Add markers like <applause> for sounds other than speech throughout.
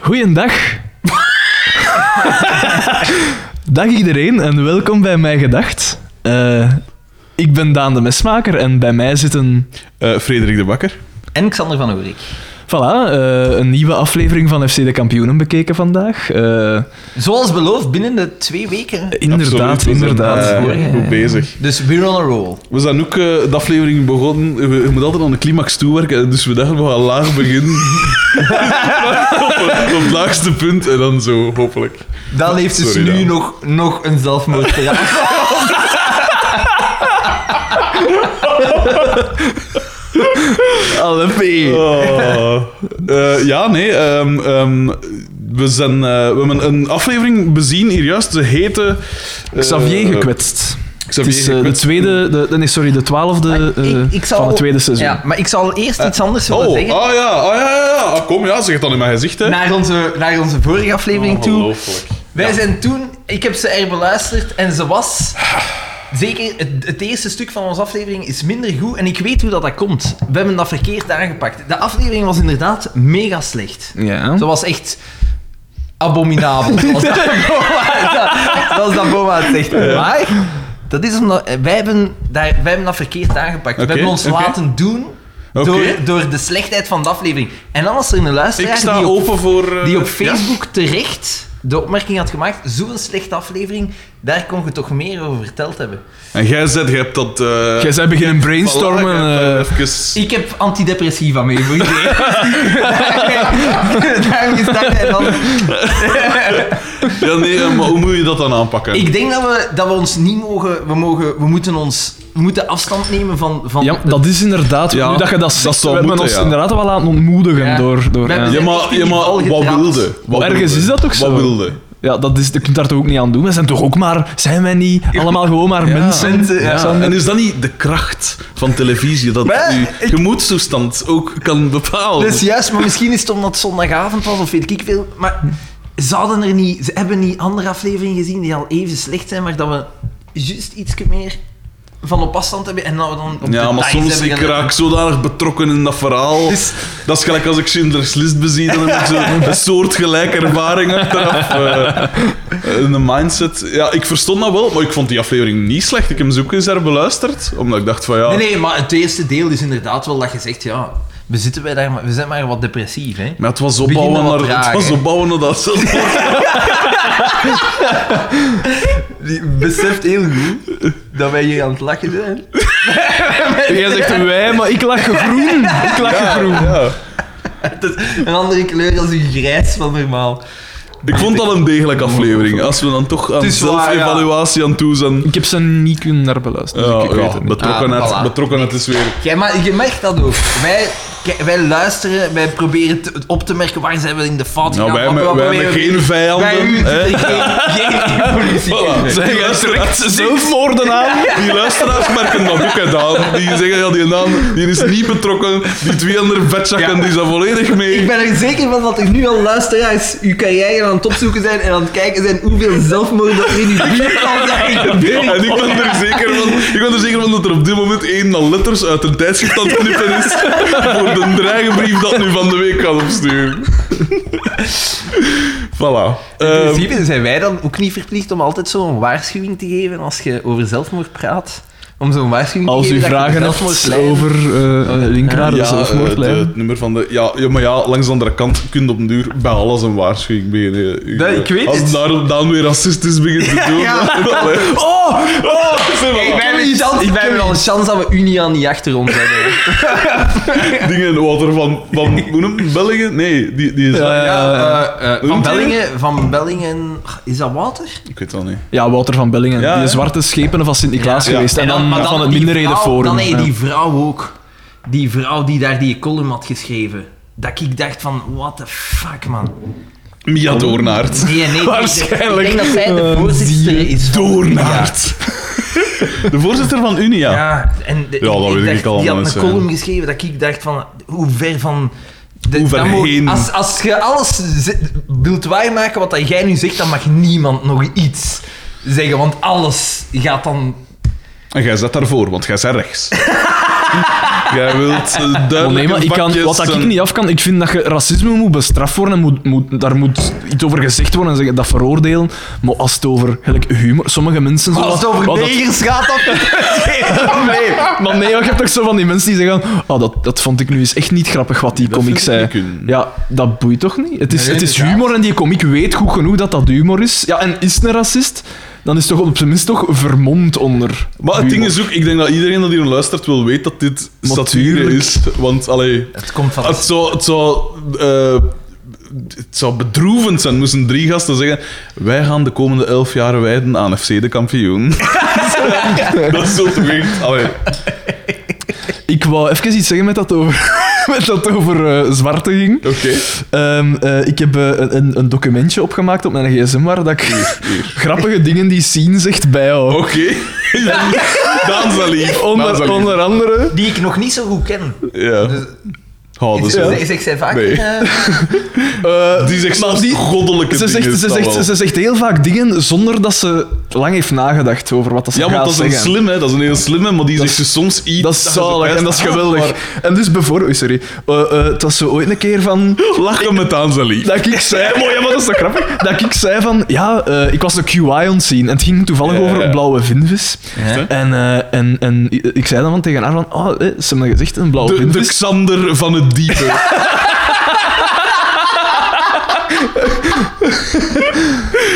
Goeiedag. Dag iedereen en welkom bij Mij Gedacht. Eh, ik ben Daan de Mesmaker en bij mij zitten... Eh, Frederik de Bakker. En Xander van Oerik. Voilà, eh, een nieuwe aflevering van FC De Kampioenen bekeken vandaag. Eh, Zoals beloofd, binnen de twee weken. inderdaad, Absoluut, we zijn, inderdaad. eh, Ja, ja, ja. goed bezig. Dus we're on a roll. We zijn ook eh, de aflevering begonnen. We, je moet altijd aan de climax toewerken, dus we dachten we gaan laag beginnen. <laughs> op, het, op het laagste punt en dan zo, hopelijk. Dan heeft dus Sorry, nu Daan. nog, nog een zelfmoord gedaan. Alle P. Oh. Eh, ja, nee. ehm, ehm, we, zijn, eh, we hebben een aflevering bezien hier juist. Ze hete. eh, Xavier gekwetst. Het Xavier is eh, de gekwetst. tweede... De, nee, sorry, de twaalfde eh, van het tweede seizoen. Eh, Ja, maar ik zal eerst iets anders willen Oh, zeggen. ah, ja, ah, ja, ja, ja. Ah, kom, ja, zeg het dan in mijn gezicht. Hè. eh. Naar onze, naar onze vorige aflevering Oh, toe. Ongelooflijk. Wij zijn toen, ik heb ze er beluisterd en ze <sighs> was. Zeker het, het eerste stuk van onze aflevering is minder goed en ik weet hoe dat, dat komt. We hebben dat verkeerd aangepakt. De aflevering was inderdaad mega slecht. Ja. Dat was echt <laughs> abominabel. Zoals dat Boma- zoals dat Boma het zegt. Maar dat is omdat eh, wij hebben, daar, wij hebben dat verkeerd aangepakt. Oké, we hebben ons oké. laten doen Oké. door, door de slechtheid van de aflevering. En dan was er een Ik luisteraar sta die, op, open voor. eh, die op ja. Facebook terecht de opmerking had gemaakt: zo'n slechte aflevering, daar kon je toch meer over verteld hebben. En jij zet, je hebt dat. eh, Jij zei beginnen brainstormen. voilà, jij hebt, eh, eh, even- Ik heb antidepressiva mee voor iedereen. <laughs> Daarom is dat jij dan Ja, nee, eh, maar hoe moet je dat dan aanpakken? Ik denk dat we, dat we ons niet mogen... We, mogen, we, moeten, ons, we moeten afstand nemen van... van Ja, dat is inderdaad. Ja, nu dat je dat dat zegt, zou we hebben moeten, ons ja. inderdaad wel laten ontmoedigen Ja. door. door We ja. hebben- Ja, maar, ja, maar Al wat getrapt. wilde? Wat Ergens wilde? is dat toch zo? Wat wilde? Ja, dat is, je kunt daar toch ook niet aan doen. We zijn toch ook maar, zijn wij niet allemaal gewoon maar mensen? Mensen, ja. Sander? En is dat niet de kracht van televisie dat Maar je ik- gemoedstoestand ook kan bepalen? Dus Dat is juist, maar misschien is het omdat het zondagavond was of weet ik veel. Maar ze, hadden er niet, ze hebben niet andere afleveringen gezien die al even slecht zijn, maar dat we juist iets meer van op afstand hebben en dat we dan op ja, details maar soms hebben ik gelet. raak zodanig betrokken in dat verhaal. Dus- Dat is gelijk als ik Schindler's List bezie, dan heb ik <laughs> zo een soort gelijke ervaring achteraf. eh, in de mindset. Ja, ik verstond dat wel, maar ik vond die aflevering niet slecht. Ik heb ze ook eens herbeluisterd, omdat ik dacht van ja... Nee, nee, maar het eerste deel is inderdaad wel dat je zegt, ja, we, zitten wij daar, maar- we zijn maar wat depressief, hè. Maar het was Begin opbouwen dan wat naar, het traag, was hè. opbouwen naar dat zelf. Die beseft heel goed dat wij hier aan het lachen zijn. Jij zegt wij, maar ik lach groen. Ik lach groen. Ja. Het is een andere kleur als uw grijs van normaal. Ik vond dat een degelijke aflevering. Als we dan toch aan Het is waar, zelfevaluatie aan toe zijn. Ik heb ze niet kunnen naar beluisteren. Ja, dus ik, ik ja, weet het niet. betrokkenheid, Ah, voilà. betrokkenheid is weer... Jij, maar je merkt dat ook. Wij, k- wij luisteren, wij proberen te- op te merken waar zijn we in de fout Nou, gegaan. wij wat hebben- wij proberen hebben we- geen vijanden, Wij u- hè? geen, geen <laughs> evolutie. Voilà. Zeg, Die jij trekt luisteraars- zelfmoorden aan. Die luisteraars merken dat ook gedaan. Die zeggen, ja, die naam die is niet betrokken. Die twee andere vetzakken, die zijn volledig Ik mee. ben er zeker van dat er nu al luisteraars uw carrière aan het opzoeken zijn en aan het kijken zijn hoeveel zelfmoorden er in uw buurt al zijn En gebeurd. ik ben, er zeker van, ik ben er zeker van dat er op dit moment één al letters uit een tijdschrift aan het knippen is voor de dreigenbrief dat nu van de week kan opsturen. voilà. In Ehm, principe zijn wij dan ook niet verplicht om altijd zo'n waarschuwing te geven als je over zelfmoord praat? Om zo'n waarschuwing Als te u geven dat je vragen de hebt zelfmoordlijn- over eh Linkraar, dus de eh, de- zelfmoordlijn. het nummer van de... Ja, ja, maar ja, langs de andere kant kun je op een duur bij alles een waarschuwing beginnen. U- Dat- ik weet Als het. daar dan weer racistisch begint te doen... <laughs> Ja. <laughs> dan- allee. Oh! Oh, zeg maar. Wij hebben, Ik een ken chance, iets. wij hebben al een chance dat we Unie aan die achter ons hebben. Dingen, Wouter van... van hoe noem je hem? België? Nee, die, die is... Ja, ja, ja. Eh, van noemt hij Bellingen, van Bellingen... Is dat Wouter? Ik weet het al niet. Ja, Wouter van Bellingen. Ja, die hè? zwarte schepenen van Sint-Niklaas Ja. geweest. En dan, maar van het die minderhedenforum. vrouw- Dan nee, Ja. die vrouw ook. Die vrouw die daar die column had geschreven. Dat ik dacht van, what the fuck, man. Mia Doornaert. Nee, nee. Waarschijnlijk, Ik denk dat zij de eh, voorzitter die is van Doornaert. <laughs> De voorzitter van Unia. Ja, en de, dat weet ik dacht, allemaal Die had niet, een hè. column geschreven dat ik dacht van, hoe ver van... De, Hoe ver dat moet- heen? Als, als je alles ze- wilt waarmaken wat dat jij nu zegt, dan mag niemand nog iets zeggen, want alles gaat dan... <laughs> En jij zet daarvoor, want jij bent rechts. Jij wilt eh, duidelijke nee, maar ik kan, vakjes wat dat ik en- niet af kan, ik vind dat je racisme moet bestraft worden en moet, moet, daar moet iets over gezegd worden en zeggen dat veroordelen. Maar als het over gelijk humor, sommige mensen. Zo Als het wat- over wat dat- negers gaat, dan Maar nee, maar je hebt toch zo van die mensen die zeggen: oh, dat, dat vond ik nu eens echt niet grappig wat die dat comic vind ik zei. niet kunnen. Ja, dat boeit toch niet? Het is, Nee, het is inderdaad. humor en die comic weet goed genoeg dat dat humor is. Ja, en is het een racist? Dan is het toch op zijn minst toch vermomd onder. Maar het humor. ding is ook, ik denk dat iedereen dat hier luistert wel weet dat dit satire Natuurlijk. is. Want allee, Het komt van... het zou, het zou, eh, het zou bedroevend zijn moesten drie gasten zeggen: Wij gaan de komende elf jaar wijden aan FC de kampioen. <laughs> dat is zo toch echt. Allee, Ik wou even iets zeggen met dat over, <laughs> met dat over eh, zwarte ging. oké. Ehm, eh, ik heb eh, een, een documentje opgemaakt op mijn gsm waar dat ik <laughs> grappige dingen die zien zegt bij jou. Oké. <laughs> Daan zal lief. Daan zal Onder, lief. onder andere. Die ik nog niet zo goed ken. Ja. Dus, Oh, dat ik, is wel- zeg- zeg zij vaak... Nee. eh, eh, Die zegt maar zelfs die- goddelijke ze dingen. zegt, ze, dat wel. zegt, ze zegt heel vaak dingen zonder dat ze lang heeft nagedacht over wat dat ze ja, want gaat dat is een zeggen. slimme, dat is een heel slimme, maar die Dat zegt dus soms iets. Dat is je "Ah, zo zalig en dat is pijst, geweldig. maar En dus bijvoorbeeld, oei, sorry, Eh, eh, het was zo ooit een keer <gasps> van Lachen met Anzali. dat ik zei, <laughs> mooi, ja, maar dat is toch grappig? Dat ik zei van, ja, eh, ik was de QI aan het zien en het ging toevallig Ja, ja, over ja. blauwe vinvis. En, eh, en, en ik zei dan van tegen haar van, oh, eh, ze hebben dat gezegd, een blauwe De, de vinvis. Xander van het <laughs> diepe.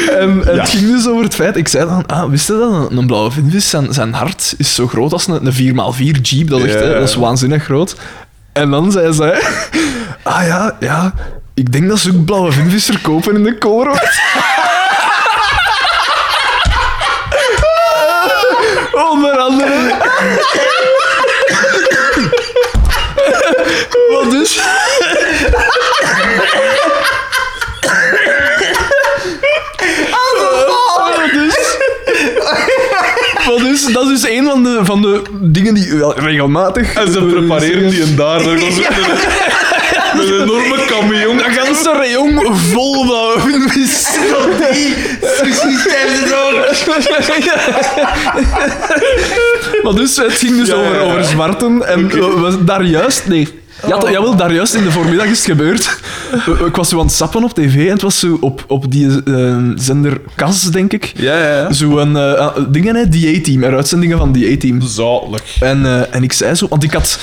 En, en Ja. het ging dus over het feit, ik zei dan, ah, wist je dat, een, een blauwe vinvis, zijn, zijn hart is zo groot als een, een 4x4 jeep, dat is, echt, Ja. eh, dat is waanzinnig groot. En dan zei zij, <laughs> ah ja, ja, ik denk dat ze ook blauwe vinvis verkopen in de koolrood. Onder andere. Wat dus? Wat dus? Wat dus? Dat is dus een van de, van de dingen die wel regelmatig... En ze prepareren die <laughs> en daar. Dat was echt een- een enorme camion. Een ganse rayon vol blauwe vinvis. Maar dus, het ging dus Ja, over, ja, ja. over zwarten. En we- we- daar juist, nee. Ja, Oh. toch- jawel, daar juist in de voormiddag is het gebeurd. We- Ik was zo aan het sappen op tv en het was zo op, op die eh, zender Kas, denk ik. Ja, ja, ja. Zo'n eh dingen, hè, die A-team, er uitzendingen van die A-team. Zalig. En, eh, en ik zei zo, want ik had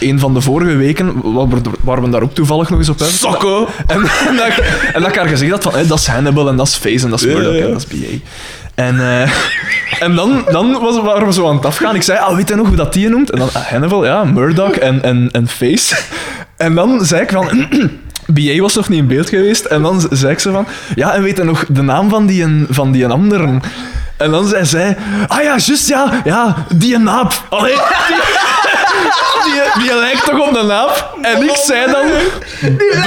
een van de vorige weken, waar we, waar we daar ook toevallig nog eens op hebben. Sokko. En, <laughs> en, dat, ik- en dat ik haar gezegd had van, hé, dat is Hannibal en dat is Face en dat is Ja, Murdoch ja. en dat is B.A. En, eh, en dan, dan was, waren we zo aan het afgaan. Ik zei, ah, weet je nog hoe dat die je noemt? En dan, ah, Hannibal, ja, Murdoch en, en, en Face. En dan zei ik van... <clears throat> B.A. was nog niet in beeld geweest. En dan zei ik ze van... Ja, en weet je nog de naam van die, een- van die een anderen? En dan zei zij... Ah ja, juist ja. Ja, die een naap. Allee, die, <laughs> die, die lijkt toch op een naap? En ik zei dan...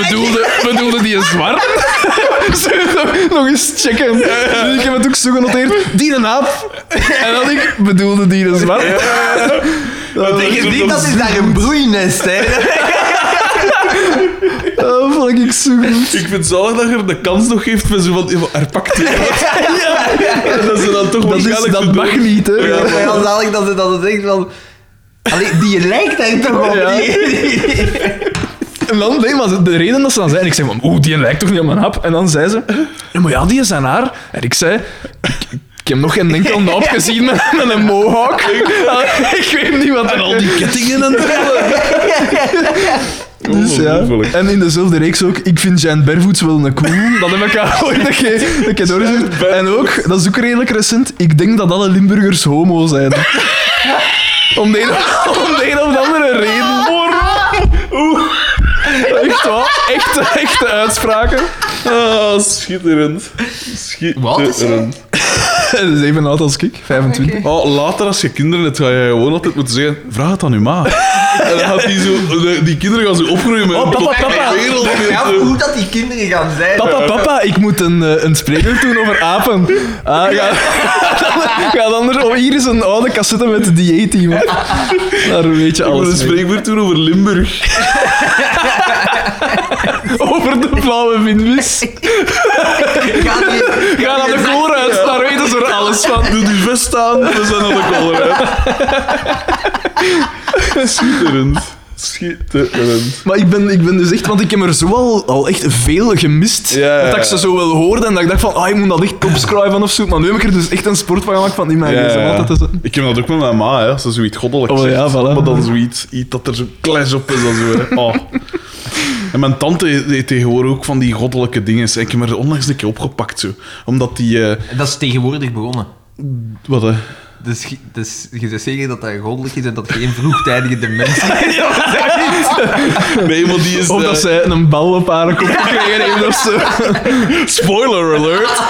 Bedoelde, bedoelde die een <laughs> zwart? Nog- Nog eens checken. Dus ik heb het ook zo genoteerd. Die een aap. En dan ik bedoelde die een zwart. Dat Ik is- denk dat is daar een broeinest, hè. Dat vond ik zo goed. Ik vind het zalig dat je er de kans nog geeft met zo van... Er <laughs> pakt die. En Dat ze dan toch Dat, is, waarschijnlijk... dat zo mag doen. niet, hè. Ja, Ja, maar dan zal ik dat ze dat denkt van... Allee, die lijkt daar toch op. Ja. Die, die- En dan, nee, maar de reden dat ze dan zei... En ik zei van, oeh, die lijkt toch niet op mijn hap? En dan zei ze... "Ja, maar ja, die is aan haar. En ik zei... "Ik- Ik heb nog geen enkel <laughs> naap gezien met, met een mohawk. <laughs> Ik weet niet wat... En al die kettingen en... Dus ja. Ongelooflijk. En in dezelfde reeks ook, ik vind Giant Barefoots wel een cool. <laughs> Dat heb ik al ooit een keer, een keer doorgezet. En ook, dat is ook redelijk recent, ik denk dat alle Limburgers homo zijn. <laughs> Om de een, <laughs> om de een of andere reden. Oeh. Echt waar, echte, echte uitspraken. Ah, schitterend. Wat is hij? Schitterend. Dat is even oud als ik, 25. Oh, later als je kinderen hebt, ga je gewoon altijd moeten zeggen: vraag het aan je <laughs> ma. En dan gaat die, zo, de- die kinderen gaan zo opgroeien met Oh, een papa, complete papa. wereld. Ik vraag me af hoe dat die kinderen gaan zijn. Papa, papa, ik moet een, eh, een spreker doen over apen. Ah, ga, <laughs> ga dan er, oh, hier is een oude cassette met de dieet-team. Daar weet je Ik moet een alles mee. spreekwoord doen over Limburg. <laughs> Over de blauwe vinvis. Gaat die- Ga naar de koolruis, daar weet is er alles van. Doe die vest aan, we zijn aan de koller <laughs> uit. Schitterend. Schitterend. Maar ik ben, ik ben dus echt, want ik heb er zo al, al echt veel gemist. Ja, ja, Dat ik ze ja. zo wel hoorde en dat ik dacht van, ah, ik moet dat echt topscriben of zo. Maar nu heb ik er dus echt een sport van gemaakt van in mijn Ja, gsm ja. altijd te zetten. Ik heb dat ook met mijn ma, hè. Ze zoiets goddelijk Oh, zegt, ja, voilà. maar dan zoiets iets dat er zo'n clash op is. Dan zo, hè. Oh. En mijn tante deed tegenwoordig ook van die goddelijke dingen. Ik heb me er onlangs een keer opgepakt, zo. Omdat die... eh, <laughs> Dat is tegenwoordig begonnen. wat, hè? Dus, ge- dus je zegt zeker dat dat goddelijk is en dat geen vroegtijdige <laughs> dementie Nee, maar die is... Of eh, dat zij een bal op haar kop gekregen heeft of zo. Spoiler alert!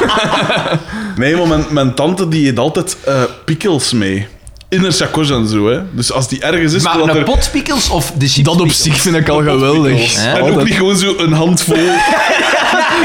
<laughs> nee, maar mijn, mijn tante die eet altijd eh pickles mee. In haar sakos en zo, hè. Dus als die ergens is... Maar wil dat een er- pot pickles of de chips Dat op pickles? zich vind ik al geweldig. Hè? En ook niet gewoon zo een <laughs> handvol. <laughs>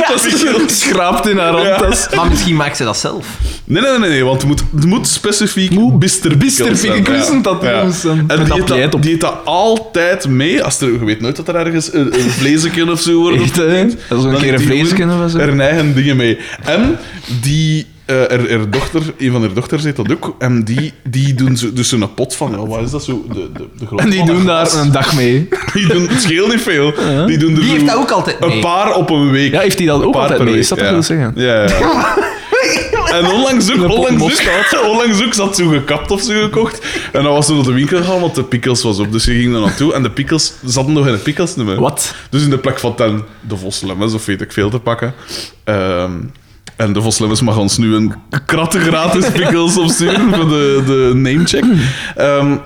Dat ze schraapt in haar Ja. handtas. Maar misschien maakt ze dat zelf. Nee, nee, nee, nee, want het moet, het moet specifiek Moet bister bisterpickels zijn, ik wist het dat moest zijn. En Met die dat eet, pleit dat, op. die eet dat altijd mee. Als er, je weet nooit dat er ergens een, een vleesje of zo wordt. Echt, hè? opgediend. Als we een Dan keer eet een die vleesje gewoon of zo. Haar eigen dingen mee. En die... eh er, er dochter, een van haar dochters heet dat ook. En die, die doen zo, dus zo'n pot van... Ja, wat is dat zo? De, de, <laughs> de grootte En die van doen daar glas. een dag mee. <laughs> Die doen, het scheelt niet veel. Die doen er Die heeft zo dat ook altijd Een mee. paar op een week. Ja, heeft die dat ook Een paar altijd per mee? week, Is dat ja. wat wil zeggen? Ja, ja, ja. <laughs> En onlangs Een ook, pot onlangs mosterd. ook, <laughs> onlangs ook zat zo gekapt of zo gekocht. En dan was ze naar de winkel gegaan, want de pickles was op. Dus je ging daar naartoe en de pickles zaten nog in de pickles nummer. Wat? Dus in de plek van ten, de Voslemmers, of weet ik veel, te pakken. Ehm, en de Voslemmers mag ons nu een kratte gratis pickles opsturen voor de, de namecheck. Ehm,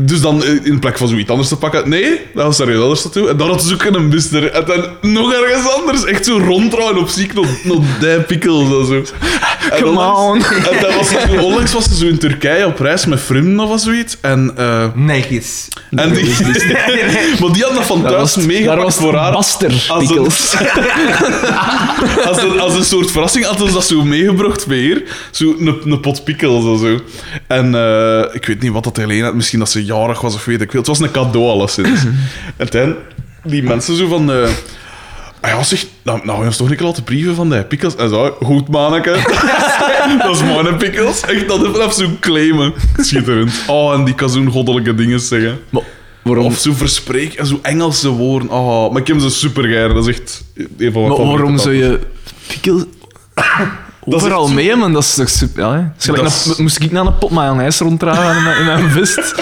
dus dan in plek van zoiets anders te pakken. Nee, dat was er heel anders naartoe. En dan had ze ook een bister. En dan nog ergens anders. Echt zo ronddraaien op ziek nog, nog die pickles en zo. En Come onlangs- on. <laughs> En dat was, onlangs was ze zo in Turkije op reis met vrienden of zoiets. En, eh, Nergens. en die, <laughs> maar die had dat van Daar thuis was, daar meegepakt was voor haar. Baster Als een- <laughs> Pickles. als, een, als een soort verrassing hadden ze dat zo meegebracht weer. Zo een, een pot pickles en zo. En eh, ik weet niet wat dat alleen had. Misschien dat ze jarig was of weet ik veel. Het was een cadeau alleszins. en toen, die mensen zo van... eh, ah ja, zeg, nou, nou jongens, toch niet laten brieven van die pickles. En zo, goed manneke. <laughs> dat is mijn pickles. Echt, dat even zo claimen. Schitterend. Oh, en die kan zo'n goddelijke dingen zeggen. Maar waarom, Of zo verspreek en zo Engelse woorden. Oh, maar ik heb ze super geir. Dat is echt een van mijn maar waarom favoriete zou je pickles is overal echt zo- mee man Dat is toch super... Ja, hè. Het is gelijk Dat is- een- moest ik naar een pot mayonaise ronddragen in mijn, in mijn vest?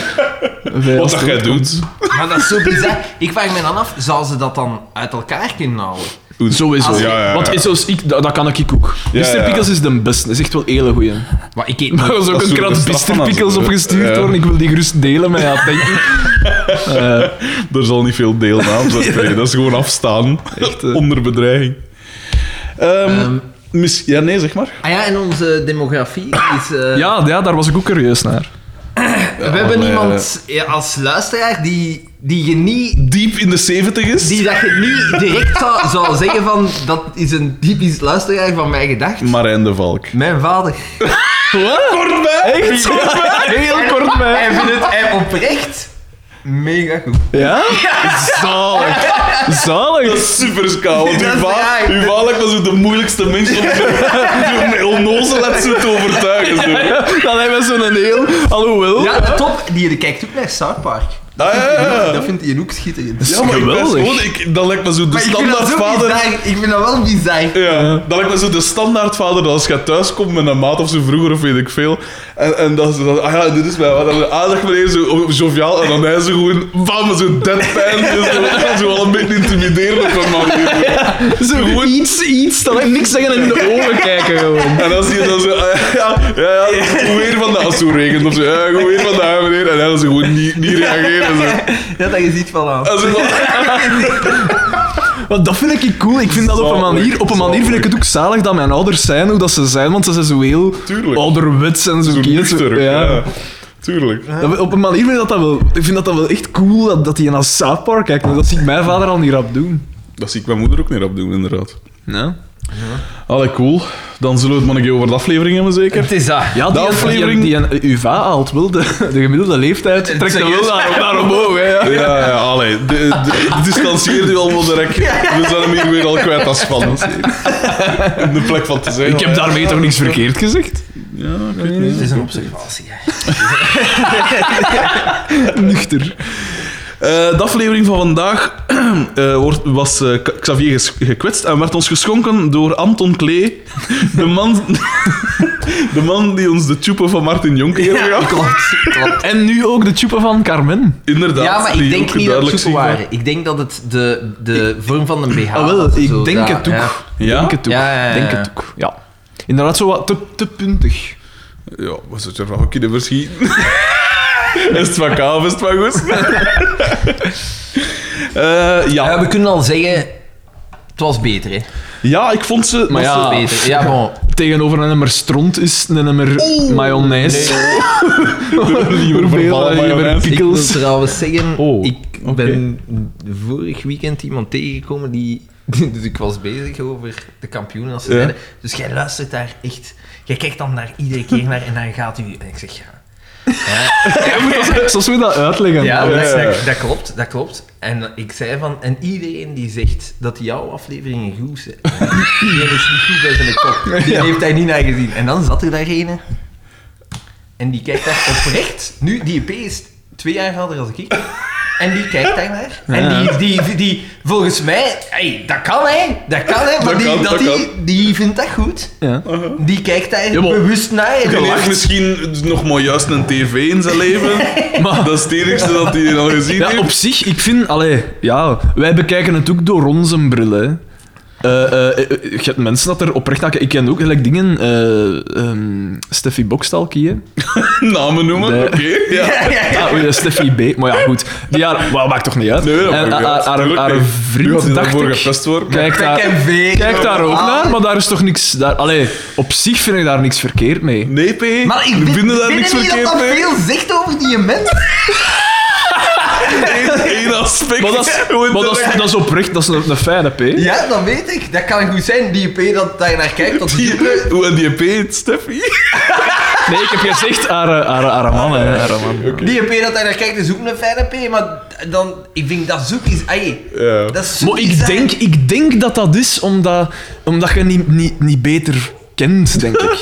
Wij Wat als dat jij toch- doet. Maar dat is zo bizar. Ik vraag me dan af, zou ze dat dan uit elkaar kunnen houden? Sowieso. Als- Ja, ja, ja. Want is, zoals ik, dat, dat kan ik ook. Ja, Mr. ja. Pickles is de beste. Dat is echt wel een hele goeie. Maar ik eet Er niet. <laughs> was ook is een zo de krant straf van Mr. als- Pickles opgestuurd Ja. worden. Ik wil die gerust delen met jou. Denk ik. Er zal niet veel deel aan zijn. Nee, dat is gewoon afstaan. Echt, eh. Onder bedreiging. Ehm, mis- ja, nee, zeg maar. Ah ja, en onze demografie is... eh, Ja, ja, daar was ik ook curieus naar. we hebben maar, iemand eh, als luisteraar die, die je niet... Diep in de 70 is. Die dat je niet direct zou, zou zeggen van... Dat is een typisch luisteraar van mijn gedacht. Marijn de Valk. Mijn vader. Kort bij! Echt? Heel kort bij. Hij vindt het hij oprecht mega goed. Ja? Zalig. Dat Zalig. is super schaal. Want Dat uw is va- raar. uw valk was ook de moeilijkste mens om zo'n onnozel zo te overtuigen. Zo. <laughs> Dan hebben we zo'n heel... Alhoewel. Ja, de top. Die die kijkt ook naar South Park. Ah, ja, ja, ja. Dat vindt hij ook schitterend. Ja, maar ik ben Geweldig. gewoon- ik- dat lijkt me zo de Maar ik vind, dat standaard zo vader. bizar. ik vind dat wel bizar. Ja, dat lijkt me zo de standaardvader dat als je thuis komt met een maat of zo vroeger of weet ik veel. En, en dat ze dan, ah ja, dit is mijn vader. En dan, Ah, dag meneer, zo oh, joviaal. En dan hij zo gewoon, bam, zo deadpan. Zo, zo al een beetje intimiderend op een manier. <laughs> Zo gewoon iets, iets. Dan heb ik niks zeggen en in de <laughs> ogen kijken gewoon. En dan zie je dan zo, ah, ja, ja, ja, goed weer vandaag. Als het zo regent of zo, ja, goed weer vandaag meneer. En hij dan zo gewoon niet, niet reageren. Zo. Ja, dat je ziet van eh. aan. En zo, Want dat vind ik cool. Ik vind dat op een Zalig, manier... Op een manier vind ik het ook zalig dat mijn ouders zijn hoe dat ze zijn. Want ze zijn zo heel Tuurlijk. ouderwets en zo. zo keert, zo- nuchter, ja. ja. Tuurlijk. Dat- op een manier vind ik dat, dat wel... Ik vind dat, dat wel echt cool dat, dat hij naar South Park kijkt. Dat zie ik mijn vader al niet rap doen. Dat zie ik mijn moeder ook niet op doen, inderdaad. Ja? Allee, cool. Dan zullen we het maar een keer over de aflevering hebben, zeker? Het is dat. Ja, die, De aflevering- die, die, die UVA haalt wel de, de gemiddelde leeftijd. Trekt dat wel serieus? naar, naar omhoog, hè. Ja. Ja, ja, allee. De, de, distancieer je al wel direct. We zijn hem hier weer al kwijt als van. In de plek van te zeggen. Ik heb daarmee toch niks verkeerd gezegd? Ja, ik weet niet. Het is een observatie. hè. Nuchter. Eh, de aflevering van vandaag <clears throat> eh, wordt, was eh, K- Xavier ges- gekwetst en werd ons geschonken door Anton Klee, de man, <laughs> de man die ons de tjoepen van Martin Jonk heeft Ja, gehad. klopt, klopt. En nu ook de chupa van Carmen. Inderdaad. Ja, maar die ik denk ook niet dat duidelijk het zoeken zichtbaar- waren. Ik denk dat het de, de vorm van een BH Ah, wel, was, ik zo, denk ja, het ook. ja. Ja? Denk het ook. Ja, ja, ja, Denk ja. het ook. Ja. Inderdaad, zo wat te, te puntig. Ja, was het er nog een keer verschieten? <laughs> is het van kou of is het van goed? Eh, ja. Ja, we kunnen al zeggen, het was beter, hè. ja, ik vond ze... Maar Het was ja. beter. Ja, bon. Tegenover een nummer stront is een nummer mayonaise. liever verballen mayonaise. Ik wil pickles. trouwens zeggen, Oh, ik oké. ben vorig weekend iemand tegengekomen die... <laughs> Dus ik was bezig over de kampioenen als ze Ja. zeiden. Dus jij luistert daar echt... Jij kijkt dan daar iedere keer naar en dan gaat u... En ik zeg, <laughs> ja... <laughs> Zoals we dat uitleggen. Ja, ja, dat, ja. dat- dat klopt, dat klopt. En ik zei van... En iedereen die zegt dat jouw afleveringen goed zijn... <laughs> Die is niet goed bij zijn kop. Die heeft hij niet naar gezien. En dan zat er daar ene... En die kijkt daar oprecht... Nu, die EP is twee jaar ouder als ik. En die kijkt daarnaar. En die, die, die, die- volgens mij... Hey, dat kan, hè. Dat kan, hè. Maar Dat die, kan, dat dat die, kan. die vindt dat goed. Ja. Die kijkt daar maar- bewust naar. en Die heeft lacht. misschien nog maar juist een tv in zijn leven. maar dat is het enigste dat hij al gezien Ja, heeft. op zich, ik vind, allee, ja, wij bekijken het ook door onze bril. Hè. Eh, eh, eh, je hebt mensen dat er oprecht naar kijken. Ik ken ook gelijk dingen. eh ehm Steffi Bokstalkie. hè. Namen noemen, Nee. oké. ja. Ah, oei, dat is Steffi B. Maar ja, goed. Die haar, wel, maakt toch niet uit? Nee, dat maakt en niet haar, uit, haar- haar tuurlijk niet. Nu had vriend, hij dacht ervoor ik, gepest worden. kijkt Pek daar, en veen. kijkt daar ook Ah. naar, maar daar is toch niks... Daar, allee, op zich vind ik daar niks verkeerd mee. Nee, P. Maar ik vind, vinden daar niks niet dat verkeerd dat mee. veel zegt over die mens. Eén één aspect. Maar dat <laughs> is, Gewoon maar dat is, direct. dat is oprecht, dat is een, een fijne P. Ja, dat weet ik. Dat kan goed zijn, die EP dat daar naar kijkt. Dat die... Die- Hoe en die P heet, Steffi? Nee, ik heb gezegd haar, eh, haar, haar man. Hè, haar man. die EP dat daar naar kijkt is ook een fijne EP, maar dan, ik denk dat zoek is. Ay, Ja. dat is zo Maar ik bizar. denk, ik denk dat dat is omdat, omdat je niet, niet, niet beter kent, denk <laughs> ik.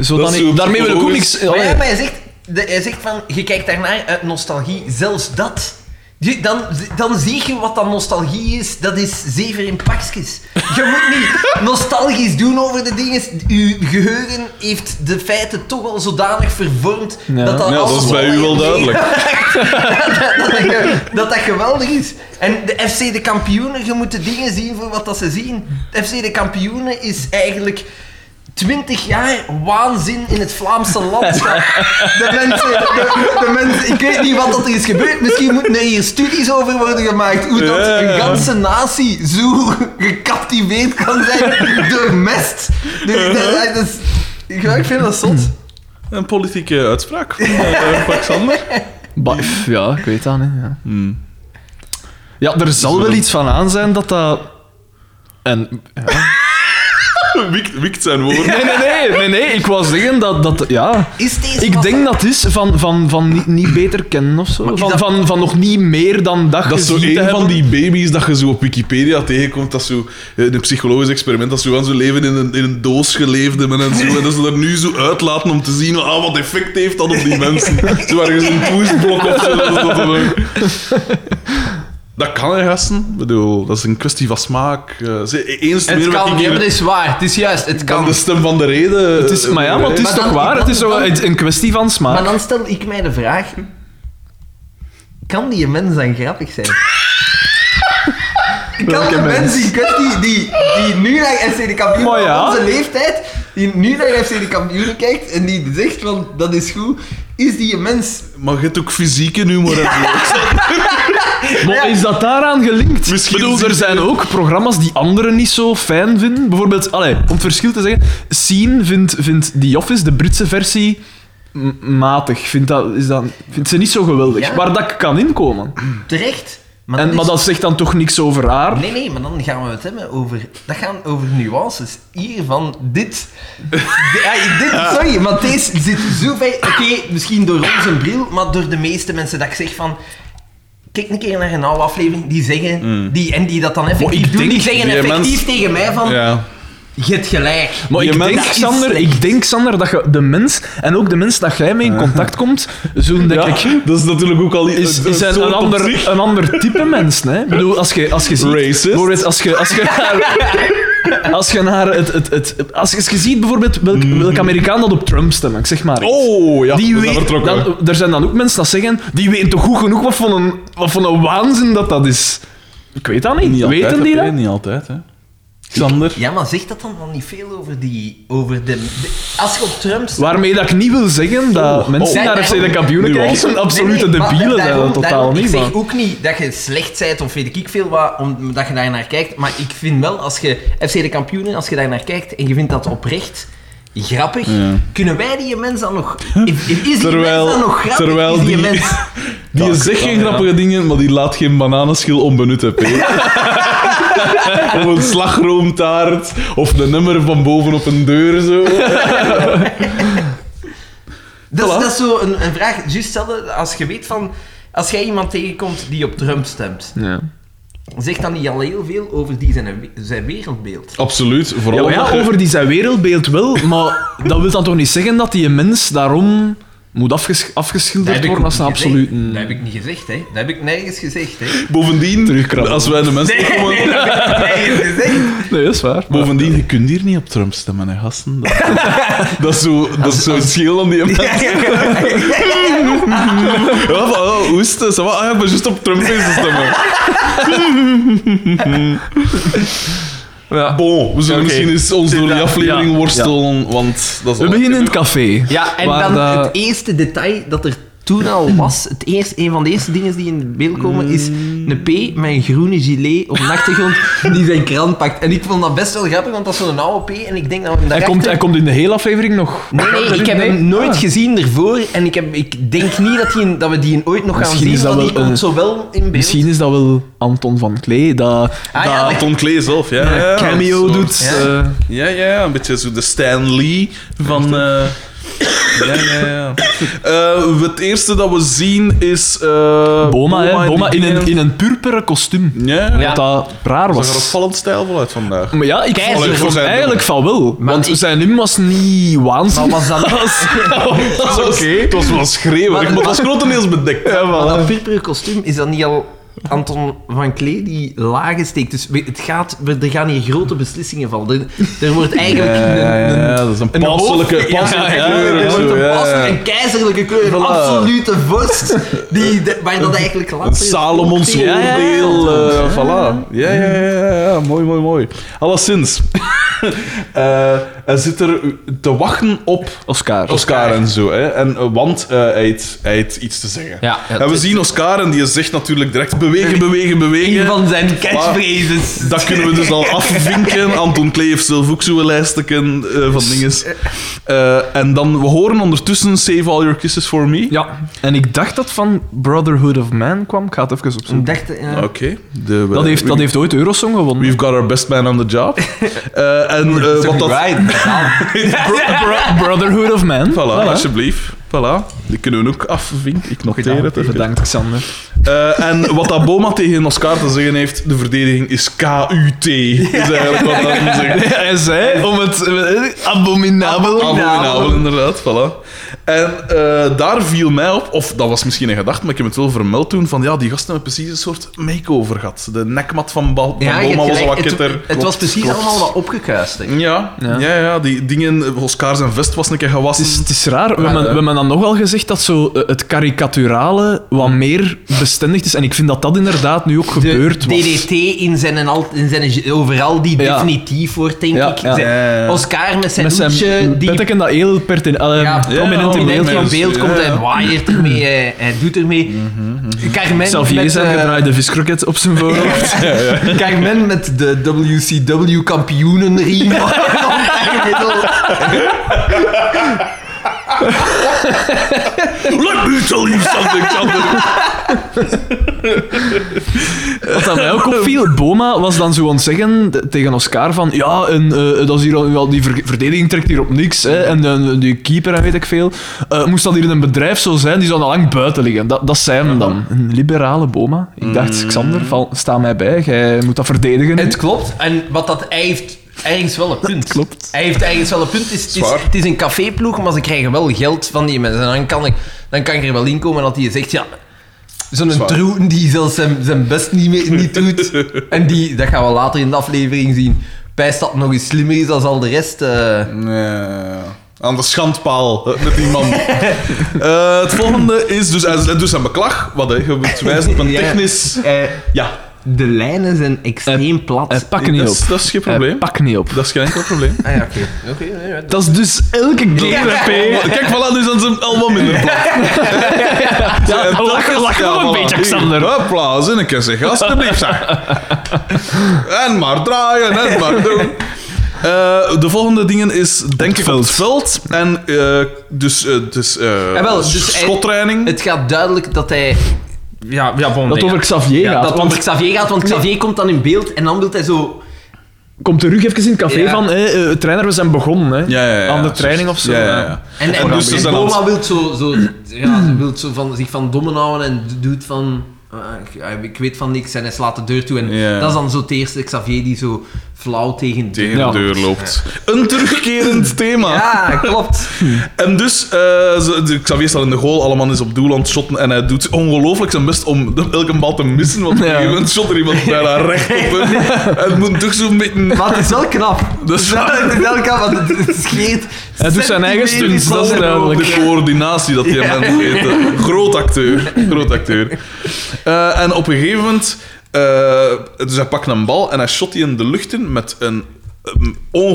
Zo Dat dan is Oh, ik- zo daarmee wil ik ook niks... Maar, ja, allee. maar hij, zegt, de- hij zegt van, je kijkt daarnaar uit nostalgie, zelfs dat. Je- Dan, dan zie je wat dat nostalgie is. Dat is zever in pakjes. Je moet <laughs> niet nostalgisch doen over de dingen. Uw geheugen heeft de feiten toch al zodanig vervormd Ja. dat dat Ja, dat alles is bij al u wel in- <laughs> duidelijk. dat, dat, ge- <laughs> dat dat geweldig is. En de FC de kampioenen, je moet de dingen zien voor wat dat ze zien. De FC de kampioenen is eigenlijk 20 jaar waanzin in het Vlaamse land. De mensen, de, de mensen, ik weet niet wat dat er is gebeurd. Misschien moeten er hier studies over worden gemaakt. Hoe dat Ja. een ganse natie zo gecaptiveerd kan zijn door mest. Dus, dat- dat is- ja, dus, ik vind dat zot. Een politieke uitspraak van eh, Pak Sander. Bah, pff, ja, ik weet dat niet. Ja. Hmm. ja, er zal wel iets van aan zijn dat dat... En, Wikt, wikt zijn woorden. nee, nee, nee, nee, nee, ik wou zeggen dat... dat ja. Is deze Ik wat- denk dat is van, van, van niet, niet beter kennen of zo. Van, dat- van, van nog niet meer dan dag Dat is zo gezien te een van hebben. die baby's dat je zo op Wikipedia tegenkomt. Dat is zo eh, een psychologisch experiment. Dat ze aan zo leven in een, in een doos geleefd hebben en zo. En dat ze er nu zo uitlaten om te zien ah, wat effect heeft dat op die mensen. <laughs> Zo ergens een poesblok of zo. Dat, is dat, dan ook. dat kan, hè, gasten. Ik bedoel, dat is een kwestie van smaak. Eh, ze- eens Het meer wat kan, ik ja, hier- maar dat is waar. Het is juist, het aan kan. de stem van de reden. eh, Het is, maar ja, maar het is Maar toch dan- waar? Het is zo dan- een een kwestie van Maar smaak. dan stel ik mij de vraag: kan die mens dan grappig <laughs> zijn? Kan Welke de mens? mens die, die, die, die nu naar FC de kampioen Maar ja. op onze leeftijd, die nu naar FC de kampioen kijkt en die zegt van dat is goed, is die een mens? Maar je hebt ook fysieke humor en zo. Ik zou- Maar is dat daaraan gelinkt? Misschien Misschien bedoel, zien er ze- zijn ook programma's die anderen niet zo fijn vinden. Bijvoorbeeld, allee, om het verschil te zeggen, Scene vindt, vindt The Office, de Britse versie, m- matig. Vindt, dat, is dat, vindt ze niet zo geweldig. Ja. Waar dat kan inkomen. Terecht. En, is- Maar dat zegt dan toch niks over haar? Nee, nee, maar dan gaan we het hebben over... Dat gaan over nuances. Hiervan, dit... Ja, dit sorry, maar deze zit zo bij... Oké, misschien door onze bril, maar door de meeste mensen dat ik zeg van... Kijk een keer naar een oude aflevering, die zeggen... Die, en die dat dan effectief Mm. ik doen, die denk zeggen die effectief mens- tegen mij van... Ja. Je hebt gelijk. Maar Die ik mens denk, is Sander, slecht. ik denk, Sander, dat je de mens, en ook de mens dat jij mee in contact komt, zullen denk ik... dat is natuurlijk ook al i- Is, is soort een, een, op ander, zich. een ander type mens, hè? Ik bedoel, als je, als je ziet... Racist. bijvoorbeeld Als je, als je naar... Als je, naar het, het, het, als je, als je ziet bijvoorbeeld welk, welk Amerikaan dat op Trump stemt, ik zeg maar iets. Mhm. Oh, ja, Die we zijn weet- vertrokken. dan- er zijn dan ook mensen dat zeggen, die weten toch goed genoeg wat voor een, wat voor een waanzin dat dat is. Ik weet dat niet. Niet altijd, weten die hè, dat? Niet altijd, hè. Xander. Ja, maar zegt dat dan, dan niet veel over die... Over de, de- als je op Trump staat... Waarmee dat ik niet wil zeggen dat Oh, mensen oh. die naar FC de kampioenen <laughs> Nu kijken, was- zijn absolute Nee, nee, maar debielen zijn daarom- dat totaal daarom- niet, Ik zeg man. ook niet dat je slecht bent of weet ik veel wat, omdat je daar naar kijkt. Maar ik vind wel, als je FC de kampioenen, als je daar naar kijkt en je vindt dat oprecht grappig, Ja. kunnen wij die mens dan <laughs> nog... Is die Terwijl- mens dan nog grappig? terwijl is die, die- mens... Die Ja, zegt ja, geen ja. grappige dingen, maar die laat geen bananenschil onbenut, <laughs> hè, Peter. of een slagroomtaart, of een nummer van boven op een deur, zo. Dat, is- Voilà. dat is zo een, een vraag, juist hetzelfde als je weet van... Als jij iemand tegenkomt die op Trump stemt, Ja. zegt dan niet al heel veel over die zijn, zijn wereldbeeld. Absoluut, Ja, vooral maar Oh ja, omdat je- over die zijn wereldbeeld wel, maar dat wil dan toch niet zeggen dat die mens daarom moet afges- Dat heb afgeschilderd ik worden als niet een gezegd. absolute... Dat heb ik niet gezegd, hè. Dat heb ik nergens gezegd, hè. Bovendien, Terugkrabben. als wij de mensen Nee, komen... nee, dat heb ik nergens gezegd. Nee, dat is waar. Maar- Bovendien, je kunt hier niet op Trump stemmen, hè, gasten. <laughs> Dat, dat is zo, dat is zo het schil aan die mensen. Ja, <laughs> van, oh, hoest, ça va? Ah, ja, ik ben juist op Trump bezig stemmen. Ja. Bon, we zullen Ah, Oké. misschien eens ons door die aflevering Ja. worstelen, want dat is We al- beginnen in het café. Ja, en waar dan dat- het eerste detail dat er toen al was, het eerste, een van de eerste dingen die in beeld komen, is Mm. een P met een groene gilet op de achtergrond die zijn krant pakt. En ik vond dat best wel grappig, want dat is zo'n oude P en ik denk dat we Hij hem daarachter- komt, hij komt in de hele aflevering nog. Nee, nee, ik heb hem nooit Ah. gezien ervoor en ik, heb, ik denk niet dat, die, dat we die ooit nog Misschien gaan is zien, dat want die wel komt een- zo wel in beeld. Misschien is dat wel Anton van Klee, dat Ah, ja, dat dat- Anton Klee zelf, ja. ja, ja, cameo een soort- doet. Ja. eh, Ja, ja, ja, een beetje zo de Stan Lee van... eh, ja, ja, ja. Eh, het eerste dat we zien is... eh, Boma, hè. en die Boma in een, dingen. in een purperen kostuum. Ja, ja. Wat dat raar Dat zag er was. opvallend stijlvol uit <laughs> vandaag. Maar ja, ik Keizer vond- ik voor vond zijn eigenlijk van wel. Maar want ik- zijn lim was niet waanzinnig. Maar was dat- <laughs> dat Het was was- oké. Het was wel schreeuwerig, Maar- maar het was grotendeels bedekt. Maar Oh. dat purperen kostuum, is dat niet al Anton van Klee die lagen steekt? Dus we- het gaat, we- er gaan hier grote beslissingen vallen. Er, er wordt eigenlijk een, een, dat is een een panselijke hoofd- ja, ja, ja, kleur. er of wordt zo, een ja, passelijke, ja. een keizerlijke kleur, een Voilà. absolute vorst, die, de, waar dat eigenlijk later... Een Salomons Ja, ja, ja. oordeel. eh, voilà. Ja, ja, ja, ja, ja, mooi, mooi, mooi. Alleszins, <laughs> Eh hij zit er te wachten op Oscar. Oscar en zo. Hè? En, eh, want eh, hij, heeft, hij heeft iets te zeggen. Ja, ja, en we het- zien Oscar en die zegt natuurlijk direct bewegen, bewegen, bewegen. Een van zijn catchphrases. Dat kunnen we <laughs> dus al afvinken. Anton Klee heeft zelf ook zo'n lijsteken eh, van dingen. Eh, en dan, we horen ondertussen Save All Your Kisses For Me. Ja, en ik dacht dat van Brotherhood of Man kwam. Ik ga het even Ik opzoeken. dacht, ja. Oké. De- Dat heeft, dat heeft ooit Eurosong gewonnen. We've got our best man on the job. Eh, en eh, wat dat... Bro- bro- Brotherhood of Man. Voilà, Voilà. alsjeblieft. Voilà. Die kunnen we ook afvinken. Ik noteer het even. Bedankt, Xander. Eh, en wat dat Boma tegen Oscar te zeggen heeft, de verdediging is KUT. Is eigenlijk wat dat moet zeggen. Hij zei om het eh, abominabel. Abominabel, inderdaad. Voilà. En eh, daar viel mij op, of dat was misschien een gedachte, maar ik heb het wel vermeld toen, van ja, die gasten hebben precies een soort make-over gehad. De nekmat van, Bal van Ja, je hebt Boma was al gelijk. wat Het- kitter. Het was precies Klopt. allemaal wat opgekuist. hè. Ja, ja. Ja. ja, die dingen, Oscar zijn vest was een keer gewassen. Het is, het is raar, we hebben, hè. we hebben dan nogal gezegd dat zo eh, het karikaturale wat meer bestendigd is. En ik vind dat dat inderdaad nu ook gebeurd was. DDT in zijn, en al, in zijn overal die Ja. definitief wordt, denk Ja, ik. ja. Zijn- Ja, ja. Oscar met zijn Met zijn hoedje, die petteken dat heel pertinent, eh, ja, prominent ja, in beeld ja, kwam. in beeld komt, Ja, ja. hij waaiert ermee, hij, hij doet ermee. Carmen, Mhm, Xavier met, zijn eh, gedraaide viskroket op zijn voorhoofd. Carmen met de WCW <laughs> kampioenenriem riem Let me tell you something, Xander. Wat dat mij ook opviel, Boma was dan zo aan het zeggen t- tegen Oscar van ja, en, eh, dat is hier, al- wel, die ver- verdediging trekt hier op niks, hè, en eh, die keeper en weet ik veel. Eh, moest dat hier in een bedrijf zo zijn, die zou al lang buiten liggen. Dat, dat zei hem dan. Mm. Een liberale Boma. Ik dacht, Xander, val, sta mij bij, jij moet dat verdedigen. nu. Het klopt. En wat dat hij heeft ergens wel een <laughs> punt. klopt. Hij heeft ergens wel een punt. Het is, het is, Zwaar. het is een caféploeg, maar ze krijgen wel geld van die mensen. En dan kan ik, dan kan ik er wel inkomen dat hij zegt, ja... Zo'n Zwaar. troeten die zelfs zijn, zijn best niet, mee, niet doet. <laughs> en die, dat gaan we later in de aflevering zien. Pijst dat nog eens slimmer is dan al de rest. eh. Nee. Aan de schandpaal eh, met die <laughs> man. Eh, het volgende is dus, hij doet zijn beklag. Wat hè? Je moet wijzen op een Ja. technisch. Ja, Eh, De lijnen zijn extreem plat. Hij pakt niet dat op. is, dat is Eh, geen Hij probleem. pakt niet op. Dat is geen enkel probleem. Ah ja, oké. Oké, nee, ja, Dat is dus elke keer Ja. een P. Oh, Kijk, voilà, nu zijn ze allemaal minder plat. Ja, Eh, lach, lach nog een beetje, Xander. Hopla, zinneke zeg, <laughs> alsjeblieft. zeg. en maar draaien, en maar doen. Eh, de volgende dingen is denk ik op het veld. En eh, dus, eh, dus, eh, Ja, wel, dus hij- schottraining. Het gaat duidelijk dat hij... Ja, ja, bon, Dat nee, over ja. Xavier Ja, gaat. dat want over Xavier gaat, want Xavier komt dan in beeld en dan wil hij zo... komt terug even in het café Ja. van, hé, eh, trainer, we zijn begonnen. Hè. Ja, ja, ja, Aan de ja, training of juist. zo. Ja, ja, hè. ja. En, en, En dus en ze zijn aan Boma wil zo, zo, ja, ze wil zo van, zich van dommen houden en doet van... ah, ik, ik weet van niks en hij slaat de deur toe. En Ja. dat is dan zo het eerste Xavier die zo flauw tegen... Tegen Ja. de deur loopt. Een terugkerend thema. Ja, klopt. En dus, eh, ze- de- Xavier staat in de goal, allemaal is op doel aan het shotten en hij doet ongelooflijk zijn best om de- elke bal te missen, want op een Ja. gegeven moment shot er iemand bijna recht op hem. En moet toch zo'n beetje... Maar het is wel <laughs> knap. Dat is waar. Het is wel knap, want het- het scheet... Hij doet zijn eigen centimeters stunts, dat is van de duidelijk. De coördinatie dat die Ja. mensen weten. Groot acteur. Groot acteur. Eh, en op een gegeven moment... eh, dus hij pakt een bal en hij shot die in de lucht in met een ehm,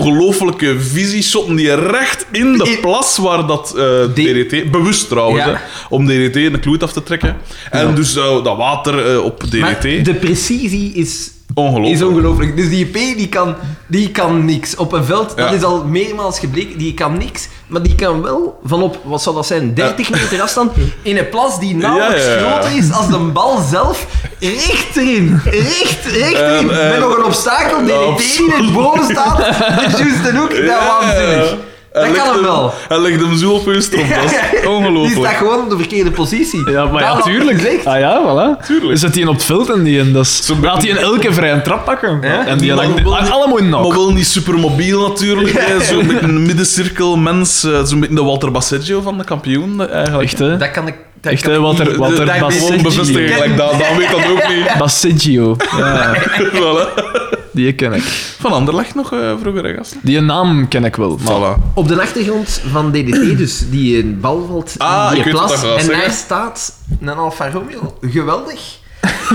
ongelofelijke visie. Shotten die recht in de plas waar dat eh, Die- DDT... Bewust trouwens, Ja. hè, om DDT een kloot af te trekken. En dus eh, dat water eh, op Maar DDT. de precisie is Ongelooflijk. Is ongelooflijk. Dus die P die kan, die kan niks. Op een veld, dat Ja. is al meermaals gebleken, die kan niks. Maar die kan wel van op, wat zou dat zijn, 30 meter afstand, in een plas die nauwelijks Ja, ja, ja. groter is als de bal zelf, recht erin. Recht, recht Ehm, erin. ehm, Met nog een obstakel die nou, DDT in het boven <laughs> staat. Dat is juist een hoek. Dat is Ja. waanzinnig. Hij Dat legt kan hem wel. Hij legt hem zo op hun stropdas. <laughs> Die staat Ongelooflijk. gewoon op de verkeerde positie. Ja, maar Dat ja, had ik tuurlijk. gezegd. Ah ja, voilà. Tuurlijk. Zet hij in op het veld en die in, dat is... Zo'n Laat hij in elke vrije trap pakken. En die Maar lijkt wel- allemaal in Maar nok. wel niet supermobiel natuurlijk. hè. Zo met een middencirkel mens. eh, Zo met de Walter Basseggio van de kampioen eh, eigenlijk. Echt, hè? Dat kan ik... dat Echt, kan hè? ik Walter- niet- Walter dat- dat- Gewoon bevestigen, Basseggio. gelijk dat, dat weet dat ook niet. Baseggio. Ja, Voilà. die ken ik. Van Anderlecht nog eh vroeger, hè, gasten. Die naam ken ik wel. Maar... Voilà. Op de achtergrond <clears throat> van DDT, dus die een bal valt Ah, in ik die weet wat plas. dat gaat En daar zeggen. staat een Alfa Romeo. <laughs> Geweldig.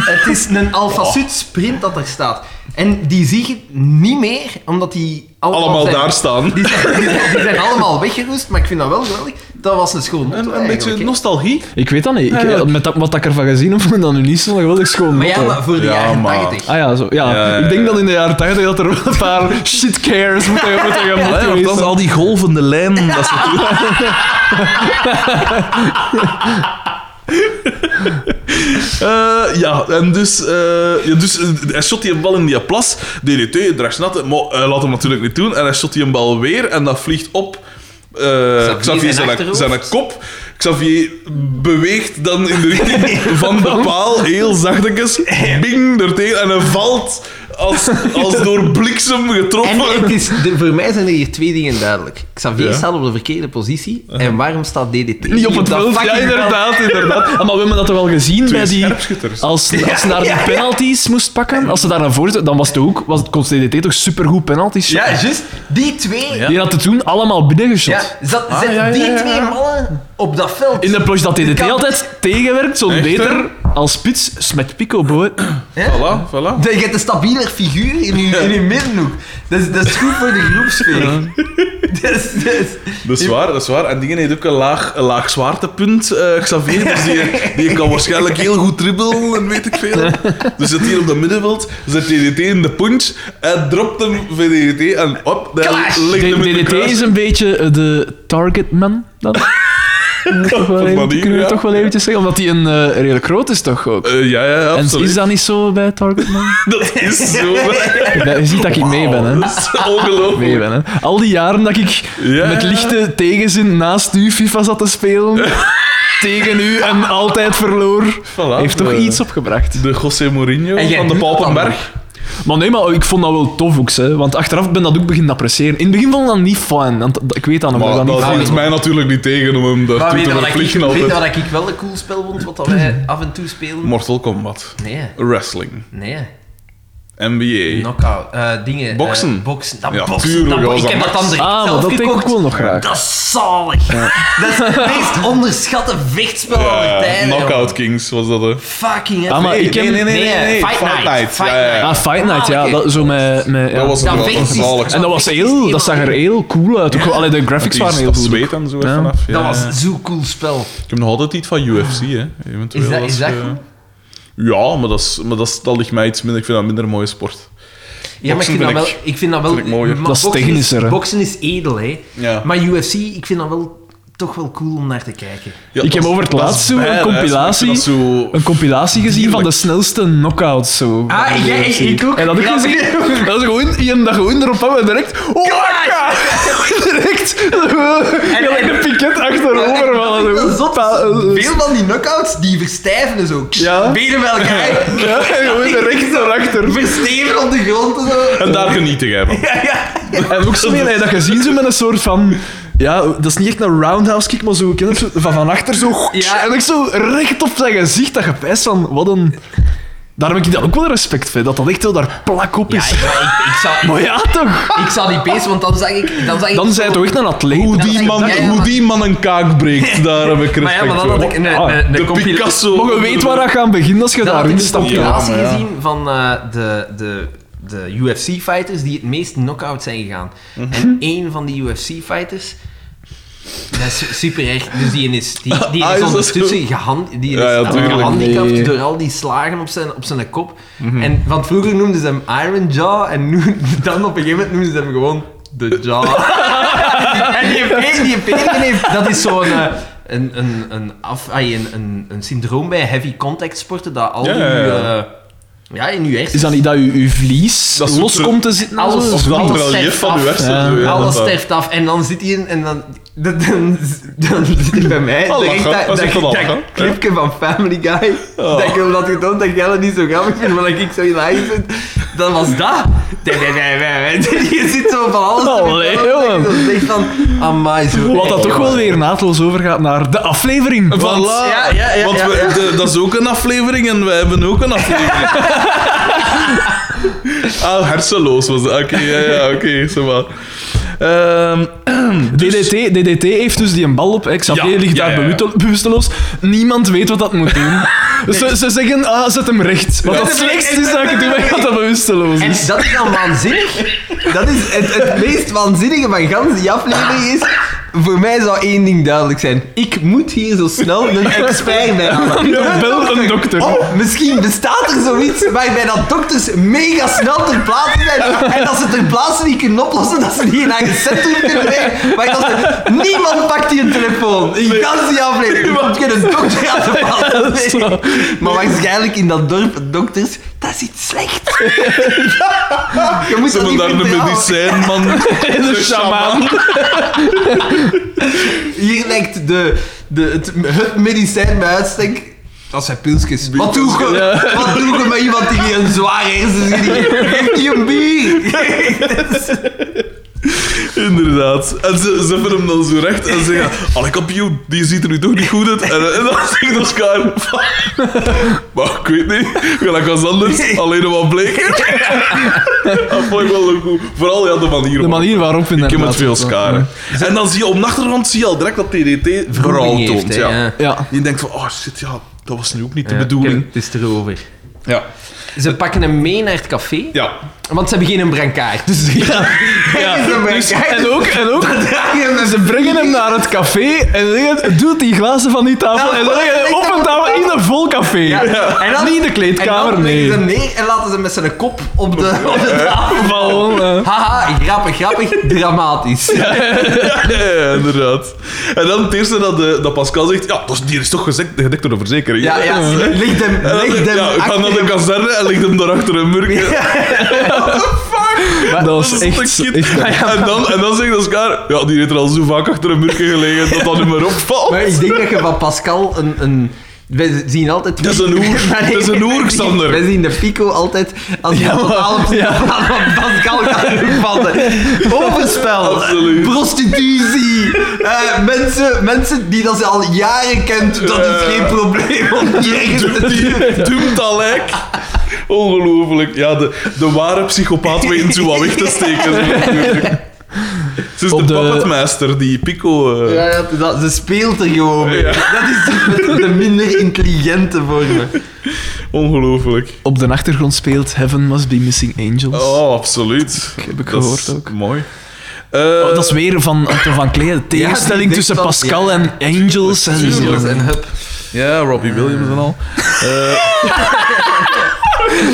Het is een Alfa Oh. Sud Sprint dat er staat. En die zie je niet meer, omdat die allemaal, Allemaal zijn- daar staan. Die zijn, die zijn- die zijn allemaal weggeroest, maar ik vind dat wel geweldig. Dat was een schoon motto Een, een eigenlijk, beetje hè. nostalgie. Ik weet dat niet. Ik, eh, Eigenlijk. met dat, wat ik ervan gezien heb, <laughs> vond ik dat nu niet zo'n geweldig schoon Maar ja, motto. maar voor de Ja, jaren maar- 80. Ah ja, zo. Ja. Ja, ja, ja. Ik denk dat in de jaren 80 dat er wel een paar shit cares moeten moeten Ja, gemoet want geweest dat is zijn. al die golvende lijnen. Dat ze doen. Eh, ja, en dus, eh, ja, dus eh, hij shot die bal in die plas. DDT, Dragsnatte, maar hij laat hem natuurlijk niet doen. En hij shot die bal weer en dat vliegt op. eh, Xavier zijn zijn, achterhoofd. zijn kop. Xavier beweegt dan in de richting van de paal, heel zachtjes, bing, ertegen. En hij valt als, als door bliksem En getroffen. het is, de- voor mij zijn er hier twee dingen duidelijk. Xavier Ah, Ja. staat op de verkeerde positie. En waarom staat DDT Niet op het dat veld. Ja, fucking veld? inderdaad, inderdaad. Ah, maar we hebben dat toch wel gezien bij die... scherpschutters. Als, als ze daar die penalties moest pakken, als ze daar naar voren... Dan was de hoek, was, kon DDT toch supergoed penalties Ja, shotten. juist. Die twee Die had het toen allemaal binnengeschot. Ah, Ja, zat, zet ja, ja, die ja, ja. twee mannen op dat veld. In de ploeg dat DDT kan- altijd tegenwerkt, zo'n Echt, hè? beter als spits, smet Pico, boy. Voilà, voilà. Je hebt een stabieler figuur in je, in je middenhoek. Dat is, dat is goed voor de groepsfeer. <laughs> Dus- Dat is, dat is- Dat is waar, dat is waar. En dingen heeft ook een laag, een laag zwaartepunt, eh, Xavier. Dus die, die kan waarschijnlijk heel goed dribbelen en weet ik veel. Dus zit hier op dat middenveld, zet DDT in de punch en dropt hem voor DDT en op, daar Clash! ligt hem in de DDT kruis. is een beetje eh, de targetman. <laughs> Dat toch wel Op even- manier, kunnen we ja. toch wel eventjes zeggen, omdat hij een eh, redelijk groot is toch ook. Eh, ja, ja, ja, en absoluut. is dat niet zo bij <laughs> targetman? Dat <laughs> is zo... Ja, je ziet dat ik mee ben, hè. Dat is ongelooflijk. Mee ben, hè. Al die jaren dat ik Ja. met lichte tegenzin naast u FIFA zat te <laughs> spelen, tegen u en altijd verloor, Voilà. heeft toch Eh, iets opgebracht. De José Mourinho En jij van de doet dat Papenberg. Maar nee, maar ik vond dat wel tof ook, hè. want achteraf ben dat ook beginnen appreciëren. In het begin vond ik dat niet fijn, want dat- ik weet dat nog. Maar dat niet dat fijn hield vond. mij natuurlijk niet tegen om hem Maar daartoe weet te je wat, ik, verplichten weet je altijd. wat ik wel een cool spel vond, wat dat wij af en toe spelen? Mortal Kombat. nee, Wrestling. nee. NBA. Knockout. eh dingen. eh, Boksen. boksen. Dat Ja, boksen. tuurlijk, dat ja, bo- ik dat heb dat mag. dan direct Ah, maar zelf dat denk ik gekocht. wel nog graag. Dat is zalig. <laughs> Dat is het meest onderschatte vechtspel aller Ja, tijden. joh. Eh, Knockout Kings was dat, hè. Fucking Ah, maar epic. ik heb- nee, nee, nee, nee, nee. Fight, Night. Fight Ja, ja, ja. Ah, Fight Night, ja. Dat, zo met, met, ja. Dat was Dat wel vecht een is- zalig. En dat, was heel, dat zag er heel cool uit. Ook wel- Allee, de graphics Die waren heel dat goed. zweet en zo er Ja. vanaf. Ja. Dat was zo'n cool spel. Ik heb nog altijd iets van UFC, hè. Eventueel Is dat- als is dat je- goed? Ja, maar, dat, is, maar dat, is, dat ligt mij iets minder. Ik vind dat een minder mooie sport. Ja, maar ik Boksen vind dat vind wel... ik- Ik vind dat wel... vind ik mooier. maar Dat is boksen technischer, hè. Boksen is edel, hè. Ja. Maar UFC, ik vind dat wel toch wel cool om naar te kijken. Ja, Ik heb dat- over het dat is laatst zo bijna, een hè. compilatie, Ik vind dat zo- een compilatie gezien van de snelste knockouts. Zo, Ah, van de ja, UFC. ik ook. En dat, ik Ja, gezien, <laughs> dat is gewoon iemand dat gewoon erop hebben en direct... Oh, ja! <laughs> direct! En, en- de piket achterover. Ja, vallen, ik vind zo. dat zot. Pa- eh, Veel van die knockouts, die verstijven zo. Ja. Benen bij elkaar. Ja, gewoon direct erachter. <laughs> Versteven op de grond en zo. En daar geniet ik van. Ja, ja. En ook zo, nee, nee, dat gezien zo met een soort van. Ja, dat is niet echt een roundhouse kick, maar zo, ken je het, zo van van achter zo. Ja. En ik zo recht op zijn gezicht, dat gepijst van wat een. Daar heb ik dan ook wel respect voor, dat dat echt wel daar plak op Ja, is. ik, ik, ik zou, Maar ja, toch? ik zou die pees, want dan zag ik... Dan zag ik Dan zij toch echt een atleet. Hoe hè? die ik- man, ja, ja, hoe maar- die man een kaak breekt, daar heb ik respect Maar ja, maar dan voor. Ah, had ik een, een, een, de compila- Picasso. Maar je weet waar dat gaat beginnen als je dan had ik daarin een stapt. Ja, maar compilatie ja. gezien van eh, de, de, de UFC-fighters die het meest knock-out zijn gegaan. Mhm. En één van die UFC-fighters... Dat is su- super echt. Dus die is, <laughs> die, die Ah, is is dat ondertussen zo? gehan- die is Ja, ja, tuurlijk. gehandicapt Nee. door al die slagen op zijn, op zijn kop. Mhm. en, want vroeger noemden ze hem Iron Jaw en nu, <laughs> dan op een gegeven moment noemden ze hem gewoon The Jaw. <laughs> En die pe- die peken heeft, dat is zo'n eh, een, een, een, af, ai, een, een, een syndroom bij heavy contact sporten dat al Ja, ja, uw, ja. eh, ja, in uw hersenen Is dat niet dat je, je vlies Dat is los ook- komt te zitten? en Alles- zo? Of dat Alles relief sterft van uw af. hersen. Ja. zo, ja, Alles dat- sterft af en dan zit hij in en dan, dan, dan, dan zit hij bij mij. Oh, direct lachen. Dat dat, is echt dat, wel dat lachen. clipje van Family Guy. Oh. Dat ik hem had getoond dat jij dat niet zo grappig vindt, maar dat ik zo in lijn zit. Dat was dat. Nee, nee, nee, nee, nee. <laughs> Je zit zo van alles te Allee, vertellen, dat je jongen. zo zegt van, amai zo. Wat dat toch wel weer naadloos overgaat naar de aflevering. Voilà. Want- Ja, ja, ja, Want ja, we- ja. de- dat is ook een aflevering en wij hebben ook een <laughs> aflevering. ah, hersenloos was dat. Oké, ja, ja, oké, zo maar. Ehm, DDT, DDT heeft dus die een bal op. hè. Xavier Ja, ligt ja, daar ja, ja. bewust- bewusteloos. Niemand weet wat dat moet doen. ze, ze zeggen, ah, zet hem recht. Wat Ja. het slechtste is dat ik doe, dat dat bewusteloos En is. dat is dan waanzinnig. Dat is het, het meest waanzinnige van gans die aflevering is. Voor mij zou één ding duidelijk zijn. Ik moet hier zo snel een expert bij halen. Bel een dokter. Oh, misschien bestaat er zoiets waarbij dat dokters mega snel ter plaatse zijn en dat ze ter plaatse niet kunnen oplossen, dat ze niet naar eigen centrum kunnen brengen, maar dat ze... Niemand pakt hier een telefoon. In gans die aflevering. <laughs> Niemand kan een dokter aan de plaatse Ja, brengen. dat Maar waarschijnlijk in dat dorp, dokters, dat is iets <laughs> slecht. Je moet ze dat hebben niet daar de vertrouwen. <laughs> medicijnman. De sjamaan. Hier lijkt de, de, het, het medicijn bij uitstek. Dat zijn pilsjes. Wat doe je? Wat doe je met iemand die een zwaar hersenschudding heeft? Geef die een bier. Inderdaad. En ze, ze hebben hem dan zo recht en <laughs> zeggen: Alle kampioen, die ziet er nu toch niet goed uit. En, en dan <laughs> zegt Oscar: "Fuck." Maar ik weet niet, gelijk als anders, alleen nog wat <laughs> bleker. Dat vond ik wel een goed. Vooral ja, de manier De waarop. manier waarop inderdaad. Ik heb het veel skaren. En dan zie je op de achtergrond zie je al direct dat TDT vooral toont. Ja. Ja. Je denkt van, oh shit, ja, dat was nu ook niet de bedoeling. Het is erover. Ja. Ze pakken hem mee naar het café, Ja. <laughs> want ze hebben geen brancard. Dus ja. Ja, dus- en ook, en ook, ze ze brengen hem naar het café en zeggen, doe die glazen van die tafel. En dan leggen ze op een tafel in een vol café. En dan- Niet in de kleedkamer, en dan leggen nee. ze hem neer en laten ze met zijn kop op de, op de tafel vallen. Gewoon, eh, Haha, grappig, grappig, dramatisch. Ja, ja, ja, inderdaad. En dan het eerste dat, eh, dat Pascal zegt, ja, dat is, die is toch gezekt, gedekt door de verzekering. Ja, ja, leg <laughs> hem, En dan, leg hem ja, ik ga achter naar de hem. kazerne en ligt hem daar achter een murk. dat was <laughs> Dat is echt... een echt- kind. En dan, en dan zegt Oscar, ja, die heeft er al zo vaak achter een murk gelegen dat dat niet meer opvalt. Maar ik denk dat je van Pascal een, een, We zien altijd... Dat is een oer. <laughs> Maar nee, Dat is een oer, we zien- Sander. We zien de pico altijd als Ja, ja, maar- totaal op ja. totaal <laughs> van Pascal gaat vallen. Overspel. Absoluut. Prostitutie. Eh, mensen, mensen die dat ze al jaren kent, dat Ja. is geen probleem om die ergens te duwen. Dumt al lijk. Ongelooflijk. Ja, de, de ware psychopaat weet zo wat weg te steken. zo natuurlijk. Het is de, Op de- puppetmaster, die Pico... eh, Ja, ja, dat, ze speelt er gewoon mee. Dat is de minder intelligente vorm. Ongelooflijk. Op de achtergrond speelt Heaven Must Be Missing Angels. Oh, absoluut. heb ik Dat gehoord is ook. Mooi. Oh, dat is weer van Anton van Klee, de tegenstelling denkt tussen dat- Pascal ja. en Angels. En Angels zo. en hup. Eh, Ja, Robbie Williams en al. Eh, <laughs>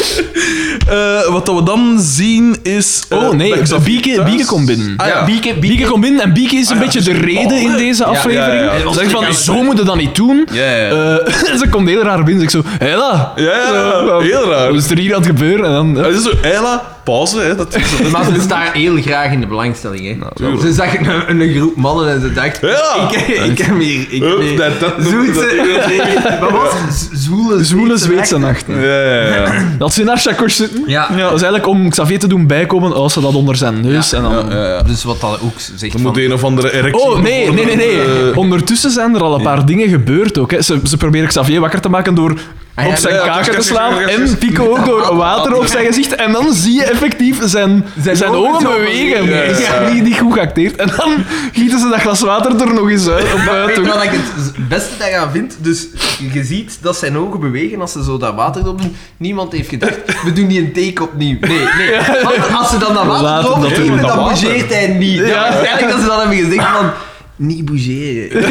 eh, wat dat we dan zien is... eh, Oh nee, Backs of Bieke, Thuis. Bieke komt binnen. Ah, ja. Ah, Bieke, Bieke, komt binnen en Bieke is een beetje de reden in deze aflevering. Oh. ja, ja. Ze zegt van, zo moet je dat niet doen. Ja, ja, ja. Eh, <laughs> ze komt heel raar binnen. Ik zo, Hela. Ja, ja, ja, Zo, heel raar. Wat is er hier aan het gebeuren? En dan, eh, Ah, Het is zo, Eila, pauze, hè. Dat <laughs> is, Maar ze staan heel graag in de belangstelling. Hè. Nou, tuurlijk. ze zag een, een groep mannen en ze dacht: Ja. ik, ik heb hier. Ik heb Hup, hier dat- dat- Zoetse. Wat was het? Z- Zoele, Zoele Zweedse nachten. nachten. ja, ja, ja. Dat ze in haar chakos zitten. Ja. Dat is eigenlijk om Xavier te doen bijkomen als ze dat onder zijn neus. En dan... ja, ja, ja. Dus wat dat ook zegt. Er moet van, een of andere erectie... Oh, nee, nee, nee. nee. Eh, Ondertussen zijn er al een paar dingen gebeurd ook. Hè. Ze, ze proberen Xavier wakker te maken door ja, op zijn ja, ja, kaken ja, te ja, slaan. ja, ja, ja. En Pico ook door water op zijn gezicht. En dan zie je effectief zijn, zijn, ogen ogen zo bewegen. bewegen. Dat is Ja, ja. Niet, niet goed geacteerd. En dan gieten ze dat glas water er nog eens uit. Op maar weet buiten. je wat ik het beste daaraan vind? Dus je ziet dat zijn ogen bewegen als ze zo dat water op doen. Niemand heeft gedacht, we doen die een take opnieuw. Nee, nee. Want als ze dan dat Laten water dat doen, opnemen, dat dan water. bougeert hij niet. Ja. Ja. Waarschijnlijk dat ze dan hebben gezegd van, niet bougeren.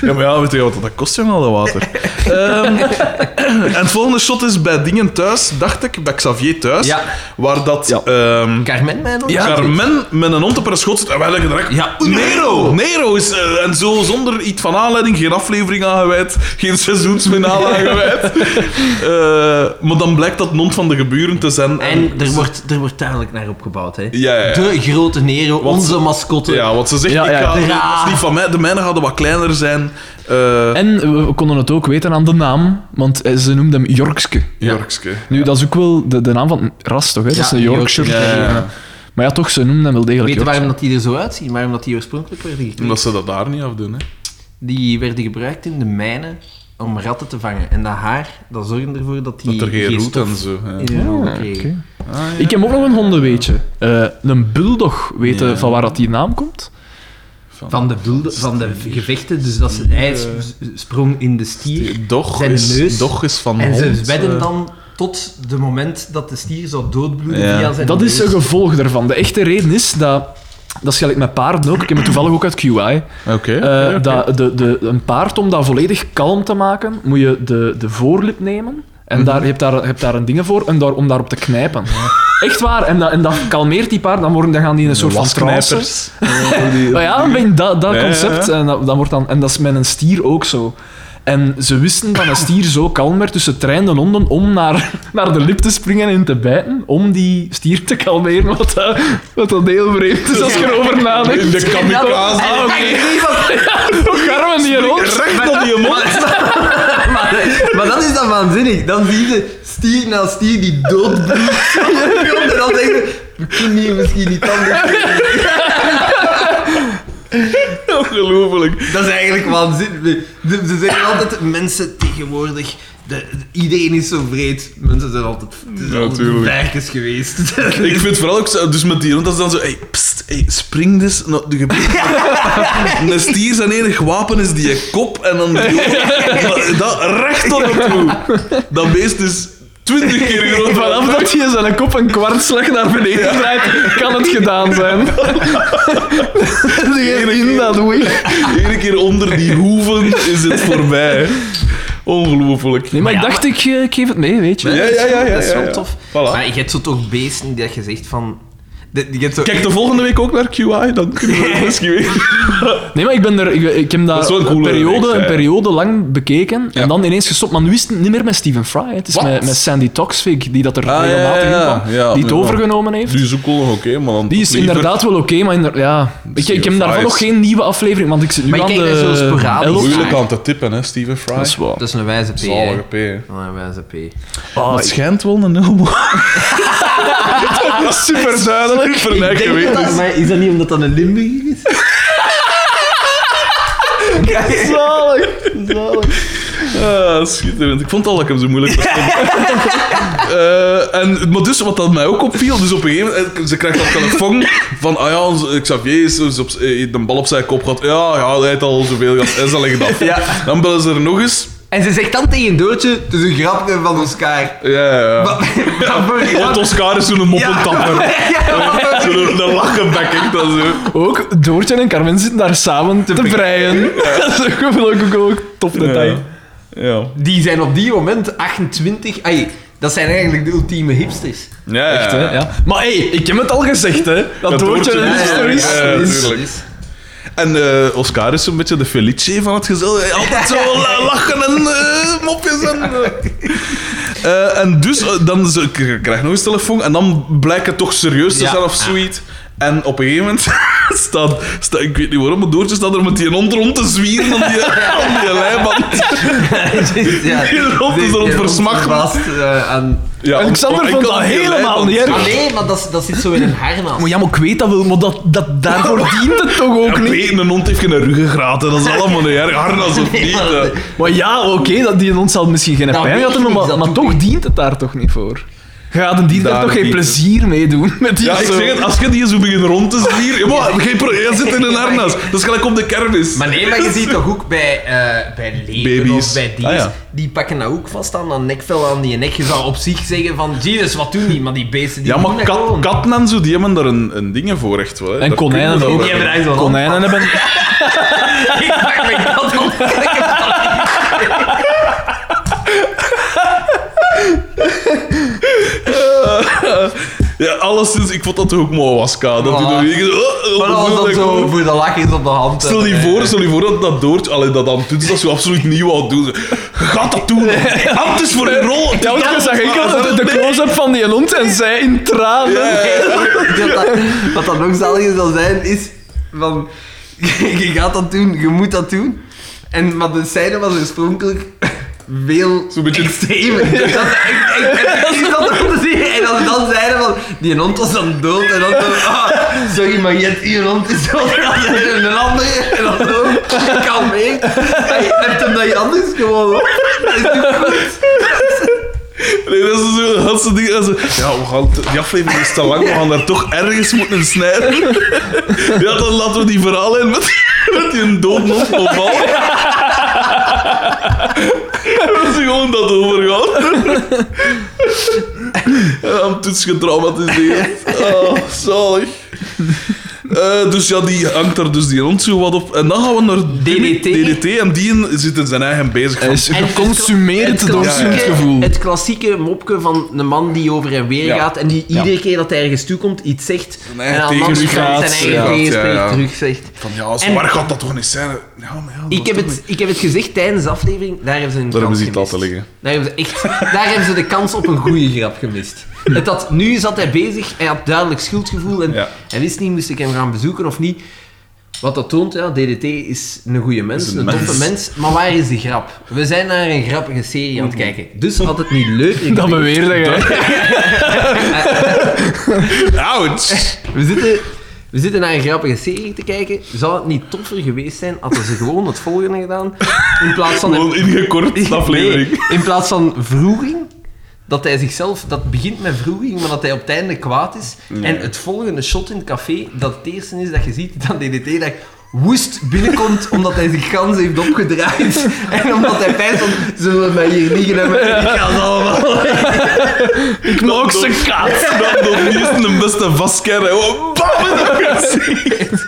Ja, maar ja, weet je wat dat kost, jongen, al dat <laughs> water. Ehm, <clears throat> en het volgende shot is bij dingen thuis, dacht ik, bij Xavier thuis, Ja. waar dat... Ja. ehm, Carmen, mij nog? Ja. Carmen met een hond op haar schot zit en wij leggen direct... Ja. Nero! Nero is... eh, en zo zonder iets van aanleiding, geen aflevering aangeweid, geen seizoensfinale <laughs> aangeweid. Eh, maar dan blijkt dat een hond van de geburen te zijn. En er wordt, er wordt duidelijk naar opgebouwd, hè. dus- Ja, ja, ja. De grote Nero, Wat- onze mascotte. Ja, want ze zegt, Ja, ja. Ik ga, Ja. dat is niet van mij, de mijnen hadden wat kleiner zijn. Eh En we- we konden het ook weten aan de naam, want eh, ze noemde hem Jorkske. Jorkske. Nu, dat is ook wel de, de naam van het ras, toch? Hè? Dat Ja, is een Yorkshire. Ja, ja, ja. Maar ja, toch, ze noemden hem wel degelijk Weet Yorkshire. je waarom dat die er zo uitzien? Waarom dat die oorspronkelijk werden gekregen? Omdat ze dat daar niet afdoen, hè. Die werden gebruikt in de mijnen om ratten te vangen. En dat haar, dat zorgde ervoor dat die Dat er geen roet stof en zo. ja. in hun ogen Ah, kregen. oké. Ik heb ook nog een hondenweetje. Eh een bulldog weten Ja. van waar dat die naam komt. Van de, bulde- van de gevechten, dus dat ze, hij eh, s- sprong in de stier. Doch Zijn is, neus. Doch is van En hond. ze wedden eh. dan tot de moment dat de stier zou doodbloeden Ja. via zijn Dat is een neus. gevolg daarvan. De echte reden is dat... Dat is gelijk met paarden ook. Ik heb het toevallig ook uit QI. Oké. Eh, oké, oké. dat de, de, een paard, om dat volledig kalm te maken, moet je de, de voorlip nemen. Mhm. En daar, je, hebt daar, je hebt daar een ding voor en daar, om daarop te knijpen. Echt waar. En dat, en dat kalmeert die paard. Dan, worden, dan gaan die in een soort van trance. Wasknijpers. Eh, die- Maar ja, een beetje dat, dat Ja, ja, ja. concept. En, dat, dat wordt dan, en dat is met een stier ook zo. En ze wisten dat een stier zo kalm werd, dus ze trainden honden om naar, <laughs> naar de lip te springen en te bijten, om die stier te kalmeren, wat, dat- wat dat heel vreemd is als je erover In nadenkt. de kamikaze. Ah, oké. Hoe garmen die rond? Recht op die mond. Maar dat is dan waanzinnig. Dan zie je stier na stier die doodbloedt. <laughs> En dan denk je, we kunnen hier misschien niet anders. doen. Ongelooflijk. Dat is eigenlijk waanzinnig. Ze ze zeggen altijd, mensen tegenwoordig... de- iedereen is zo vreed. Mensen zijn altijd, het is Ja, altijd tuurlijk. werkers geweest. Ik vind het vooral ook zo, dus met die hond, dat is dan zo, hey, pst, hey, spring dus. Nou, de <laughs> een stier zijn enig wapen is die kop en dan die hond. Dat recht op hem toe. Dat beest is twintig keer groter. dan Vanaf dat je zijn kop een kwartslag naar beneden draait, kan het gedaan <laughs> zijn. <laughs> In dat wing. Eén keer onder die hoeven is het voorbij. Ongelooflijk. Nee, maar ik dacht, ik, <laughs> eh, ik geef het mee, weet je. Ja, ja, ja, ja, Dat is ja, wel ja. tof. Voilà. Maar je hebt zo toch beesten die dat je zegt van... de- je hebt zo... Kijk de volgende week ook naar QI, dan kunnen we het misschien weer. Nee, maar ik, ben er, ik, ik heb Dat daar is wel een een, coole periode, reeks, hè. een periode lang bekeken Ja. en dan ineens gestopt. Maar nu is het niet meer met Steven Fry. hè. Het is Wat? met, met Sandy Toksvig, die dat er Ah, ja, regelmatig ja, ja. in kwam. Ja, die het ja. overgenomen heeft. Die is ook wel nog oké, maar dan Die is liever- inderdaad wel oké, maar inder- ja. ik, ik heb Fry daarvan is- nog geen nieuwe aflevering, want ik zit nu Maar ik aan kijk de... daar zo sporadisch elf. <laughs> Moeilijk aan te tippen, hè, Steven Dat Fry. is waar. Dat is een wijze P, hè. Zalige P. hè. Oh, Een wijze P. Ah, Het schijnt wel een <laughs> homo. super duidelijk. Super nek geweten. maar is dat niet omdat dat een Limburg is? zalig. Ah, schitterend. Ik vond al dat ik hem zo moeilijk verstond. Eh, en, maar dus, wat dat mij ook opviel, dus op een gegeven moment, ze krijgt dat telefoon van, ah ja, onze- Xavier is, is op, eh, heeft een bal op zijn kop gehad. Ja, ja, hij heeft al zoveel gehad. En ze leggen dat. Dan bellen ze er nog eens. <laughs> En ze zegt dan tegen Doortje, het is een grapje van Oscar. Ja, ja, ja. Wat- Want Oscar is zo'n moppentapper. Ja. Zo'n een lachenbek, echt. Dat zo. Ook Doortje en Carmen zitten daar samen te, breien. <laughs> dat is ook wel ook, ook, ook top detail. Ja. Die zijn op die moment 28. Ai, dat zijn eigenlijk de ultieme hipsters. Ja, ja. Echt, hè? Ja. Maar hé, hey, ik heb het al gezegd, hè. Dat, Dat Doortje Doortje een is- hipster is. Ja, is- tuurlijk. is- En eh, Oscar is zo'n beetje de Felice van het gezel. Hij <laughs> Altijd zo la- lachen en eh, mopjes. <laughs> En, eh. Eh, en dus, eh, dan ze- ik krijg nog eens telefoon en dan blijkt het toch serieus te Ja. zijn of zoiets. En op een gegeven moment <laughs> staat, staat- ik weet niet waarom, maar Doortje staat er met die hond rond te zwieren aan die, aan die leiband. ja. Die rond is er Die rond rond versmacht. verbaast, eh, aan... Ja, Alexander om- om vond dat enkel die helemaal leiband. niet erg. Ah, nee, maar dat, dat zit zo in een harnas. Maar ja, maar ik weet dat wel, maar dat, dat, <laughs> daarvoor dient het toch ook Ja, niet? nee, een hond heeft geen ruggengraat, hè. dat is allemaal niet erg. Harnas of niet. eh. maar- hè. Maar ja, oké, dat die ons zal misschien geen Dat pijn Nou, weet gehad hebben, ik niet, maar, dat maar doe toch ik. dient het daar toch niet voor? Je gaat die daar Daar toch geen niet, hè. plezier mee doen met die Ja, ik zo. zeg het, als je die zo begint rond te zwieren... Ja, maar, geen pro- jij zit in een harnas. Dat is gelijk op de kermis. Maar nee, maar je ziet toch ook bij, eh bij leeuwen Baby's. of bij dieren, Ah, ja. die pakken dat ook vast aan dat nekvel aan die nek. Je zou op zich zeggen van, Jesus, wat doen die? Maar die beesten die Ja, doen maar dat kat, gewoon. katten en zo, die hebben daar een, een dingen voor, echt wel. hè. En Daar konijnen kunnen we ook. wel Die hebben hebben. daar zo'n Konijnen hebben... <laughs> Ik pak mijn kat <laughs> op. Ik heb dat Ja, alleszins, ik vond dat toch ook mooi was, K. Dat die Voilà. door je- oh, oh, Maar dan was dat dat ik zo hoor. voor de lach is op de hand. Stel je voor, stel je voor dat dat doortje, allee, dat Antuns dat zo absoluut niet wou doen. Je gaat dat <laughs> doen. Hand is Ah, voor een rol. Ja, want je zag enkel de, de close-up van die hond en zij in tranen. Dat dat- Wat dan nog zaliger zal zijn, is van... <laughs> Je gaat dat doen, je moet dat doen. En, maar de scène was oorspronkelijk veel Zo'n beetje- extremer. Dat is echt, echt, effectief dat er onder zit. En als ze dan zeiden van, die hond was dan dood. En dan zo, ah, sorry, maar je hebt hier hond is dood. En dan zeiden er een andere. En dan zo, kan mee. En je hebt hem dan anders gewoon. op. Dat is toch goed? Nee, dat is zo, dat soort dingen. dat is- ja, we gaan, te- die aflevering is te lang, we gaan daar toch ergens moeten snijden. <laughs> Ja, dan laten we die verhaal in met, die- met die doodnop op bal. Dat is gewoon dat overgaan. <laughs> Aan toets getraumatiseerd. Oh, zalig. Eh, dus ja, die hangt er dus die rond zo wat op. En dan gaan we naar DDT. DDT en die zit in zijn eigen bezig. Hij Van, is En het geconsumeerd kla- door het zijn klassieke- gevoel. Het klassieke mopje van een man die over en weer Ja. gaat en die iedere keer dat hij ergens toekomt iets zegt Zijn en eigen aan de andere kant tegenspraak. zijn eigen Ja. tegenspraak Ja, ja. terug zegt. van ja, zo En- waar gaat dat toch niet zijn? Ja, maar ja, dat Ik heb, toch het, ik heb het gezegd tijdens de aflevering, daar hebben ze een Daar hebben kans ze iets gemist. laten liggen. Daar hebben, ze echt, daar hebben ze de kans op een goede grap gemist. Het had, nu zat hij bezig, hij had duidelijk schuldgevoel en Ja. hij wist niet, moest ik hem gaan bezoeken of niet. Wat dat toont, ja, DDT is een goede mens, Is een, een toffe mens. mens, maar waar is de grap? We zijn naar een grappige serie aan het kijken, dus had het niet <laughs> leuker Dat geweest? beweerde jij. Ouch! We zitten, we zitten naar een grappige serie te kijken. Zou het niet toffer geweest zijn hadden ze gewoon het volgende gedaan? In plaats <laughs> van... Gewoon ingekort, de aflevering. <laughs> Nee, in plaats van vroeging, dat hij zichzelf... Dat begint met vroeging, maar dat hij op het einde kwaad is. En het volgende shot in het café, dat het eerste is dat je ziet dat DDT dat woest binnenkomt <laughs> omdat hij zich gans heeft opgedraaid. <laughs> En omdat hij pijn van, zullen we mij hier liggen hebben? En ik ga ze allemaal... Ik maak ze kaat. Dat nog niet eens de beste vastkerren. Gewoon bam <laughs> in het gezicht.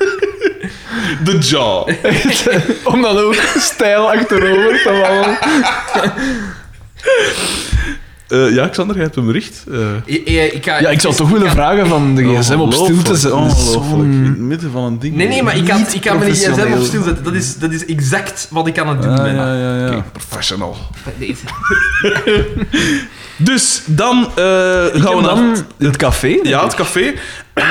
De jaw. <laughs> Om dan ook stijl achterover te wandelen. Eh, ja, Xander, jij hebt een bericht. Eh, Ik, eh, ik ga, Ja, ik zou toch willen vragen van de gsm op stil te zetten. Dat is Ongelooflijk. In zo'n- het midden van een ding. Nee, nee, maar ik kan, Niet ik kan mijn gsm op professioneel. Ah, stil zetten. Dat is, dat is exact wat ik aan het doen Ja, ben. ja, ja. ja. Professional. Deze. Dus dan eh, gaan we Gaan naar dan het café? ja, het café. <coughs>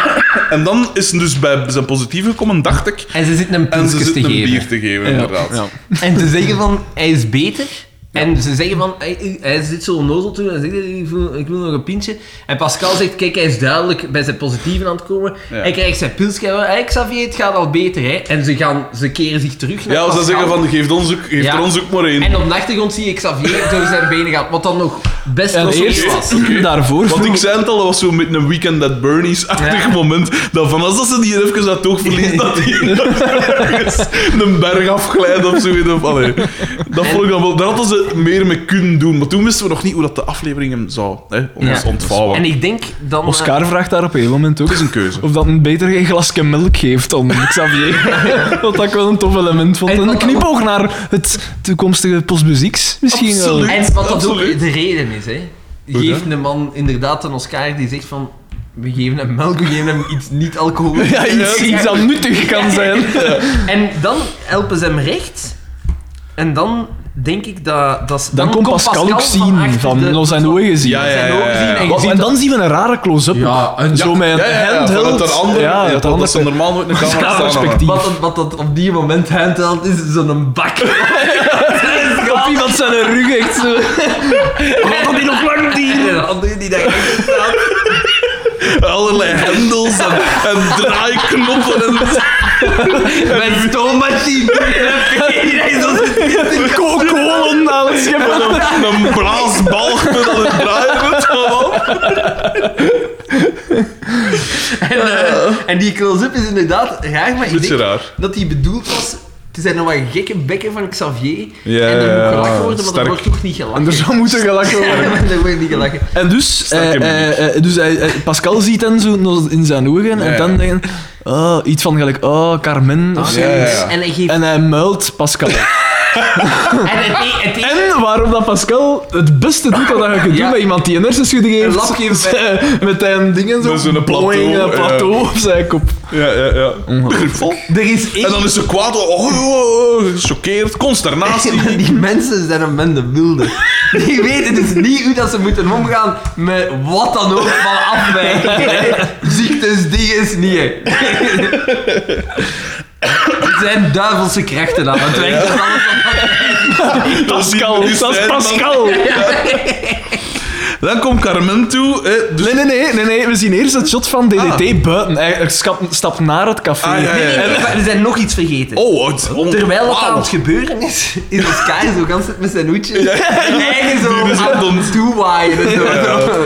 en dan is hij dus bij zijn positief gekomen, dacht ik. En ze zitten hem En ze pilsjes te zitten een geven. bier te geven, inderdaad. Ja. En <laughs> te zeggen van, hij is beter. En ze zeggen van, hij, hij zit zo onnozel toe en zegt, ik wil, ik wil nog een pintje. En Pascal zegt, kijk, hij is duidelijk bij zijn positieven aan het komen. Ja. Hij krijgt zijn pilsje. Hey, Xavier, het gaat al beter, hè. En ze, gaan, ze keren zich terug naar Ja, als ze Pascal. zeggen van, "Hm." geef, ons ook, geef Ja. er ons ook maar één. En op de achtergrond zie ik Xavier door zijn benen gaan, wat dan nog best En nog eerst was. <laughs> daarvoor Want vroeg- ik zei het al, dat was zo met een Weekend at Bernie's-achtig moment. Dat van als dat ze die even uit het oog verliest, dat die ergens een berg afglijdt of zoiets. Of, allee, dat vond ik dan wel. Daar hadden ze meer mee kunnen doen. Maar toen wisten we nog niet hoe dat de aflevering hem zou hè, ons Ja. ontvouwen. En ik denk dan... eh, Oscar vraagt daar op een moment ook Het is een keuze. of dat een beter geen glasje melk geeft dan Xavier. Wat dat ik wel een tof element vond. En En wat een dat- knipoog naar het toekomstige postmuzieks misschien wel. Absoluut. En wat dat ook Absoluut. de reden is, hè. Hoe Geeft een man inderdaad een Oscar die zegt van... We geven hem melk, we geven hem iets niet-alcoholisch. Ja, iets, iets dat nuttig kan zijn. En dan helpen ze hem recht. En dan denk ik dat... dat ze- Dan komt Pascal ook zien achter van de- Los en Oe gezien. Ja, ja, Zijn ogen zien en je Wat- ziet en dat- dan zien we een rare close-up. Ja, en zo met een handheld. vanuit een andere, ja, ja, dat andere dat ze normaal nooit een camera staan perspectief. Wat, dat- wat dat op die moment handheld is, is zo'n bak. Op iemand zijn rug echt zo. Wat dat die nog lang dieren. En de <laughs> andere die daar echt staat. hebben. Allerlei hendels en, en draaiknoppen. En, Mijn stoommachine. Iedereen is als een <laughs> Kolen aan het scheppen. een, een blaasbalg met aan het draaien. weet je wel. En, eh, en die close-up is inderdaad raar, maar ik Beetje denk raar. dat die bedoeld was... Het zijn nog wat gekke bekken van Xavier. Ja, en er ja, moet ja, gelachen worden, maar sterk. er wordt toch niet gelachen. En <laughs> er zou moeten gelachen worden. Ja, er wordt niet gelachen. En dus, eh, Sterke manier. eh, eh, dus hij, eh, Pascal ziet hem zo nog in zijn ogen Ja, en dan ja. denken, oh, iets van gelijk, oh, Carmen. Ah, of Ja, zo. ja, ja. En hij geeft... En hij muilt <laughs> Pascal. En het, <laughs> e- het, e- en waarom dat Pascal het beste doet wat je kunt Ja. doen bij iemand die een hersenschudding heeft. Een lap geeft met, met zijn dingen zo. Met zo'n plateau, boing, een ja. plateau op zijn kop. Ja, ja, ja. Vol. er is één... En dan is ze kwaad, oh, oh, oh, gechoqueerd, <laughs> consternatie. Maar die mensen zijn een bende wilde. Die weten dus niet hoe dat ze moeten omgaan met wat dan ook van afwijking. Ziektes, die is niet. <laughs> hè. Het zijn duivelse krachten aan het werk. dat alles op- Pascal, die dat is scène dan- Pascal. Dan komt Carmen toe. Eh, dus Nee, nee, nee, nee, nee, we zien eerst het shot van DDT Ah. buiten. Hij hij schapt- stapt naar het café. Ah, ja, ja, ja. Nee, nee, maar We zijn nog iets vergeten. Oh, het, oh, Terwijl dat wauw. aan het gebeuren is, is Oscar zo gans met zijn hoedje. <laughs> En eigen zo Die is aan dom. het toewaaien. en zo.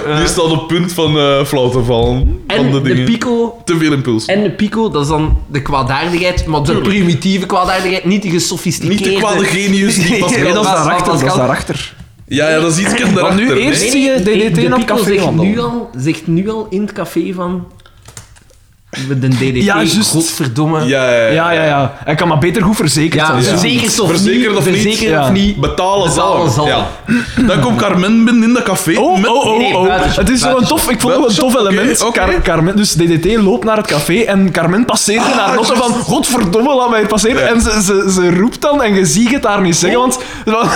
Ja, die staat op punt van eh flauw te vallen. van En de de dingen. pico Te veel impuls. En de pico, dat is dan de kwaadaardigheid, maar de Tuurlijk. primitieve kwaadaardigheid, niet de gesofisticeerde. Niet de kwade genius die <laughs> pas... Nee, dat is Pas- pas- daarachter, dat is Pascal. daarachter. Ja, ja, dat is iets Maar daarachter. nu nee. eerst- Zie je DDT de op pico café zegt wandelen? nu, al, zegt nu al in het café van... we De DDT, Ja, juist. godverdomme. Ja, ja, ja. Ja, ja, ja. Hij kan maar beter goed verzekerd Ja, zijn. Dus ja. verzekerd of Verzekerd niet, of niet, verzekerd ja. of niet. Betalen zal. Betalen zal. Ja. Dan komt Carmen binnen in dat café. Oh, met- oh, Nee, oh, oh. buitenshot, Het is wel een tof, ik vond het wel een tof Buitenshot, element. oké, oké. Car- Carmen, dus DDT loopt naar het café en Carmen passeert in haar noten van godverdomme, laat mij hier passeren. Ja. En ze, ze, ze roept dan en je ziet het haar niet zeggen, want <laughs> want-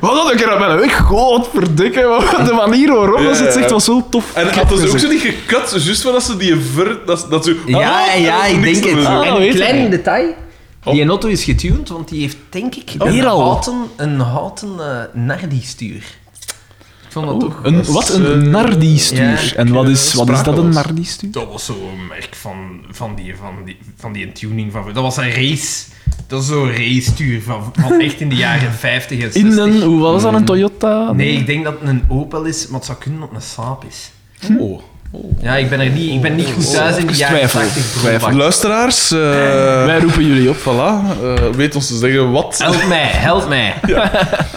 wat had ik er aan Godverdikke, wat- de manier waarop Ja, ze het zegt ja. was zo tof. En knap hadden ze ook gezegd. zo niet gekut, juist voordat ze die ver... Dat, dat ze, Oh, Ja, Ah, ja, dat is ik niks denk te het. doen. Ah, en weet een ik klein niet. detail. Oh. Die auto is getuned, want die heeft denk ik een, Hier al. houten, een houten eh, nardi-stuur. Ik vond dat toch... Oh, Een, wat een nardi-stuur. ja, en wat is, wat is dat, een sprakeloos. nardi-stuur? Dat was zo'n merk van, van, die, van, die, van die tuning van... Dat was een race. Dat is zo'n race-stuur van, van echt in de <laughs> jaren 50 en 60. In een, hoe was dat, Mm. een Toyota? Nee, ik denk dat het een Opel is, maar het zou kunnen dat het een Saab is. Oh. Ja, ik ben er niet, ik ben niet goed thuis in de Oh, even jaren twijfel, 80. twijfel. broeibak. Luisteraars, eh, Wij roepen jullie op. voilà, eh, weet ons te zeggen wat. Help mij, help mij.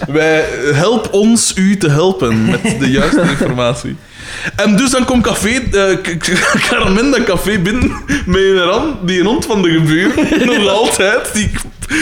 Wij help ons u te helpen met de <laughs> juiste informatie. En dus dan komt café, eh, K- K- <laughs> Carmen dat café binnen met een ram, die een hond van de <laughs> gebuur, nog altijd, die,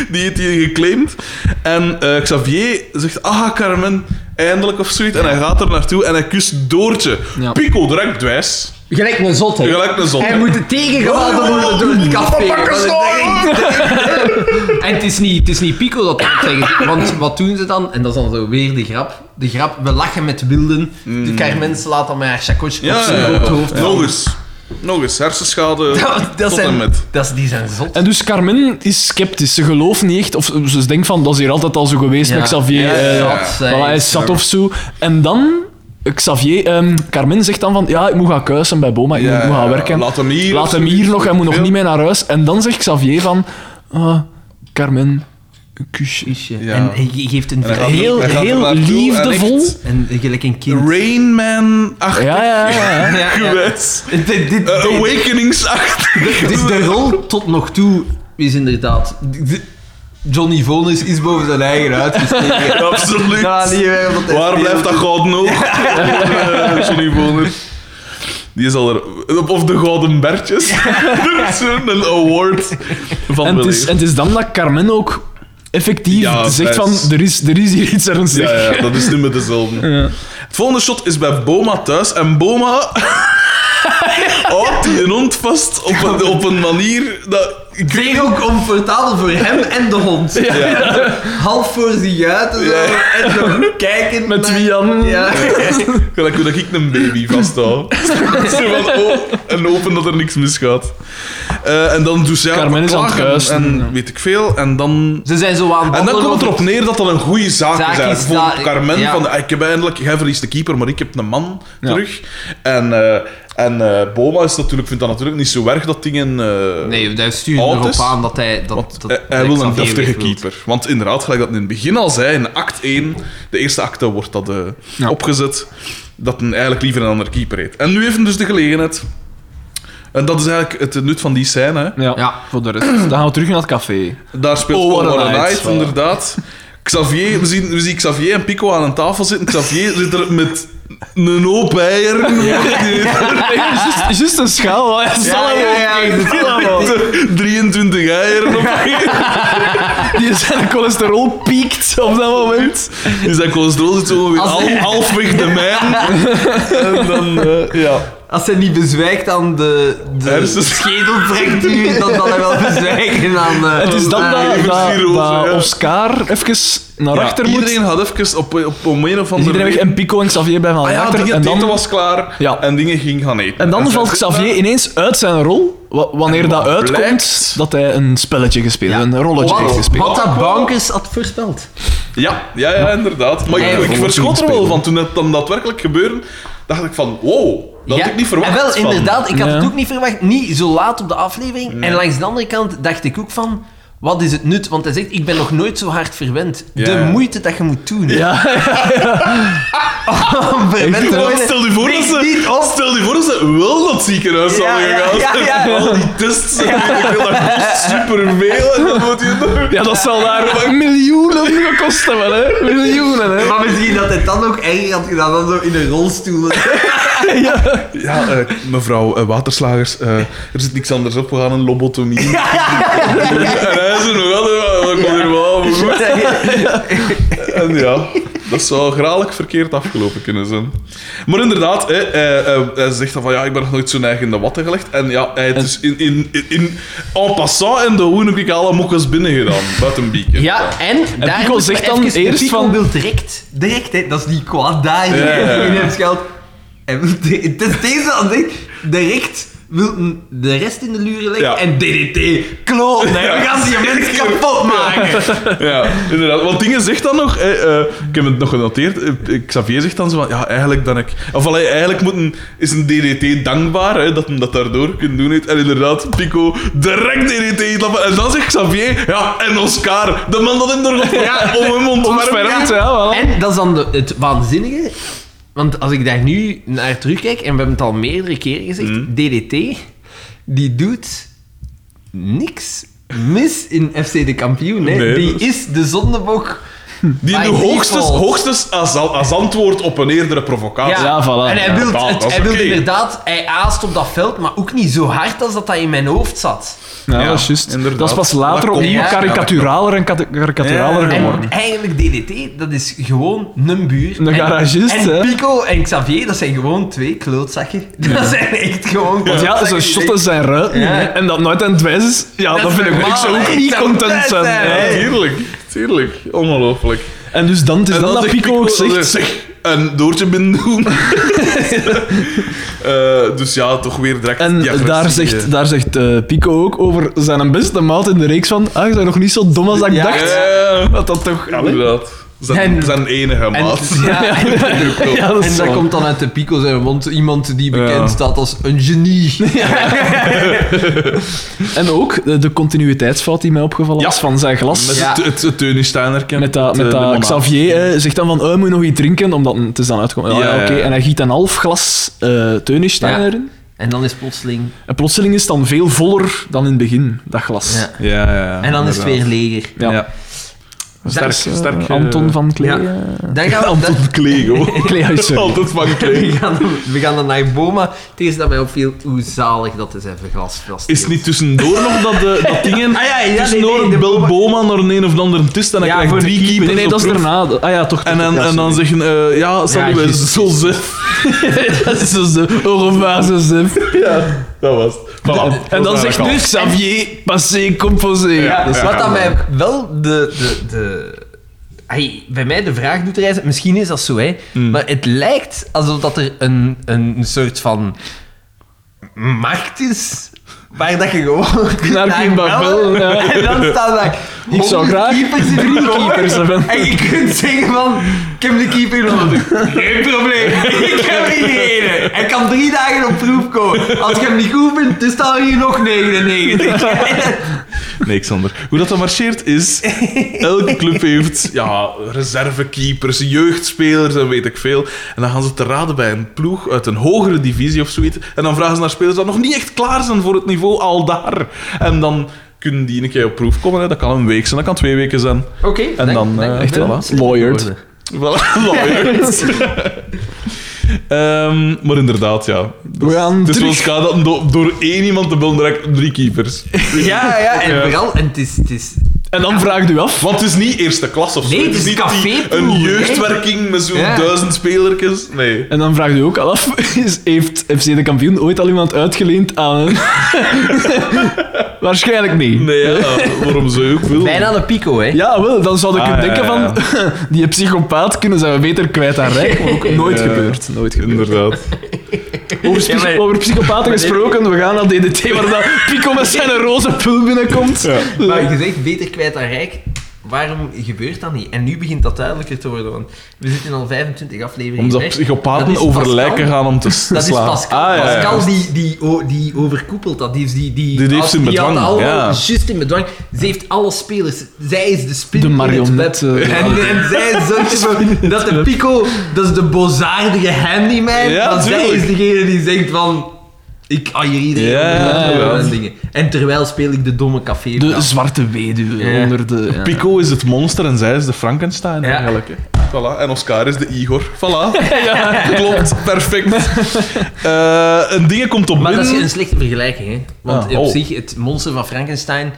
die heeft hier geclaimd. En eh, Xavier zegt, ah Carmen, eindelijk of zoiets. En hij gaat er naartoe en hij kust Doortje. Ja. Pico, direct dwijs. Gelijk een zot, hè. Gelijk een Oh, zot, Hij hè. moet het tegengehouden worden door het café. oh, Dat is echt- <laughs> En het is niet, het is niet Pico dat dat tegen. Want wat doen ze dan? En dat is dan zo weer de grap. De grap, we lachen met wilden. De Carmen slaat dan met haar chakotje op Mm. Ja, zijn ja, groot ja. hoofd. Nog eens. Nog eens, hersenschade <laughs> Dat, dat tot en zijn, met. dat is, die zijn zot. En dus Carmen is sceptisch. Ze gelooft niet echt, of ze denkt van dat is hier altijd al zo geweest met Xavier. Ja, eh, zat, zij voilà, hij is- is zat of zo. En dan, Xavier, ehm, Carmen zegt dan van ja, ik moet gaan kuisen bij Boma, ik moet- ik moet gaan werken. Laat hem hier. Laat of hem zoiets. hier nog, hij moet nog Ja. niet mee naar huis. En dan zegt Xavier van ah, Carmen, een kusje. Isje. Ja. En je geeft een En hij gaat- heel... hij gaat er heel naartoe en liefdevol. echt En gelijk een kind. Rain Man-achtig Ja, ja, ja. ja. Ja, ja. gewijs. Dit, dit, dit- Eh, Awakenings-achtig. dit- de rol tot nog toe is inderdaad... de- Johnny Vonis is boven zijn eigen uitgestegen. Absoluut. Ja, die hebben dat Waar blijft dat gouden oog? Eh, Johnny Voner. Die is al er. Of de Gouden Bertjes. <laughs> Er is Zo'n award van En het, is, beleefd. en het is dan dat Carmen ook effectief Ja, zegt best. van er is, er is hier iets ernstig. Ja, ja, dat is niet meer dezelfde. Het volgende shot is bij Boma thuis. En Boma <laughs> houdt die hond vast op een, op een manier dat... Ik weet Zeer ook comfortabel voor hem en de hond. ja. Half voor zich uit en zo. En zo goed kijken. Met naar- wie aan? Ja. Gelijk hoe dat ik een baby <laughs> vasthoud. Zo van, oh, en hopen dat er niks misgaat. Eh, en dan doet ze... ja, Carmen is aan het klagen kuisen, En weet ik veel. En dan Ze zijn zo aan het En dan babbelen komt het over- erop neer dat dat een goede zaak, Zaak is. is Voor dat- Carmen ja. van, ah, ik heb eindelijk, jij verliest de keeper, maar ik heb een man terug. En, eh, en eh, Boma is natuurlijk, vindt dat natuurlijk niet zo erg dat dingen... eh, Nee, daar sturen we Oud erop is, aan dat hij... Dat, want dat, hij- hij dat wil een Xavier deftige weg wil. keeper. Want inderdaad, gelijk dat in het begin al zei, in act 1, de eerste acte wordt dat eh, opgezet, dat hij eigenlijk liever een ander keeper heet. En nu heeft hem dus de gelegenheid. En dat is eigenlijk het nut van die scène. hè. Ja. <clears throat> Ja. voor de rest. Dan gaan we terug naar het café. Daar speelt Oh, oh, what a Night, night, voilà. inderdaad. Xavier, we, zien, we zien Xavier en Pico aan een tafel zitten. Xavier zit er met een hoop <laughs> eieren. <laughs> Juist juist een schaal. hè. Zal hem ook. met 23 eieren op. <laughs> Die zijn cholesterol piekt op dat moment. Dus dat cholesterol zit zo weer al, halfweg de mijn. En dan, eh, ja. Als hij niet bezwijkt aan de, de Hersen. schedelfractuur, dan zal hij wel bezwijken aan... eh, Het is dan aan- dat, even dat, cirrose, dat ja. Oscar even naar ja achter moet. iedereen had even op, op om een of Is andere iedereen weg en Pico en Xavier blijven aan Ah de ja, achter. dingen, en dan, eten was klaar Ja. en dingen ging gaan eten. en dan zij valt zit daar. Xavier ineens uit zijn rol, wa- wanneer En dat wat uitkomt, blijkt? dat hij een spelletje gespeeld heeft, een rolletje heeft Wat, gespeeld. wat dat bankers had voorspeld. Ja, ja, ja, inderdaad. Maar Ja, ik, ja, ik ja. verschot er wel Spelen. van. Toen het dan daadwerkelijk gebeurde, dacht ik van, wow, dat had ik niet verwacht. En wel, van. <laughs> inderdaad, ik had het Ja. ook niet verwacht. Niet zo laat op de aflevering. En langs de andere kant dacht ik ook van... Wat is het nut? Want hij zegt, ik ben nog nooit zo hard verwend. Ja, De ja. moeite dat je moet doen. Ja, Om verwend te Ja, worden. stel je voor dat Niet- niet ze, op. stel je voor dat ze wel dat ziekenhuis Ja, hadden ja, gegaan. ja, ja. En Al die tests en weet ik veel, dat kost superveel. En dan moet je nog... ja, dat zal daar miljoenen gekost hebben, hè? Miljoenen, hè? Maar misschien dat hij dan ook erger had gedaan dan zo in een <laughs> rolstoel. Ja, eh, mevrouw eh, Waterslagers, eh, er zit niks anders op. We gaan een <laughs> lobotomie. <laughs> En hij is er nog altijd van, dat komt er wel aan, maar goed. En ja, dat zou graag verkeerd afgelopen kunnen zijn. Maar inderdaad, hè, eh, eh, hij zegt dan van ja, ik ben nog nooit zo'n eigen in de watten gelegd. En ja, hij is dus in, in, in, in, en passant in de hoen heb ik alle mokkes binnen gedaan. Buiten bieken. Ja, en, daar Pico moet zegt me dan even- eerst Pico van- wil direct, direct, hè, dat is niet kwaad daar in Ja, ja, ja. hem schuilt. Hij wil di- Het is deze dat hij zegt, direct wil een- de rest in de luren leggen Ja. en DDT, kloon, hè, we gaan die mensen kapot maken. Ja, inderdaad. Want Dingen zegt dan nog, eh, eh, ik heb het nog genoteerd, eh, eh, Xavier zegt dan zo van, ja, eigenlijk ben ik... Of allee, eigenlijk moet een, is een DDT dankbaar, hè, dat hem dat daardoor kunt doen heeft. En inderdaad, Pico, direct DDT inlappen. En dan zegt Xavier, ja, en Oscar, de man dat hem door gaat om hem ontfermt. Ontfermt, ja, wel. En dat is dan de- het waanzinnige, want als ik daar nu naar terugkijk, en we hebben het al meerdere keren gezegd, Mm. DDT, die doet niks mis in FC de kampioen. Hè. Nee, die dat is de zondebok Die By nu hoogstens, default. hoogstens als, als antwoord op een eerdere provocatie. Ja. voilà. En hij Ja, wilde dat- dat het, is hij wilde oké. inderdaad, hij aast op dat veld, maar ook niet zo hard als dat dat in mijn hoofd zat. Ja, Ja, Nou, dat is juist. inderdaad. Dat is pas later Dat opnieuw komt- ja, karikaturaler en kate- karikaturaler Ja. geworden. En eigenlijk DDT, dat is gewoon een buur. Een En- garagist, En hè. Pico en Xavier, dat zijn gewoon twee <laughs> klootzakken. Dat zijn echt gewoon Want ja, zo'n klootzakken die- shotten zijn ruit niet, Ja. hè. En dat nooit aan het wijs is, ja, dat, is vind ik, ik normaal, zou hè. ook niet Dat zou content vet zijn. zijn. Ja. Nee. Tuurlijk, tuurlijk. Ongelooflijk. En dus dan, het is dan dat zegt Pico ook dat hij zegt... zegt, een doortje binnen <laughs> doen. Eh, dus ja, toch weer direct. En die daar agressie, zegt, eh. daar zegt eh, Pico ook over zijn beste maat in de reeks van ah, je bent nog niet zo dom als dat ik Ja. dacht. <laughs> Ja, Dat dat toch... inderdaad. Zijn, En- zijn enige En, maat. ja, en- <laughs> Ja, dat is en dat zo. komt dan uit de Pico zijn mond. Iemand die bekend Ja. staat als een genie. <laughs> En ook de, de continuïteitsfout die mij opgevallen Ja. is van zijn glas. Met Ja. het, het, het Met Teunensteiner-kenmerk, dat, met eh, de dat monarch. Xavier eh, zegt dan van, oh, moet je nog iets drinken? Omdat het is dan uitgekomen. Ah, Ja, ja, ja, oké. ja. En hij giet een half glas eh Teunenstein Ja. erin. En dan is plotseling... En plotseling is het dan veel voller dan in het begin, dat glas. Ja. Ja, ja, ja, En dan is het weer inderdaad. leger. Ja. Ja. Sterk, Dat is, eh, sterk. eh, Anton van Klee. ja. eh, <laughs> Dan gaan we, dan- Anton Klee, gewoon. Klee, sorry. Altijd van <laughs> we, Klee. gaan, we gaan dan naar Boma. Het eerste dat mij opviel, hoe zalig dat is even glas vast. Is het niet tussendoor nog <laughs> dat, de, dat dingen... Ah, ja, ja, nee, tussendoor nee, de bel Boma- Boma naar een een of ander twist en hij Ja, krijgt voor de drie keeper. Nee, keepers nee, op dat is proef. daarna. Ah ja, toch. En dan, ja, en dan sorry. zeggen, eh ja, Sammy, wij juist. zo zef. <laughs> Dat is dus zo, zo, au revoir, zo, zo. Ja, Oh, dat was het. Voilà. En dan Dat zegt was nu het. Xavier, passé, composé. Dus, eh, Ja, Dat is- Dus wat dat mij wel de... de, de ai, bij mij de vraag doet reizen, misschien is dat zo, hè. Maar het lijkt alsof dat er een, een soort van markt is waar dat je gewoon <laughs> kunt Naar kunt bellen. bellen, ja. <laughs> En dan staan daar Ik zou honderd graag keepers in drie de kooi. keepers hebben. En je kunt zeggen van, ik heb de keeper nodig. Geen probleem, ik heb iedereen. Hij kan drie dagen op proef komen. Als je hem niet goed vindt, dan staan er hier <laughs> nog 99. Nee, Xander. Hoe dat dan marcheert is... Elke club heeft ja, reservekeepers, jeugdspelers en weet ik veel. En dan gaan ze te raden bij een ploeg uit een hogere divisie of zoiets. En dan vragen ze naar spelers die nog niet echt klaar zijn voor het niveau al daar. En dan kunnen die een keer op proef komen. Hè. Dat kan een week zijn, dat kan twee weken zijn. Oké, dank- dan, dank- eh, Echt, dank- hè? Lawyered. Voilà, <laughs> lawyers. Ehm, maar inderdaad, ja. We gaan Het is wel terug. schade dat do- door één iemand te bellen direct drie keepers. Ja, Ah, ja, en Ja. vooral, en het is, het is... En dan vraagt u af. Want het is niet eerste klas of zo. Nee, het is niet die- caféploeg, Een hè? jeugdwerking met zo'n Ja. duizend spelertjes. Nee. En dan vraagt u ook al af, <laughs> is- heeft FC de kampioen ooit al iemand uitgeleend aan <laughs> een... Waarschijnlijk niet. Nee, ja, <laughs> waarom zou je ook willen? Bijna de pico, hè? Ja, wel, dan zou ik Ah, kunnen ja, denken ja, van... <laughs> Die psychopaat kunnen zijn we beter kwijt aan <laughs> Rijk. Maar ook nooit Ja, ja. gebeurd. Nooit gebeurd. Inderdaad. Over, psych- maar- over psychopaten gesproken, we gaan naar DDT, waar dat Pico met <laughs> zijn roze pul binnenkomt. Maar je zegt beter kwijt dan rijk. Waarom gebeurt dat niet? En nu begint dat duidelijker te worden, want we zitten al 25 afleveringen Omdat weg. psychopaten Dat is over Pascal. lijken gaan om te s- te Dat is slaan. Pascal. Ah, ja, ja. Pascal die, die, o- die overkoepelt dat. Die, die, die, Die heeft ze in die had bedwang, al- ja. Juist in bedwang. Ze heeft alle spelers. Zij is de spin De in het marionet, web. eh, en, en zij is zo'n type Dat de pico, dat is de bozaardige handyman. Ja, want zij tuurlijk. is degene die zegt van... Ik aier iedereen. Ja, over ja, en ja. dingen. En terwijl speel ik de domme café. De zwarte weduwe Ja. onder de... Pico is het monster en zij is de Frankenstein Ja. eigenlijk. Hè. Voilà. En Oscar is de Igor. Voilà. <laughs> Klopt, perfect. Eh, een ding komt op Maar dat binnen. is een slechte vergelijking, hè. Want Ah, op oh. zich, het monster van Frankenstein...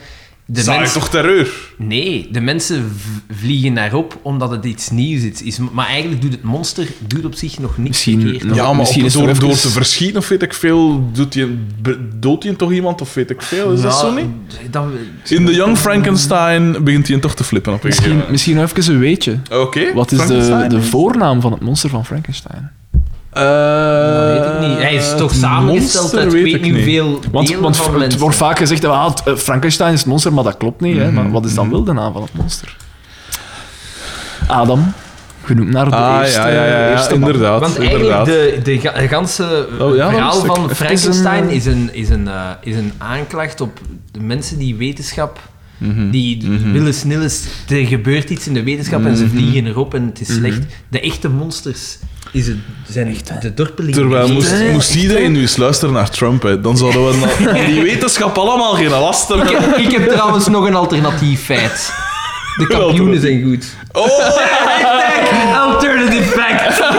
De Saai mens toch terreur? Nee, de mensen v- vliegen daarop omdat het iets nieuws is. is. Maar eigenlijk doet het monster doet op zich nog niks Misschien verkeerd. nog- Ja, maar misschien op- is het door, ook door eens- te verschieten of weet ik veel, doet je, be- doodt hij toch iemand of weet ik veel? Is dat Ja, zo niet? dat- In The Young Frankenstein begint hij toch te flippen op een gegeven Misschien, moment. misschien nog even een weetje. Oké. Wat is de, Frankenstein? de voornaam van het monster van Frankenstein? Eh, dat weet ik niet. Hij is toch het samengesteld monster uit weet, ik niet hoeveel Want, delen want van het mensen. wordt vaak gezegd dat ah, het, eh, Frankenstein is het monster, maar dat klopt niet. Mhm. Hè? Maar wat is dan wel de naam van het monster? Adam, genoemd naar de Ah, eerste, ja, ja, ja, ja, eerste man. inderdaad. Want eigenlijk inderdaad. de, de, ga- de ganse Oh, dat is verhaal een- van het is Frankenstein een- is een, is, een, eh, is een aanklacht op de mensen die wetenschap... Mhm. Die willen snel eens... Er gebeurt iets in de wetenschap en Mhm. ze vliegen erop en het is slecht. De echte monsters is het, zijn echt de dorpelingen. Terwijl Die- moest, moest iedereen nu eens luisteren naar Trump, hè, dan zouden we <laughs> na- die wetenschap allemaal geen last hebben. Ik heb trouwens nog een alternatief feit. De kampioenen zijn goed. Oh! Ah. Alternative fact.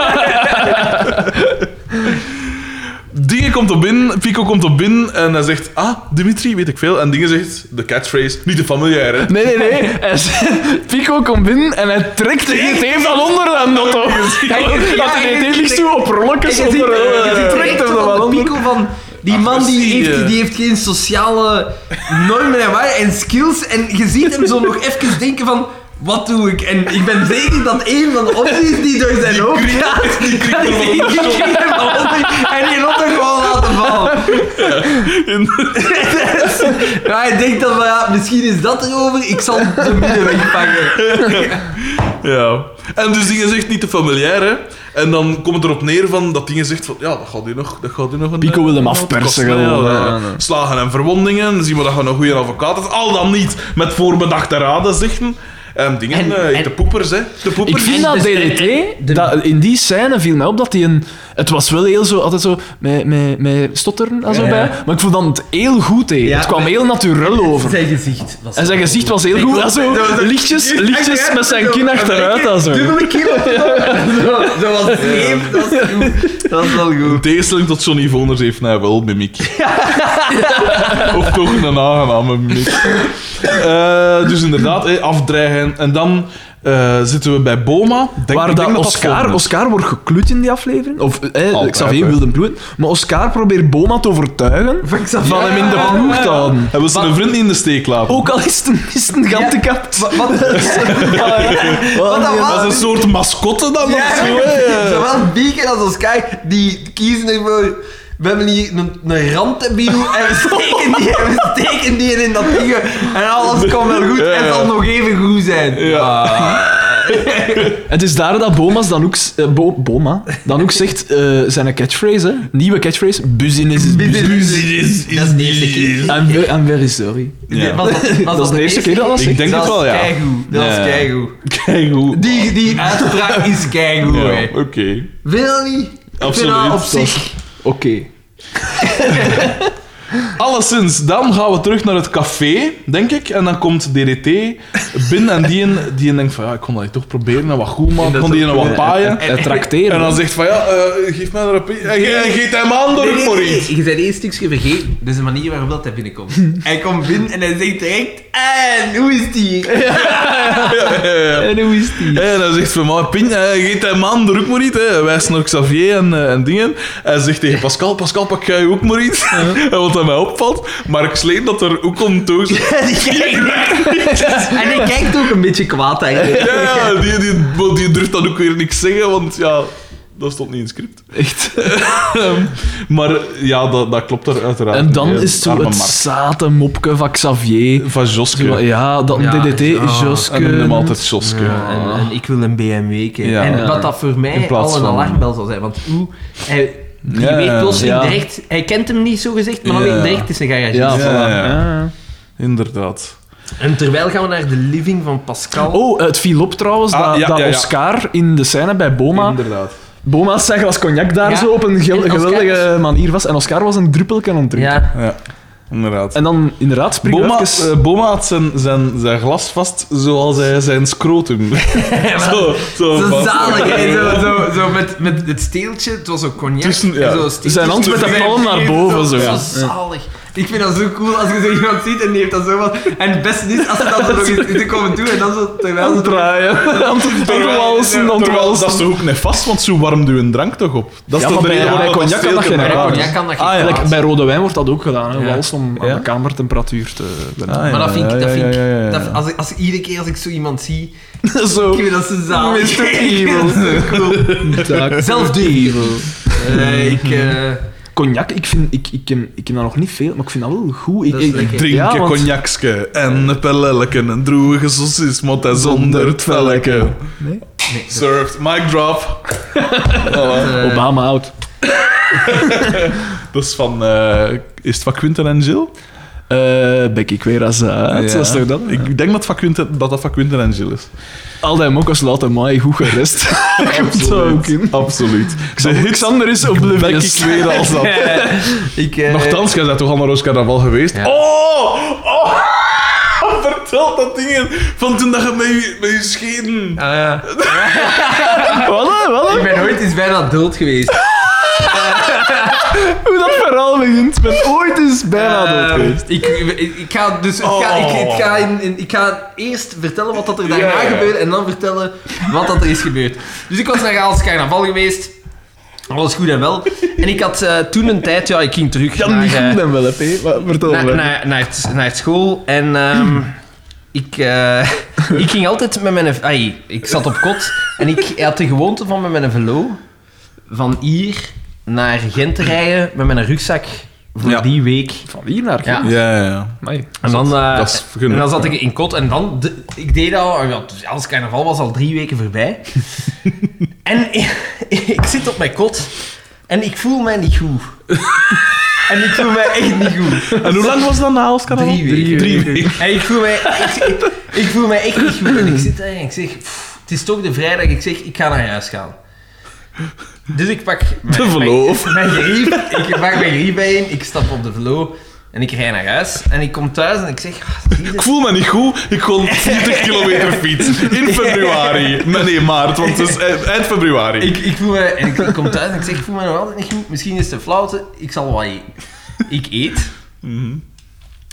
Dingen komt op binnen, Pico komt op binnen en hij zegt, ah, Dimitri, weet ik veel. En Dingen zegt, de catchphrase, niet de familiaire. hè. Nee, nee, nee. Hij zegt- Pico komt binnen en hij trekt de ET van onder aan dat toch. Hij laat de ET ligt toe op rolletjes Je ziet- onder. je eh, ziet trekt direct hem er van wel de onder. pico van... Die Ach, man die zie je. heeft, die heeft geen sociale normen en waarden en skills. En je ziet hem zo nog even denken van... Wat doe ik? En ik ben zeker dat een van de opties die door zijn hoofd gaat... Die krikt dat er is wel <laughs> die op. krikt hem al onder en die lot er gewoon laten vallen. Maar ik denk dan van <laughs> ja, misschien is dat erover. Ik zal de middenweg pakken. Ja. En dus Dingen zegt, niet de familiaire. En dan komt het erop neer van, dat Dingen zegt van, ja, dat gaat u nog, dat gaat u nog een... Pico eh, wil hem een afpersen, podcast, gewoon, ja, hè. ja, ja. Slagen en verwondingen, zien we dat je een goede advocaat hebt. Al dan niet met voorbedachte raden zeggen. En Dingen, En- eh, en- de poepers, hè. De Ik poepers. vind dat DDT, dat, in die scène viel mij op dat hij een... Het was wel heel zo, altijd zo, met, met, met stotteren en zo Ja. bij. Maar ik vond dat het heel goed deed. Ja, het kwam maar- heel natuurlijk over. Zijn gezicht was... En zijn gezicht was heel goed. En zo, lichtjes, lichtjes met zijn kin achteruit. en zo. Dubbele kilo. Dat was leem, dat was goed. Dat was wel goed. In tegenstelling tot Johnny Voners heeft hij wel <laughs> mimiek. of toch een aangename mimiek. Eh, dus inderdaad, eh, afdreigen. En dan eh, zitten we bij Boma. Denk, Waar ik denk dat dat Oscar, volgend is. Oscar wordt geklut in die aflevering. Of eh, Altijd, Xavier hè. wilde bloed. Maar Oscar probeert Boma te overtuigen van hem in de ploeg te houden. Hij wil zijn vriend niet in de steek laten. Ook al is het een, is het een gantekapt. Wat, wat, <laughs> wat dat was, dat is een soort mascotte dan. of Ja, zo, hè. Zowel Beacon als Oscar, die kiezen ervoor... We hebben hier een, een randdebiel en we steken, die, en we steken die in dat ding. En alles komt wel goed en het zal nog even goed zijn. Ah. Ja. Het is daar dat Boma's dan ook, z- eh, Bo- Boma dan ook zegt eh, zijn catchphrase, hè. nieuwe catchphrase, business is business. Dat is de eerste keer. I'm, ve- I'm very sorry. Ja. Was was Dat is de eerste keer dat dat Ik zegt. denk het wel, ja. was keigoed, Dat was Ja. keigoed. Kijk hoe. Die, die uitspraak is keigoed, Ja, hè. Oké. Wil je dat niet? Ik vind Absoluut. dat op zich... Oké. Alleszins, dan gaan we terug naar het café, denk ik. En dan komt DDT binnen en die, een- die een denkt van ja, ik kon dat hier toch proberen en wat goed maken. Kon die een eh, Eh, wat paaien. Hij trakteert. En dan zegt van ja, eh, geef mij er een pi- En ge- en geet hem aan door Nee, voor nee, iets. nee, Je bent één stukje vergeten. Dat is de manier waarop dat hij binnenkomt. <laughs> hij komt binnen en hij zegt direct... En, hoe is die? En hoe is die? En hij zegt van, maar Pin, eh, geet hem aan, druk maar iets. Hè. Wijs naar Xavier en, eh, en dingen. Hij zegt tegen Pascal, Pascal, pak jij ook maar iets. <laughs> En wat aan mij opvalt, Mark Sleen dat er ook om toe zit. <laughs> Die kijkt- <laughs> en hij kijkt ook een beetje kwaad eigenlijk. Ja, ja, die, die, die, durft dan ook weer niks zeggen, want ja, dat stond niet in het script. Echt. Ehm, maar ja, dat, dat klopt er uiteraard. En dan niet, hè. is het zo Arme het Mark. zate mopke van Xavier. Van Joske. Zo, Ja, dat Ja, DDT, ja. Joske. En noem hem altijd Joske. En, en ik wil een BMW kijken. Ja. En wat dat voor In mij plaats al een van- alarmbel zal zijn. Want hoe... Hij, je Ja, weet plotseling ja. direct... Hij kent hem niet zo gezegd, maar dan Ja. weet je direct het is een garage. Ja, Ja, voilà. ja. Ja. Inderdaad. En terwijl gaan we naar de living van Pascal. Oh, het viel op trouwens Ah, dat, ja, dat ja, ja. Oscar in de scène bij Boma. Inderdaad. Boma had zijn glas cognac daar Ja. zo op een gel- En Oscar- geweldige manier was. En Oscar was een druppelke aan het drinken. Ja. Ja, inderdaad. En dan inderdaad springt Boma, even... eh, Boma had zijn, zijn, zijn glas vast zoals hij zijn <laughs> scrotum. zo, zo Zo vast. zalig, hè. Zo, zo, zo met, met het steeltje. Het was ook cognac. Tussen- ja. en zo steeltje. Zijn hand met de palm naar boven, zo. Zo Ja. zalig. Ik vind dat zo cool als je zo iemand ziet en die heeft dat zo wat. En het beste is als ze dat <laughs> zo nog eens te komen doen en dan zo terwijl aan ze het draaien, aan het walsen, aan het Terwijl dat is walsen. toch ook net vast, want zo warmt u een drank toch op? Dat is Ja, toch maar de bij- reden waarom bij dat cognac kan dat steeltje geen naar raar. raar is? Cognac kan dat geen Ah, ja, kwaad. like bij rode wijn wordt dat ook gedaan, hè. Ja. wals om aan Ja. de kamertemperatuur <laughs> te Ah, ja. benaderen. Maar dat vind ik, dat ja, vind ik, ja, ja, ja. dat- als, ik- als ik- iedere keer als ik zo iemand zie, Zo, ik vind dat ze zalig. <laughs> Mr. Ik vind dat zo cool. Zelf die. Eh, ik, eh, Cognac, ik, vind, ik, ik, ken, ik ken dat nog niet veel, maar ik vind dat wel goed. Ik, Dat is ik- lekker. Drink Ja, een want- cognacske en een pellelke, een droege sausis, mot en zonder het velleke. Nee? Served, mic drop. eh, Obama out. Dat is van, eh, is het van Quinten en Jill? Eh Becky Queras uit, Ja. dat is toch dat? Ik denk dat van Quinten, dat, dat van Quinten en Jill is. Al die mokkers laten mij goed <laughs> <laughs> gerust. Komt zo ook in. Absoluut. De hits Xander is Becky oblivious. Queer als <laughs> dat. ik, eh, <laughs> Nochtans, jij bent toch al naar Roos Carnaval geweest? Oh! Oh! Ver- vertelt dat dingen van toen dat je met je, met je schenen... Wat, hè, wat? hè? ah, Ik ben ooit eens bijna dood geweest. Hoe dat verhaal begint. Ik ben ooit eens bijna dood Ehm, geweest. ik, ik, ik ga dus, ik ga, ik, ik ga, in, in- ik ga eerst vertellen wat dat er daarna Ja. gebeurde en dan vertellen wat dat er is gebeurd. Dus ik was naar Gaals carnaval geweest. Alles goed en wel. En ik had eh, toen een tijd, ja, ik ging terug Ja, naar, niet eh, goed dan wel, hè, P. Maar Vertel naar, maar. naar, naar, het, naar het school. En ehm, ik, eh, ik ging altijd met mijn... Ai, ik zat op kot en ik had de gewoonte van met mijn velo van hier naar Gent te rijden met mijn rugzak voor Ja. die week. Van hier naar Ja. Ja, ja, ja. Amai. En dan, eh, dat is genoeg, en dan zat ja. ik in kot en dan... de- ik deed al... Ja, dus alles carnaval was al drie weken <laughs> voorbij. en <laughs> ik, ik zit op mijn kot en ik voel mij niet goed. en ik voel mij echt niet goed. En hoe lang <laughs> was dat na Halskanaal? Drie weken. Drie weken. En ik voel mij, ik, ik, ik voel mij echt niet goed. En ik zit daar en ik zeg... "Pff, het is toch de vrijdag. Ik zeg, ik ga naar huis gaan. Dus ik pak... De verloof. Mijn griep. Ik pak mijn griep bijeen. Ik stap op de velo. En ik rij naar huis. En ik kom thuis en ik zeg... "Ah, Jezus." Ik voel me niet goed. Ik <laughs> kon 40 kilometer fiets. In februari. Maar Nee, maart, want het is eind eind februari. Ik, ik voel me... En ik, ik kom thuis en ik zeg... Ik voel me nog altijd niet goed. Misschien is het een flauwte. Ik zal wat eten. Ik eet. Mhm.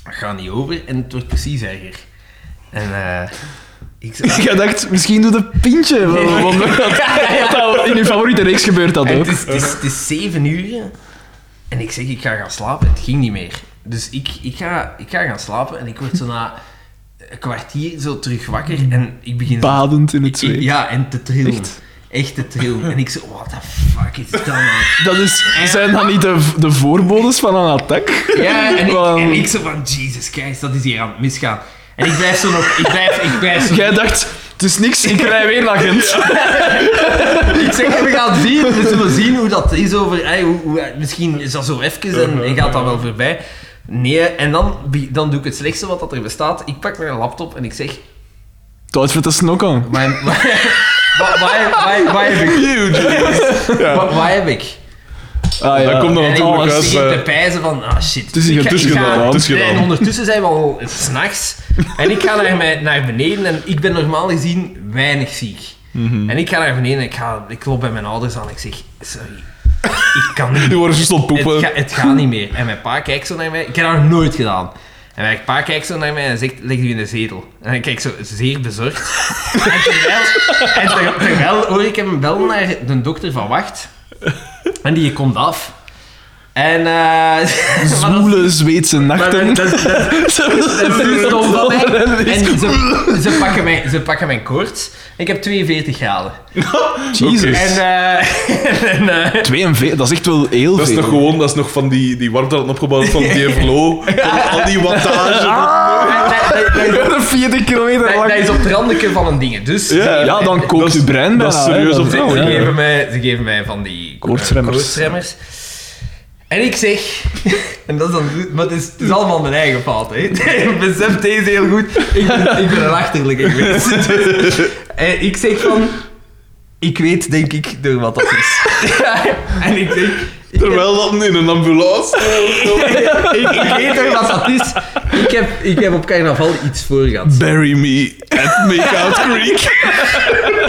Ik ga niet over. En het wordt precies erger. En... eh <laughs> ik zeg... Ik dacht, misschien doet een pintje. want- want <laughs> dat- dat dat in uw favoriete reeks gebeurt dat En ook. het, is, het, is, het is zeven uur en ik zeg, ik ga gaan slapen. Het ging niet meer. Dus ik, ik, ga, ik ga gaan slapen en ik word zo na een kwartier zo terug wakker en ik begin... zo- Badend in het ik- zweet. ja, en te trillen. Echt? Echt? te trillen. En ik zo, what the fuck is dat nou? Dat is, zijn dat niet de, de voorbodes van een attack? <laughs> Ja, en ik, Want- en ik zo van, Jesus Christ, dat is hier aan het misgaan. En ik blijf zo nog, ik blijf, ik blijf zo... Jij dacht, het is niks, ik rij weer naar Gent. Ik zeg, we gaan zien, we zullen zien hoe dat is over... Hey, hoe, hoe- misschien is dat zo even en, en gaat dat wel voorbij. Nee, en dan, be- dan doe ik het slechtste wat dat er bestaat. Ik pak mijn laptop en ik zeg... Dat is het ook aan. Waar <laughs> waar- waar- waar- waar heb ik? <laughs> Waar- Waar heb ik? Ah, ja. Dat komt er En ik natuurlijk ik uit. zit eh, te pijzen van, ah shit. Het is hier Ik ga- ik tussen ga- gedaan, het is Nee, gedaan. en ondertussen zijn we al s'nachts. En ik ga naar, mijn, naar beneden en ik ben normaal gezien weinig ziek. Mhm. En ik ga naar beneden en ik, ga, ik loop bij mijn ouders aan en ik zeg, sorry, ik kan niet Die worden zo stond poepen. Het, ga- het gaat niet meer. En mijn pa kijkt zo naar mij. Ik heb dat nog nooit gedaan. En mijn pa kijkt zo naar mij en zegt, leg je in de zetel. En ik kijk zo zeer bezorgd. en terwijl, en ter- terwijl hoor ik hem bellen naar de dokter van Wacht. En die komt af. En... eh, <laughs> maar dat- Zwoele Zweedse maar dat- nachten. <laughs> dat- dat- dat is niet stom van mij. En ze, ze, pakken mijn, ze pakken mijn koorts. Ik heb 42 graden. Jesus. En, eh, <laughs> en eh, 42, dat is echt wel heel Dat is veel. toch gewoon, dat is nog van die, die warmte dat opgebouwd <laughs> is van DFLO. Van al die wattage. dat- dat- dat- dat- 40 kilometer Dat, dat is lang. op het randje van een ding. Dus Ja. Ja, dan Dat kookt is- je brein dat is bijna, hè. serieus op is ze, echt, vrouwen, ze Oh, ja. geven mij, ze geven mij van die eh, Koortsremmers. koortsremmers. En ik zeg, <laughs> en dat is dan, maar het is, het is allemaal mijn eigen fout. Hè. <laughs> Besef deze heel goed. Ik ben, ik ben een achterlijk geweest. <laughs> En ik zeg van, ik weet denk ik door wat dat is. <laughs> en ik zeg, ik heb- Terwijl dat in een ambulance. <laughs> ik, ik weet door wat dat is. Ik heb, ik heb op carnaval iets voor gehad. Bury me at Makeout Creek.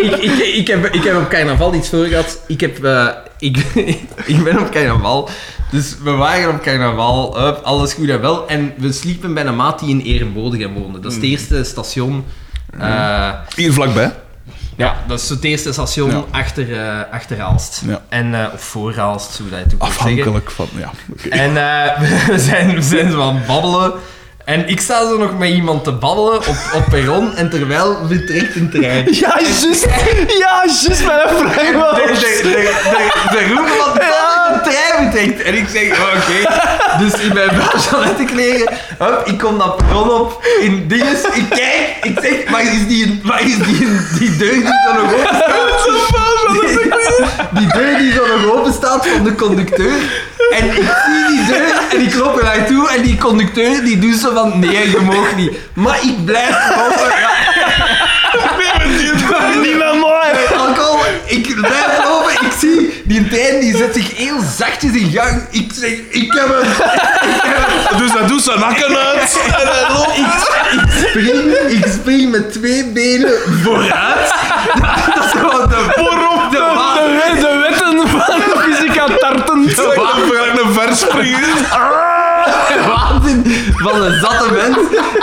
ik, ik, ik, heb, ik heb op carnaval iets voor gehad. Ik, heb, eh, ik, <laughs> ik ben op carnaval. Dus we waren op carnaval. Hup, alles goed en wel. En we sliepen bij een maat die in Erenbodegem woonde. Dat is Mm. het eerste station. eh, Hier vlakbij. ja, dat is het eerste station achter, eh, achter Aalst. Ja. En, eh, of voor Aalst, hoe dat je het ook wilt zeggen. Afhankelijk van, ja. oké. En eh, <laughs> we, zijn, we zijn zo aan het babbelen. En ik sta zo nog met iemand te babbelen op, op perron. En terwijl vertrekt een trein. Ja, juist. Ja, juist, mijn vraag De, de, de, de, de roepen van de ja. de trein bedenkt. En ik zeg, oh, oké. Dus in mijn ballettenkleren, hup, ik kom dat perron op, in dinges, ik kijk, ik zeg, waar is die, waar is die, die deur die <laughs> zo nog open staat? Die, die deur die zo nog open staat van de conducteur. En ik zie die deur en ik loop er naartoe en die conducteur die doet zo van, nee, je mag niet. Maar ik blijf <laughs> lopen. Ja, <laughs> Niet meer mooi. alcohol, ik blijf lopen, ik zie die Dijn die zet zich heel zachtjes in gang. Ik zeg, ik heb hem. Dus dat doet zijn hakken uit. <laughs> En hij loopt. Spring, ik spring met twee benen vooruit. Dat is gewoon de voorop de De, water. we- de wetten van fysica tarten. Ik ga naar ver <laughs> springen. De waanzin van een zatte mens.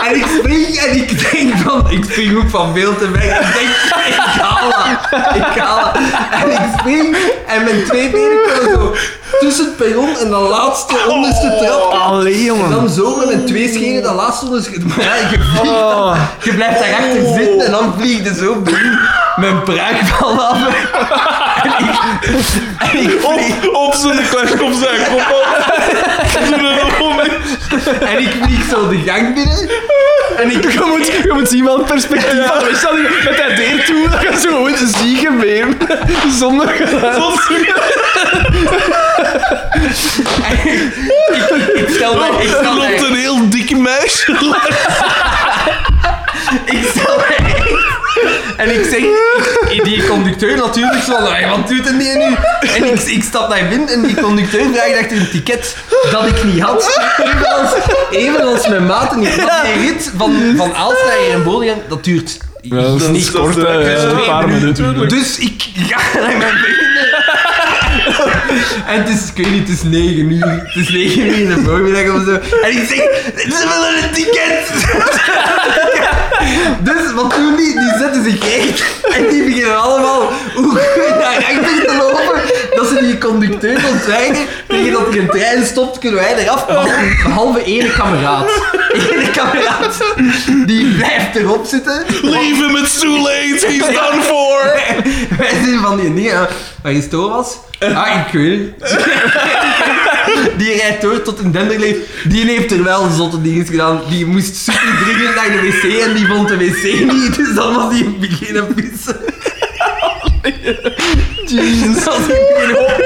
En ik spring en ik denk van, ik spring ook van veel te weg. Ik denk, ik haal dat. Ik haal dat. En ik spring en mijn twee benen komen zo tussen het perron en de laatste onderste trap. Allee, En jongen. dan zo met mijn twee schenen dat laatste onderscheid. Maar <laughs> ja, je, vliegt Oh. dan- je blijft daarachter zitten en dan vliegt je zo boem, mijn pruik van af. En ik, en ik, vlieg, Op, op zijn klas, op zijn kop. op. Doe dat gewoon niet. en ik vlieg zo de gang binnen. En ik Je moet, je moet zien wel het perspectief van Weet je dat je met dat deur toe, dat je zo gewoon zie gebeuren. Zonder geluid. Ik stel mij, ik Er stel mij, loopt een heel dikke meisje. ik stel mij. En ik zeg, die conducteur natuurlijk zo, "Hey, wat doet en die nu? En ik, ik stap naar binnen en die conducteur vraagt achter een ticket dat ik niet had. Evenals, evenals mijn maten niet. Want die rit van, van Aalstra en Bolian, dat duurt dat is niet kort, dat is eh, twee een paar minuten. Dus ik ga naar mijn benen. En het is, ik weet niet, het is 9 uur. Het is 9 uur in de voormiddag of zo. En ik zeg, ze willen een ticket. Dus wat doen die? Die zetten zich recht. En die beginnen allemaal hoe goed naar achter te lopen. Dat ze die conducteur ontwijken. Tegen dat er een trein stopt, kunnen wij eraf. Behalve ene kameraad. Ene kameraad. Die blijft erop zitten. Leave him, it's too late. He's done <laughs> for. <laughs> Wij zijn van die dingen eh, waar je stoor was. Ah, ik weet het. <laughs> Die rijdt door tot een denderleef. Die heeft er wel zotte dingen gedaan. Die moest super dringend naar de wc en die vond de wc niet. Dus dan was die beginnen pissen. Jezus. Oh,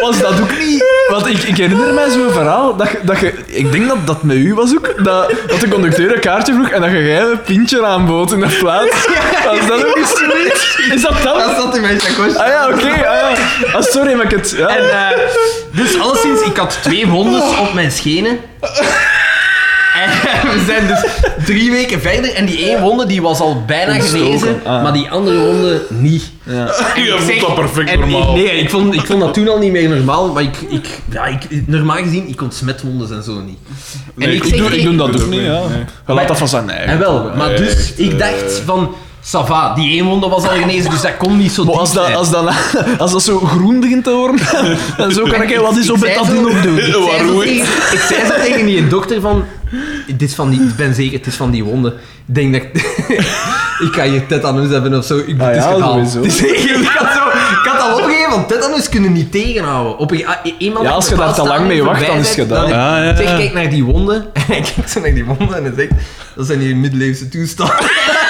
Was dat ook niet? Want ik, ik herinner mij zo'n verhaal dat, je- dat je, ik denk dat dat met u was ook, dat, dat de conducteur een kaartje vroeg en dat je jij een pintje aanbood in de plaats. Was dat ook iets zoiets? Is dat dat? Dat zat in mijn chakosje. Ah ja, oké. ah, ja. Ah, sorry, maar ik het. Ja. En, eh, dus alleszins, ik had twee wondes op mijn schenen. En <laughs> we zijn dus drie weken verder en die één wonde die was al bijna Ontstoken, genezen, ah. maar die andere wonde niet. Je Ik vond zeg- dat perfect en normaal. Ik, nee, ik vond, ik vond dat toen al niet meer normaal, maar ik, ik, ja, ik, normaal gezien, ik ontsmet wondes en zo niet. Nee, en ik ik zeg doe, ik tegen- doe dat ook niet. Ja. Je laat dat van zijn En eigen. wel, maar Nee, dus echt, ik eh. dacht van, Sava, die één wonde was al genezen, dus dat kon niet zo Maar diep als dat, zijn. als, dat, <laughs> als dat zo groen begint te worden, <laughs> dan zo kan ik hey, wat is op Ik zei betadine zo- ook doen. <laughs> Ik zei, zo Waarom? tegen, ik zei zo tegen die dokter van... Dit is van die... Ik ben zeker, het is van die wonden. Ik denk dat... <laughs> ik- ik ga hier tetanus hebben of zo. Ik Ah het is ja, gedaan. sowieso. <laughs> Het is echt- ik, had zo, ik had al opgegeven, want tetanus kunnen niet tegenhouden. Op een, ah, e- eenmaal Ja, dat als ik je daar bepaald te lang mee stadium wacht, dan is het voorbij ben, gedaan. dan- Ja, ja, Ik zeg, ja. kijk naar die wonden. <laughs> En ik kijk zo naar die wonden en dan zeg ik, Dat zijn hier middeleeuwse toestanden. <laughs>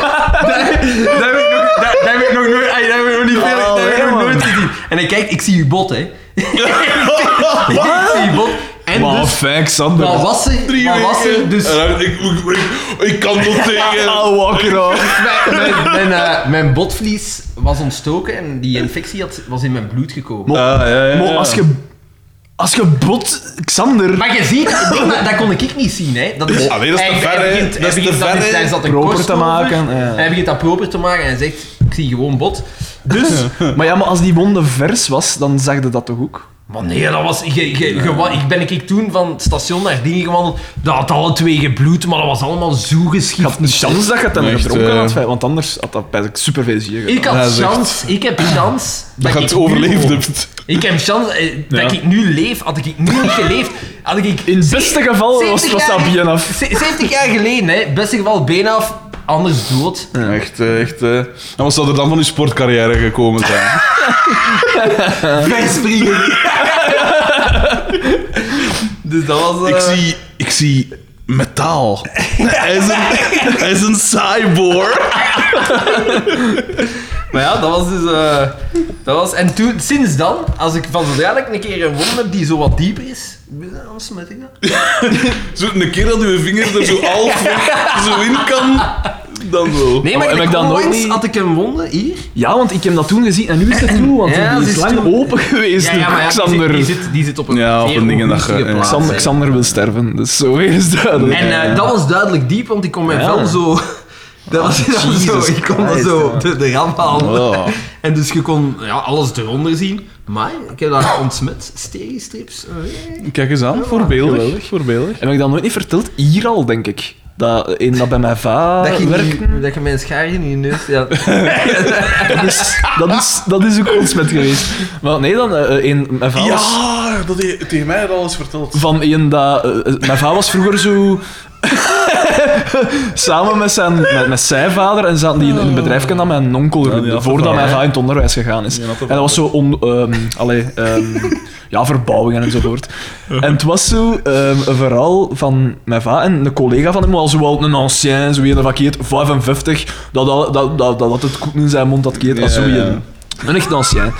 Daar heb ik nog- daar- daar heb ik nog nooit, ai, daar heb ik nog niet veel, daar heb ik nog nooit gezien. En ik kijk, ik zie uw bot, hè. <laughs> ik zie uw bot. En Maar dus, fijn, Xander. wat was er? Drie Wat was er? weken. Dus <laughs> En dan- ik, ik, ik, ik kan dat tegen. I'll walk it off. mijn, mijn, mijn, eh, mijn botvlies was ontstoken en die infectie had, was in mijn bloed gekomen. Maar- Ah, ja, ja, Maar ja. als je, als je bot Xander Maar je ziet, nee, maar dat kon ik niet zien, hè. Dat is, Ah, nee, dat is te hij- ver, hij hè. begint- Dat hij is te begint ver, hè. Daar zat een Proper korst te over. maken, ja. En Hij begint dat proper te maken en hij zegt, ik zie gewoon bot. Dus, maar ja, maar als die wonde vers was, dan zag je dat toch ook? Maar nee, dat was... Je, je, je wa- ik ben ik toen van het station naar dingen gewandeld. Dat had alle twee gebloed, maar dat was allemaal zo Je geschikt. had een chance dat je het dan Echt, gedronken eh. had, fijn, want anders had dat bij superveel zier gedaan. Ik Ja, had zegt. chance, ik heb chance... Dat je het ik nu overleefd gewoon- hebt. Ik heb chance eh, dat ik nu leef. Had ik nu niet geleefd, had ik... In het beste geval was, 70 was dat jaar- bien af. ze- 70 jaar geleden, hè. Beste geval, been af, anders dood. Ja, Echt, eh, echt. eh. En wat zou er dan van uw sportcarrière gekomen zijn? Vrijspringen. dus dat was... eh, Ik zie, ik zie metaal. Hij is een, hij is een cyborg. Maar ja, dat was dus... eh, dat was, en toen, sinds dan, als ik van zodra ik een keer een wond heb die zo wat dieper is, dan ontsmet ik dat. Zo, een keer dat uw vinger er zo half zo in kan, Dan wel. Nee, maar Oh, heb ik ik dan dan nooit onlangs niet- had ik een wonde hier. Ja, want ik heb dat toen gezien en nu is het toe, want Ja, die ze is is lang toen- open geweest. Xander, Die zit, die zit op een Ja, op zeer een ding en dat ge- ja. ongunstige plaats, eh, Xander, hè. Xander wil sterven, dus zo weer is duidelijk. En eh, dat was duidelijk diep, want ik kon mijn Ja. vel zo... Dat was dat was zo, ik kon dat zo op de, de rand halen. Oh. En dus je kon ja, alles eronder zien. Maar ik heb dat ontsmet, stereostrips. eh. Ah, Kijk eens aan, voorbeeldig. geweldig. voorbeeldig. Heb ik dat nooit niet verteld? Hier al, denk ik. Dat, in dat bij mijn va Dat je, werkt. niet- dat je mijn schaar in je neus... Ja. Dat is, dat, is, dat is ook ons met geweest. Maar nee, dan eh, een, mijn va was Ja, dat hij tegen mij had alles verteld. van een dat... eh, eh, mijn va was vroeger zo... <laughs> Samen met zijn, met, met zijn vader en zaten die in een bedrijf dat mijn onkel die runde, had de voordat vader, mijn hè? va in het onderwijs gegaan is. Die had de En dat was zo on, ehm, allee, ehm, ja, verbouwingen enzovoort. En het was zo ehm, een verhaal van mijn va en een collega van hem, al zowel een ancien, zo een vakkeet, 55, dat, al- dat, dat, dat, dat het goed in zijn mond had keet als Ja, zo ja, ja. een. Een echt ancien.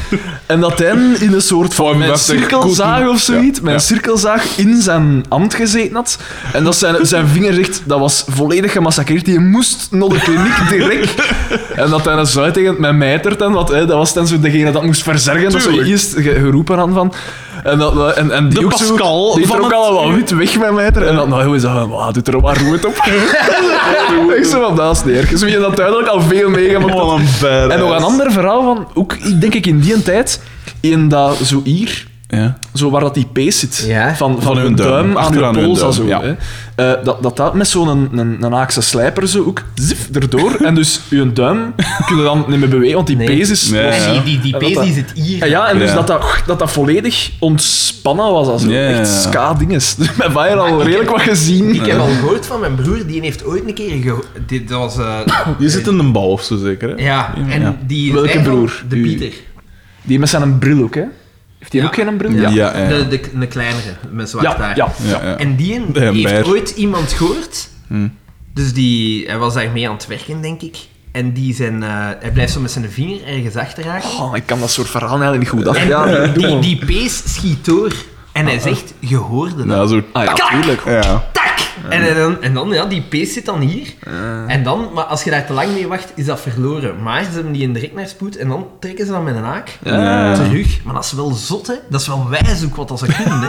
En dat hij in een soort van met een 55 cirkelzaag koeten. of zoiets, Ja, met een ja. cirkelzaag in zijn ambt gezeten had. En dat zijn, zijn vinger echt, dat was volledig gemassacreerd. Die moest naar de kliniek <laughs> direct. En dat hij zo tegen mijn mijtert en wat, hè, dat was dan zo degene dat moest verzergen, dat zo Tuurlijk. eerst ge- geroepen aan van. En, dat, dat- en, en die De ook zo- Pascal die van trok het- al wat wit weg met mijter. En dan, nou, hoe is dat? Wauw, doet er maar roet <laughs> op. ik zo van, dat is neer. Dus je hebt dat duidelijk al veel meegemaakt. Wat een badass. En nog een ander verhaal van, ook ik denk ik in die tijd, in dat zo hier, Ja. zo waar dat die pees zit, Ja. van, van, Van hun hun duim, duim, aan achteraan de hun pols, duim, zo, ja. hè. Eh, dat, dat dat met zo'n een, een, een Haakse slijper zo ook zif <laughs> erdoor. en dus je duim kun je dan niet meer bewegen, want die Nee. pees is... Nee. los. Ja. En die, die, die pees die zit hier. En ja, en dus Ja. dat, dat, dat dat volledig ontspannen was. als Ja, ja, Echt ja. <laughs> ska-dinges. Dus mijn vader al Ah, ik redelijk wat gezien. Ik heb al gehoord van mijn broer, die heeft ooit een keer... geho- Dit dat was... eh, Je zit in een bal of zo zeker, hè? ja, en Ja. die... Welke zei van- broer? De U- Pieter. Die met zijn bril ook, hè? Heeft hij Ja. ook geen bril? Ja. Ja, ja. De, de, de kleinere, met zwart Ja, haar. ja. Ja, ja. En die een De heeft Hembeer. ooit iemand gehoord. Hmm. Dus die, hij was daarmee aan het werken, denk ik. En die zijn, eh, hij blijft zo met zijn vinger ergens achterhaken. Oh, ik kan dat soort verhalen eigenlijk niet goed af. en Ja, doe die, maar. die pees schiet door. En hij zegt, je hoorde dat. Nou, zo... Ah, ja, Kak! tuurlijk. Ja. Tak! En, en dan, en dan, ja, die pees zit dan hier. En dan, maar als je daar te lang mee wacht, is dat verloren. Maar ze hebben die in direct naar spoed en dan trekken ze dan met een haak Ja. terug. Maar dat is wel zot, hè. Dat is wel wijs ook wat als ze kunnen, hè.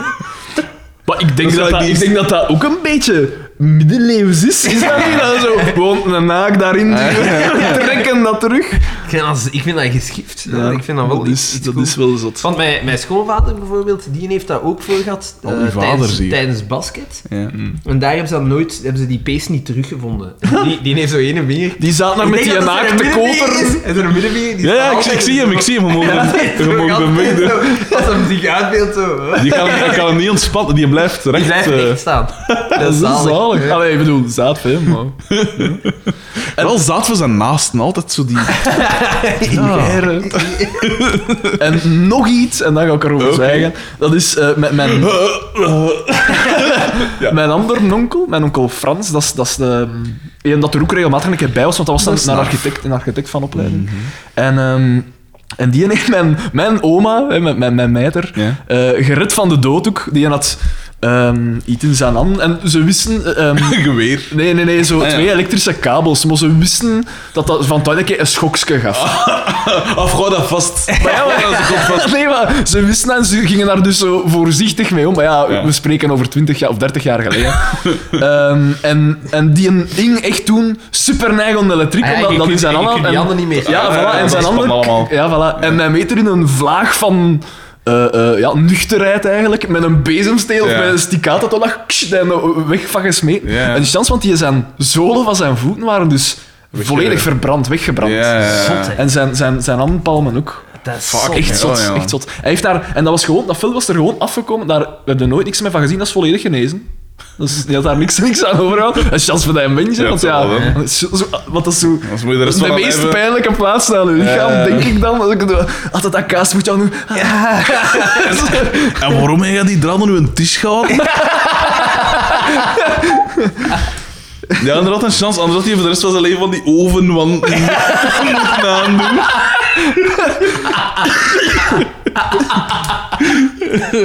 Maar ik denk Dat dat, zou ik dat, niet- ik denk dat dat ook een beetje middeleeuws is. Is dat niet? Dat <laughs> zo, gewoon een naak daarin duwen, <laughs> trekken dat terug. Ik vind dat, ik vind dat geschift. ik vind dat wel dat iets, is, iets dat goed. is wel zot. Want mijn, mijn schoonvader bijvoorbeeld, die heeft dat ook voor gehad Al eh, die vaders tijdens, hier. tijdens basket. Ja. En daar hebben ze, dat nooit, hebben ze die pees niet teruggevonden. Die, die heeft zo ene vinger. Die zaten <laughs> daar met die naak te koper. En zo'n middenvinger. die Ja, staat ja ik, altijd ik zie hem, ik zie hem. Je mag <laughs> zo- hem <laughs> ook altijd bemiddelen. zo- <laughs> Als hij zich uitbeeldt zo. hè. Die kan, die kan hem niet ontspannen, die blijft recht. Die blijft eh, <laughs> echt staan. Dat is zalig. Allee, ik bedoel, zaad voor hem, man. Wel zaten we zijn naasten altijd zo die... <laughs> <laughs> Ja. En nog iets, en dan ga ik erover Oké. zwijgen. Dat is eh, met <laughs> mijn, mijn andere onkel, mijn onkel Frans. Dat is, dat is de een dat er ook regelmatig een keer bij was, want dat was een, een, architect, een architect van opleiding. Mhm. En... ehm, en die heeft mijn, mijn oma, hè, mijn, mijn, mijn mijter, Ja. eh, gered van de dood ook. Die had ehm, iets in zijn hand. En ze wisten... eh, ehm, <laughs> Geweer. Nee, nee, nee, zo Ah, ja. twee elektrische kabels. Maar ze wisten dat dat van tijd een keer een schokske gaf. Of gooi dat vast. Maar ja, maar- nee, maar ze wisten en ze gingen daar dus zo voorzichtig mee om. Maar ja, Ja. we spreken over 20 jaar of 30 jaar geleden. <laughs> Ehm, en, en die een ding echt toen super neig onder elektriek. Ah ja, omdat je dat kunt- in zijn je handen. kunt die en- handen niet meer- Ja, Ah, voilà, ja, en dat zijn is handen. van allemaal. Ja, voilà. En mijn meter in een vlaag van. eh, eh, ja, nuchterheid eigenlijk, met een bezemsteel Ja. of met een staccato tot dat ksh, dat hij weg van gesmeten. Ja. En die chance, want die zijn zolen van zijn voeten waren dus volledig verbrand, weggebrand. Ja, ja, ja. Zot, hè. En zijn, zijn, zijn handpalmen ook. Dat is Fuck. zot. Echt zot, Oh, ja. echt zot. Hij heeft daar, en dat was gewoon, dat film was er gewoon afgekomen, daar we hebben we nooit niks meer van gezien, dat is volledig genezen. Dus die had daar niks, <laughs> niks aan overhouden. Een chance voor dat een mens, hè, Ja, want dat ja, wel, hè. want dat is zo, want dat is zo- Anders moet je dat de rest is de van meest leven- pijnlijke plaats aan uw lichaam, Ja. denk ik dan. Dat ik doe, Had dat aan kaas moet je aan doen. En waarom heb je die draad nu een tisch gehad? Ja, inderdaad, een chance. Anders had hij voor de rest van zijn leven van die oven want moeten aandoen. <laughs>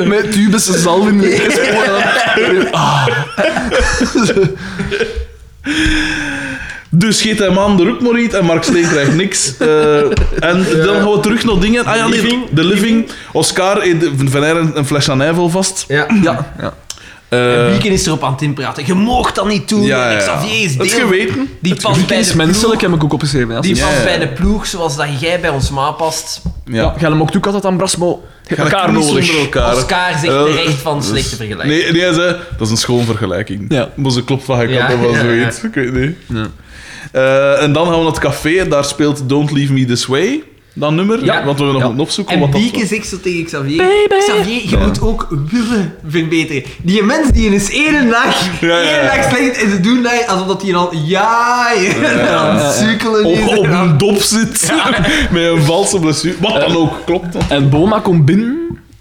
Met tubes en zalm in de gespoten. Ah. Dus geeft hij Maan de Roek maar iets en Mark Steen krijgt niks. Eh, en dan gaan we terug naar dingen. Ah ja, nee, Living. de Living. Oscar eet Van Eyre een fles aan Eiffel vast. Ja. Ja. Eh, Wieken is erop aan het inpraten. Je moogt dat niet doen. ja, ja, ja. Xavier is Dat is deel- geweten. Die Het past publiek bij is de Menselijk ploeg. heb ik ook opgeschreven. Ja. Die Ja, past ja. bij de ploeg zoals dat jij bij ons ma past. ja. Ja, ga hem ook toe, altijd aan Brasmo. Je hebt elkaar Niet zonder nodig. elkaar. Oscar zegt Eh, terecht van slechte vergelijking. Nee, nee, hij zei, dat is een schoonvergelijking. Ja. Maar ze klopt van haar Ja, kant of wel ja, zoiets. Ik weet niet. Eh, en dan gaan we naar het café. Daar speelt Don't Leave Me This Way. Dat nummer. Ja. Want we nog Ja. moeten opzoeken. En wat dat- Bieke zegt zo tegen Xavier... Xavier, je moet ook willen verbeteren. Die mens die is één dag, Ja, ja, ja. één dag slecht en ze doen dat alsof dat hij al jaren aan het sukkelen is. op, op een dop zit. <laughs> Met een valse blessure. Wat dan ook. Klopt dat? En Boma komt binnen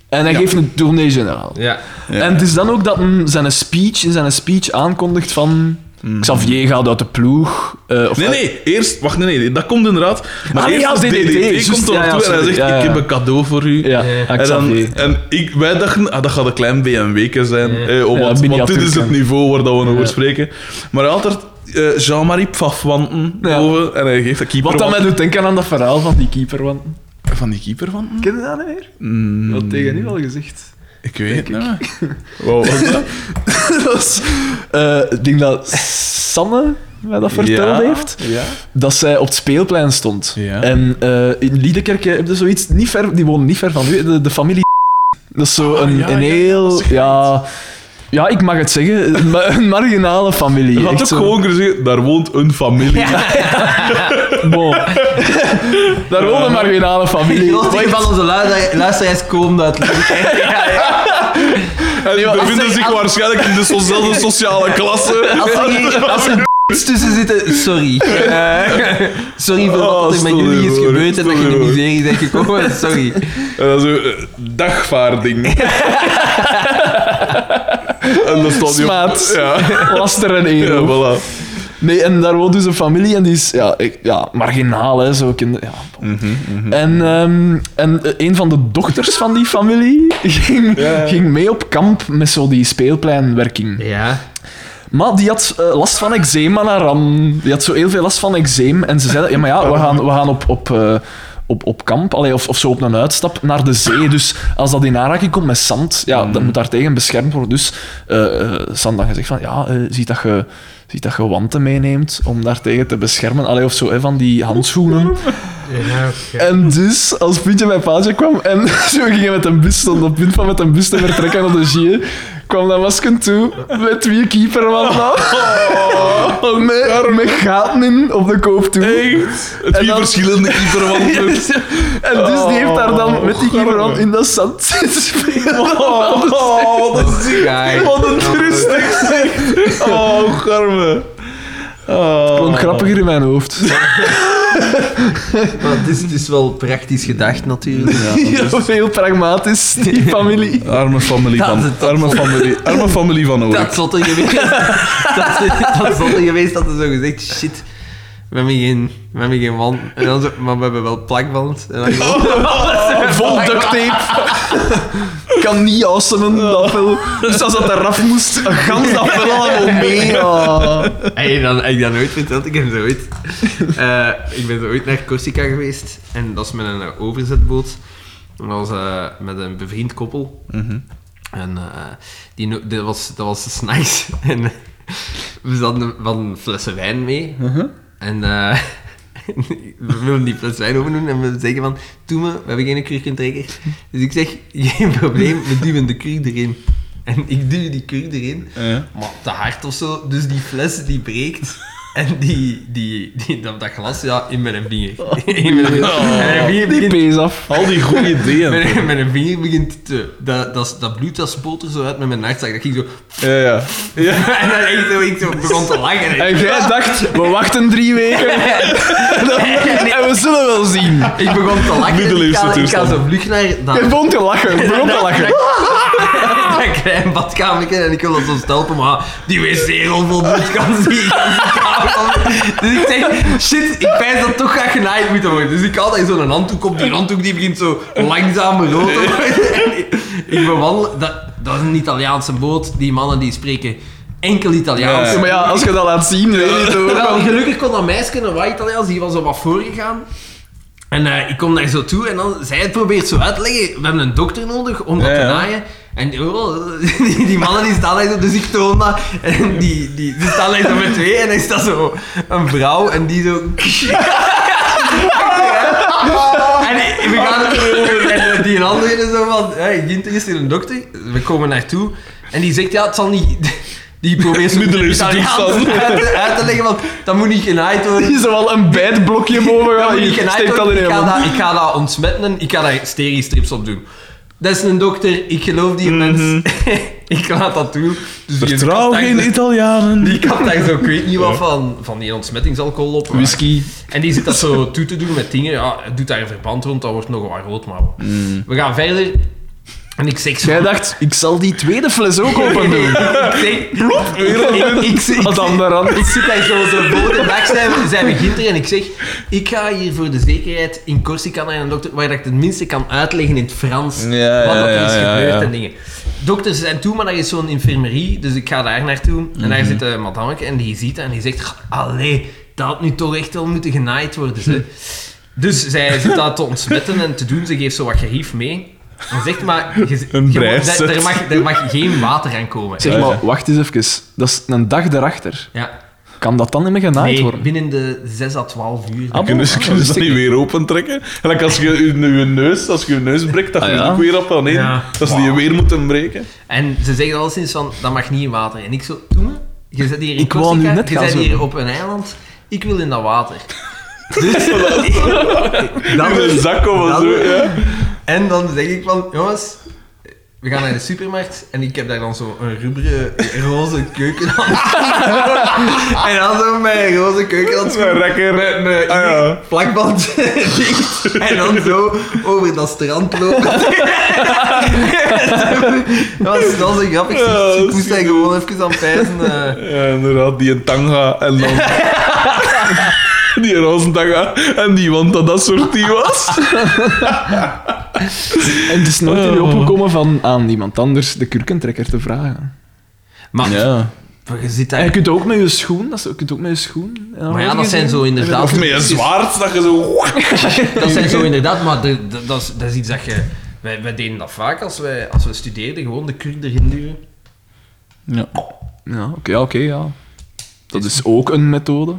en hij geeft een tournee-generaal. Ja. Ja. En het is dan ook dat hem zijn speech, in zijn speech aankondigt van... Xavier gaat uit de ploeg. eh, of Mhm. Nee, nee, eerst... Wacht, nee, nee, dat komt inderdaad. Maar Ah, nee, eerst ja, als DDT, juist, komt er ja, ja, naartoe en hij sorry, zegt, ja, ik ja. heb een cadeau voor u. Ja, Ja. aan En, dan, Xavier. en ik, wij dachten, ah, dat gaat een klein BMW'ke zijn. Eh, oh, Ja, want, want dit is miniatuurke. het niveau waar dat we over spreken. Maar hij had er eh, Jean-Marie Pfafwanten Ja. boven en hij geeft dat keeper Wat dat mij doet denken aan dat verhaal van die keeper, want... Van die keeperwanten? Ken je dat niet meer? Mm. Dat tegen nu al gezegd. Ik weet het niet <laughs> meer. Wow, wat is dat? <laughs> dat was, eh, ik denk dat Sanne mij dat verteld Ja, heeft. Ja. dat zij op het speelplein stond. Ja. En eh, in Liedekerke heb je zoiets, niet ver, die wonen niet ver van u, de, de familie. Dat is zo een, Ah, ja, een ja, heel. dat is Ja, ja, ik mag het zeggen, een, ma- een marginale familie. Je had Echt ook zo. gewoon gezegd, daar woont een familie. Bon. <laughs> Daar woont een marginale familie. Groot deel van onze luister- luisteraars komen <laughs> uit <laughs> <laughs> En die maar als bevinden zij- zich waarschijnlijk <laughs> in dezelfde sociale klasse. Als <laughs> er, als er d***s Dus tussen zitten, sorry. Eh, sorry voor wat er met Oh, sorry, jullie is hoor. gebeurd en dat Sorry, jullie hoor. niet serie zijn gekomen. Sorry. En dan zo, eh, <laughs> dagvaarding. en dan stond hij op- Smaat. Ja, Laster en ja, ero. voilà. Nee, en daar woont dus een familie en die is ja, ik- ja, marginaal, hè, zo kinderen. Ja. Mhm, En, ehm, en eh, een van de dochters van die familie <laughs> ging, Ja, ja. ging mee op kamp met zo die speelpleinwerking. Ja. Maar die had eh, last van eczeem aan haar hand. Die had zo heel veel last van eczeem. En ze zei, ja, maar ja, we gaan, we gaan op... op eh, op, op kamp, allee, of, of zo op een uitstap naar de zee. Dus als dat in aanraking komt met zand, ja, dat moet daartegen beschermd worden. Dus eh eh, San dan gezegd van, ja, eh, ziet dat je ziet dat je wanten meeneemt om daartegen te beschermen. Allee, of zo, hè, van die handschoenen. En dus, als Pietje bij Paasje kwam en <laughs> zo gingen met een bus, stond op het punt van met een bus te vertrekken op de Gier, kwam dat masken toe met wie keeper wat nou? Met, met gaten in op de koop toe. Echt? Het En vier dan- verschillende keeperwanten. <laughs> En dus die heeft daar dan met die keeper aan in dat zand <laughs> zitten spelen. <laughs> Oh, wat een ziek. Kijk. Wat een trustig zeg. Oh, garme. Oh. Gewoon grappiger in mijn hoofd. Maar het is, het is wel praktisch gedacht, <laughs> natuurlijk. <laughs> Heel pragmatisch, die familie. Arme familie Dat is van, het toch arme <laughs> familie, arme familie van Dat Oorlijk. zotte geweest. <laughs> Dat, dat zotte geweest dat er zo gezegd, shit. We hebben geen, we hebben geen wand. En dan zo, maar we hebben wel <laughs> plakband. En dan gewoon- Oh, Vol duct tape. kan niet asemen, dat veel. Dus als dat eraf moest, gans dat wel allemaal <laughs> mee. ah. Hey, dan, heb ik dat nooit verteld. Ik, heb zo ooit, eh, ik ben zo ooit naar Corsica geweest. En dat is met een eh, overzetboot. Dat was eh, met een bevriend koppel. En eh, die, no- dat was, dat was s'nachts. <laughs> En eh, we zaten van flessen wijn mee. En eh, <laughs> we wilden die fles wijn open doen. En we zeggen van, doe me, we hebben geen kurkentrekker. Dus ik zeg, geen probleem, we duwen de kurk erin. En ik duw die kurk erin. Ja. Maar te hard of zo. Dus die fles die <laughs> breekt. En die, die, die, dat, dat glas ja, in mijn vinger. <laughs> In mijn vinger. Oh. En mijn Die vinger begint, pees af. Al die goede <laughs> ideeën. mijn, mijn vinger begint te... Dat, dat, dat bloed dat spoot er zo uit met mijn nachtzak. Dat ging zo... <laughs> Ja, ja. ja. En dan echt zo, ik zo begon te lachen. hè. En jij dacht, we wachten drie <laughs> weken. En we zullen wel zien. Ik begon te lachen. Ik Middeleeuwse ga, ik ga toestand. zo vlug naar dat, Je begon te lachen, je begon te lachen. <laughs> dat klein badkamertje en ik wil dat zo stelpen, maar die wc-rol vol bloed kan zien. <laughs> Dus ik zeg, shit, ik pijn dat toch gaat genaaid moeten worden. Dus ik haal daar zo'n handdoek op, die handdoek die begint zo langzaam rood <laughs> te worden. En ik- Ik bewandel, dat, dat is een Italiaanse boot, die mannen die spreken enkel Italiaans. Ja. maar ja, als je dat laat zien, weet je het ook Wel, wel. gelukkig kon dat meisje een white Italiaans, die was al wat voorgegaan. En eh, ik kom daar zo toe en dan, zij probeert zo uit te leggen, we hebben een dokter nodig om dat Ja, te ja. naaien. En die- oh, die, die mannen die staan daar zo, dus ik toon dat. En die, die, die staan daar zo met twee en dan staat zo een vrouw en die zo... En die- we gaan en die andere is zo van, hey, Ginter is hier een dokter, we komen naartoe. En die zegt, ja, het zal niet... Die probeert zo Middeleeuwse Italiaans toestand. uit, te- uit te leggen, want dat moet niet genaaid worden. Die is er wel een bijtblokje boven Dat gaan. moet niet Hier, genaaid steek dat worden. in je ik, ga mond. dat, ik ga dat ontsmetten, en ik ga daar steriestrips op doen. Dat is een dokter, ik geloof die Mhm. mens. <laughs> ik laat dat toe. Dus die Vertrouw kapt daar geen zo- Italianen. Die kapt daar zo, ik weet niet wat van, van die ontsmettingsalcohol op. Whisky. En die zit dat zo toe te doen met dingen. Ja, het doet daar een verband rond, dat wordt nogal wat rood, maar... We gaan verder. En ik zeg zo... Mhm. Jij dacht, ik zal die tweede fles ook <laughs> open doen. Ik zeg... Ik, ik, ik, Wat dan daaraan? ik zit daar zo zo voor de dag zijn, zijn we ginter en ik zeg... Ik ga hier voor de zekerheid in Corsica naar een dokter waar dat ik het minste kan uitleggen in het Frans Ja, wat ja, dat er is ja, ja, gebeurd ja. en dingen. Dokters zijn toe, maar daar is zo'n infirmerie, dus ik ga daar naartoe. En Mhm. daar zit een madameke en die ziet dat en die zegt... Allee, dat had nu toch echt wel moeten genaaid worden, ze. <laughs> Dus zij zit dat te ontsmetten en te doen. Ze geeft zo wat gerief mee. En zegt maar... Je, Een je- breis daar, daar zet. mag, daar mag geen water aan komen. Zeg maar, wacht eens even. Dat is een dag daarachter. Ja. Kan dat dan niet meer genaaid Nee, worden? binnen de 6 à 12 uur. Ah, Kunnen ze, kunnen ze dat niet weer opentrekken? En dan als je je, je neus, als je je neus breekt, dat je Ah, ja. ook weer op aan één. Ja. Dat ze die weer moeten breken. En ze zeggen al sinds van, dat mag niet in water. En ik zo, doe me, je zit hier in Ik wou Corsica, nu net je gaan zit hier zoeken. op een eiland, ik wil in dat <laughs> water. Dus- <laughs> In een zak of dat- zo. Ja. En dan zeg ik van, jongens, we gaan naar de supermarkt en ik heb daar dan zo een rubberen roze <laughs> keukenhand. <laughs> en dan zo mijn roze keukenhand Een rekker. met mijn Ah, ja. <laughs> plakband dicht en dan zo over dat <laughs> strand lopen. dat, was, dat was een grappig. Ja, ik dat is moest daar gewoon even aan pijzen. eh. Ja, inderdaad, die een tanga en <laughs> dan... die roze tanga en die want dat dat soort die was. En het is nooit in je opgekomen van aan iemand anders de kurkentrekker te vragen. Maar Ja. maar je zit En je daar... kunt ook met je schoen. Dat is, je kunt ook met je schoen. Maar ja, dat zijn zo inderdaad... Of met je zwaard, dat je zo... Dat zijn zo inderdaad, maar de- de- dat, is, dat is iets dat je... Wij, wij deden dat vaak als, wij, als we studeerden, gewoon de kur erin duwen. Ja. Ja, oké, ja, oké, ja. Dat is ook een methode.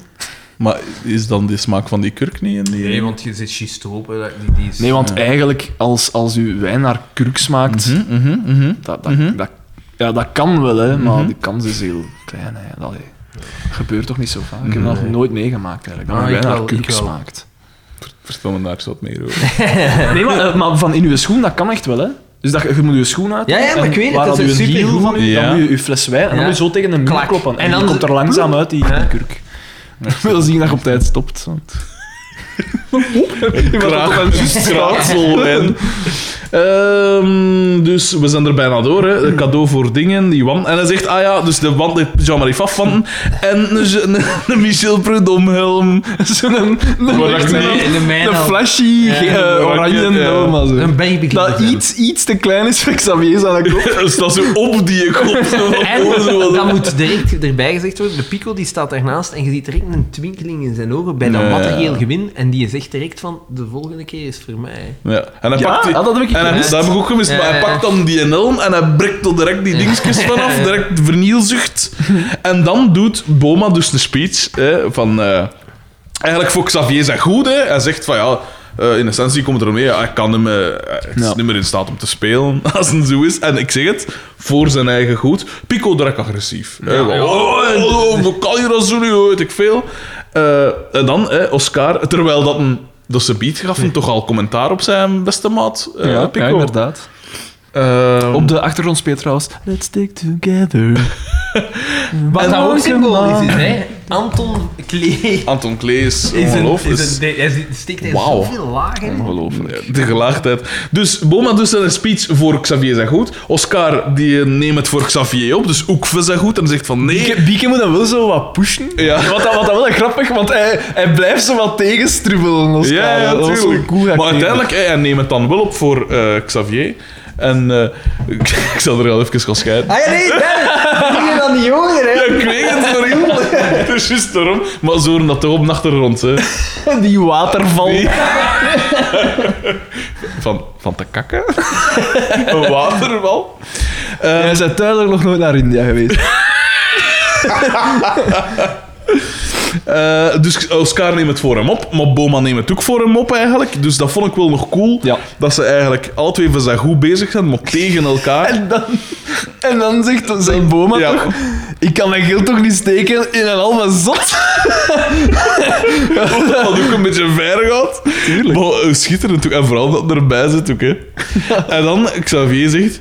Maar is dan de smaak van die kurk niet? in die- Nee, want je zit schist open. Die, die is... Nee, want eigenlijk, als, als u wijn naar kurk smaakt, Mhm, mhm, mhm. dat, dat, dat, ja, dat kan wel, hè, maar de kans is heel klein. Hè. Allee, dat gebeurt toch niet zo vaak? Ik heb dat nog nooit meegemaakt, eigenlijk. Dat Ah, u ik wijn naar wel, ik kurk wel. smaakt. Vertel me daar zo wat meer <laughs> over. Nee, maar, eh, maar van in uw schoen, dat kan echt wel, hè? Dus dat, je moet je schoen uit. Ja, ja, maar en ik weet het, waar dat had is u een een supergoed. hiel van u, Ja. dan moet je je fles wijn, en dan Ja. moet je zo tegen een muur Klak. kloppen. En, En dan dan- komt er langzaam uit die, Ja. die kurk. Ik <laughs> wil zien dat je op tijd stopt. Want... <laughs> Ik Graag. een straatsel ben. Ehm, dus we zijn er bijna door. Hè. Een cadeau voor dingen, die wand. En hij zegt, ah ja, dus de wand heeft Jean-Marie Pfaff van. En een, Je- een, een Michel Prudhomme-helm. Zo'n een, Waar ik mee- een, in de mijn een al. flashy Ja. eh, oranje Ja. ja. maar zo. Een baby Dat iets, iets te klein is voor Xavier's aan <laughs> de kop. Dus <laughs> dat zo op die kop. Zo van boven, zo En wat- dat moet direct erbij gezegd worden. De Pico die staat daarnaast en je ziet direct een twinkeling in zijn ogen bij dat Ja. materieel gewin. En die zegt direct van, de volgende keer is het voor mij. Ja. En hij Ja, pakt die, ah, dat heb ik en hij, gemist. dat heb ik ook gemist. Ja, maar hij ja, ja. pakt dan die helm en hij breekt er direct die dingetjes <laughs> vanaf. Direct vernielzucht. En dan doet Boma dus een speech hè, van... eh, eigenlijk voor Xavier zijn goed. Hè. Hij zegt van ja... eh, in essentie komt het ermee, ja, hij kan hem, eh, hij is Ja. niet meer in staat om te spelen <laughs> als het zo is. En ik zeg het, voor zijn eigen goed. Pico direct agressief. hè. Van, ja. Oh, oh, hoe kan je dat zo nu, weet ik veel. Eh, en dan, eh, Oscar, terwijl dat een... Dus ze biedt gaf hem toch al commentaar op zijn beste maat, eh, Pico. inderdaad. Ehm, Op de achtergrond speelt trouwens Let's Stick <laughs> Together. Wat En dat ook ook symbolisch een is, hè. Anton Klee Anton Klees, is een... ongelooflijk. Is een hij zit- steekt er Wauw. zoveel lagen in. Ongelooflijk. De gelaagdheid. Dus Boma doet zijn speech voor Xavier zijn goed. Oscar die eh, neemt het voor Xavier op, dus Oekve zijn goed en zegt van nee. Bieke, Bieke moet dat wel zo wat pushen. Ja. Wat, dat, wat dat wel grappig, want hij, hij blijft zo wat tegenstrubbelen. Oscar. Ja, ja, dat was zo natuurlijk. goed maar acteren. uiteindelijk, eh, hij neemt het dan wel op voor eh, Xavier. Eh, En eh, <laughs> ik, ik zal er al even gaan scheiden. Ah ja, nee, dat is dan die jongeren, hè. Ja, ik weet het voor jou. Dus juist daarom. Maar zo horen dat toch op de achtergrond. Hè. <laughs> Die waterval. Die- Van, van te <laughs> kakken? Een waterval? Jij bent duidelijk nog nooit naar India <laughs> geweest. Eh, dus Oscar neemt het voor hem op, maar Boma neemt het ook voor hem op eigenlijk. Dus dat vond ik wel nog cool. Ja. Dat ze eigenlijk alle twee van zijn goed bezig zijn, maar tegen <laughs> elkaar. En dan, en dan zegt, zegt Boma Ja. toch... Ik kan mijn geld toch niet steken in een halve zot? Dat had ook een beetje ver gaat. Tuurlijk. Maar eh, schitterend ook. En vooral dat erbij zit ook. Hè. En dan Xavier zegt: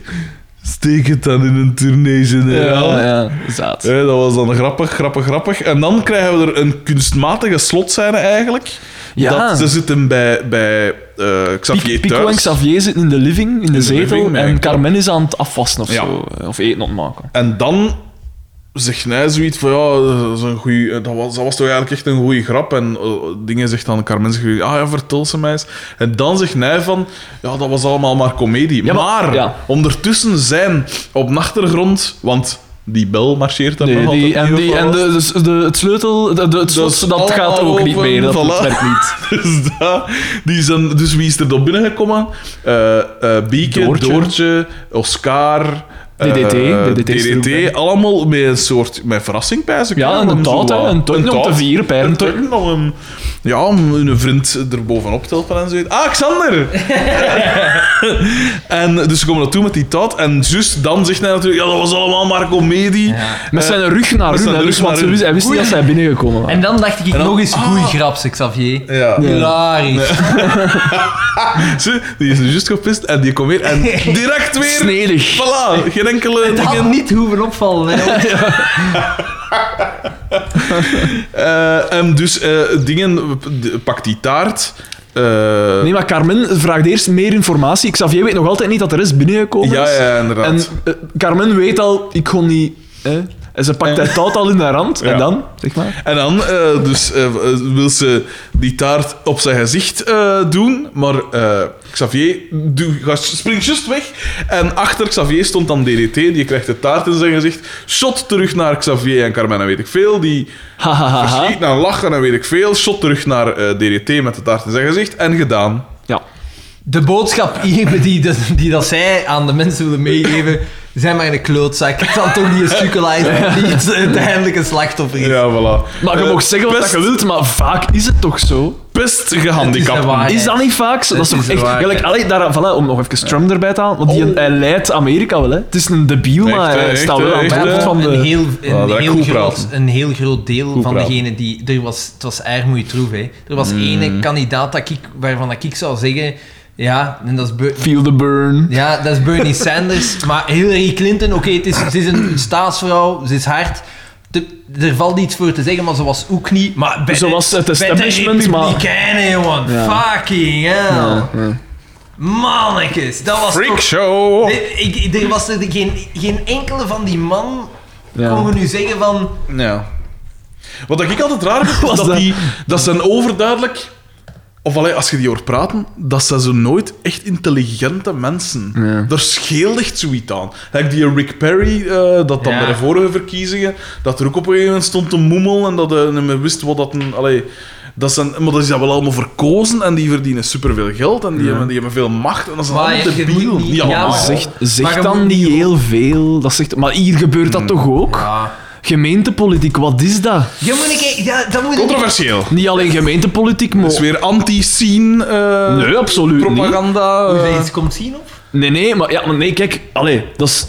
steek het dan in een tournee generaal. ja. Zaad. Hé, dat was dan grappig, grappig, grappig. En dan krijgen we er een kunstmatige slotscène eigenlijk. Ja. Dat ze zitten bij, bij eh, Xavier Pic- Pico thuis. en Xavier zitten in de living, in de, de zetel, living, met en een Carmen is aan het afwassen of Ja. zo. eh, Of eten opmaken. En dan zegt hij zoiets van, ja, dat, is een goeie, dat, was, dat was toch eigenlijk echt een goede grap. En eh, dingen zegt dan Carmen, zegt, ah ja, vertel ze mij eens. En dan zegt hij van, ja, dat was allemaal maar komedie. Ja, maar- maar ja. ondertussen zijn op de achtergrond, want die bel marcheert daar Nee, nog die, altijd en niet, die, of en wat was de, dus de, het sleutel, de, de- het Dat slot, is dat gaat allemaal ook niet open, meer. Dat, voilà. dat werkt niet. <laughs> Dus, dat, die zijn, dus wie is er dan binnengekomen? Eh eh Bieke, Doortje. Doortje, Oscar. eh, DDT, DDT is er ook bij. allemaal met een soort met verrassing bij ze. Ja, kwamen, een zo taart, hè, wat. een taart om te taart. vieren, bij een Een taart om hem- ja, om hun vriend er bovenop te helpen en zoiets. Ah, Xander! <laughs> en dus ze komen naartoe met die taart en juist dan zegt hij natuurlijk, ja, dat was allemaal maar comedie. Met zijn rug naar hun, Eh, met zijn hè, rug dus, want naar ze hun. wist- hij wist niet dat zij binnengekomen was. En dan dacht ik, dan- nog eens Ah. goeie grap, zeg Xavier. Ja. Hilarisch. Zie, die is er juist gepist en die komt weer <laughs> en direct weer... Snedig. Voilà, geen enkele Het had dingen. niet hoeven opvallen, hè. Eh, en dus eh, dingen, p- pak die taart. eh, Nee, maar Carmen vraagt eerst meer informatie. Xavier weet nog altijd niet dat de rest binnengekomen ja, is. ja, inderdaad. En eh, Carmen weet al, ik kon niet... Hè? En ze pakt het taart al in haar hand. Ja. En dan, zeg maar... En dan eh, dus, eh, eh, wil ze die taart op zijn gezicht eh, doen, maar eh, Xavier doe, gaat- springt juist weg. En achter Xavier stond dan DDT, die krijgt de taart in zijn gezicht. Shot terug naar Xavier en Carmen en weet ik veel. Die Ha, ha, ha, ha. verschiet naar lachen en weet ik veel. Shot terug naar eh, DDT met de taart in zijn gezicht en gedaan. Ja. De boodschap die, die, dat- die dat zij aan de mensen willen meegeven, zijn maar een klootzak. Het zal toch niet een sukkelaar zijn die het uiteindelijk een slachtoffer is. Ja, voilà. Maar je Eh, mag zeggen wat best- je wilt, maar vaak is het toch zo? best Het is de gehandicapt. waarheid. Is dat niet vaak zo? Ah, Dat is Het toch is echt... waar, gelijk, hè. allee, daar, voilà, om nog even Trump erbij te halen, want die, hij leidt Amerika wel, hè. Het is een debiel, Oh. Echt, maar hè, hij echt, staat wel hè, aan het echt, hoofd hè. van een de... heel, een, Ah, dat heel goed groot, praten. een heel groot deel van praten. Mm. degenen die... Er was, het was armoeie troef, hè. Er was ene kandidaat dat ik, waarvan dat ik zou zeggen... Ja, en dat is... Beu- Feel the burn. ja, dat is Bernie Sanders. Maar Hillary Clinton, oké, het is, het is een staatsvrouw, ze is hard. Te- er valt iets voor te zeggen, maar ze was ook niet. Maar bij Ze de- was het bij de establishment, maar- Republikeinen, jongen. Ja. Fucking hell. Mannekes, dat was. Freak toch- show! Nee, ik, ik- er was er geen, geen enkele van die man. Ja. kon we nu zeggen van. Ja. Wat ik altijd raar vind, <laughs> Was is dat, dat- die, dat ze overduidelijk... Of allee, als je die hoort praten, dat zijn zo nooit echt intelligente mensen. Daar scheelt echt zoiets aan. Kijk, die Rick Perry, eh, dat dan Ja. bij de vorige verkiezingen, dat er ook op een gegeven moment stond te moemel en dat hij niet meer wist wat dat een... Allee, dat zijn, maar dat is dat wel allemaal verkozen en die verdienen superveel geld en die, hebben, die hebben veel macht en dat zijn Maar allemaal je- je debielen. moet niet- Niet ja, allemaal. maar- Zegt, Maar zegt je dan moet niet niet- heel veel. Dat zegt, maar hier gebeurt dat toch ook? Ja, Gemeentepolitiek, wat is dat? ja moet ik. Ja, dat moet ik- Controversieel. Niet alleen gemeentepolitiek, maar... Het is weer anti-scene eh, Nee, absoluut niet. propaganda. Moet je eh. dat iets komt zien of? Nee, nee, maar, ja, maar nee, kijk, allee, dat is...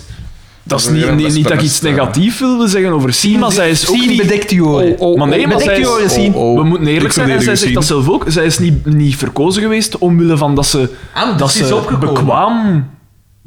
Dat is Dat is niet, weer niet, een niet dat ik iets bespannend, eh. negatief wil zeggen over Sien, maar zij is ook Zien niet... Oh, bedekt uw oren. Maar nee, maar zij Bedekt is- uw oren, zien. Oh, We moeten eerlijk ik zijn, en zij verdedig zegt dat Sien. zelf ook. Zij is niet, niet verkozen geweest omwille van dat ze, Ah, dus dat ze is ze opgekomen. bekwaam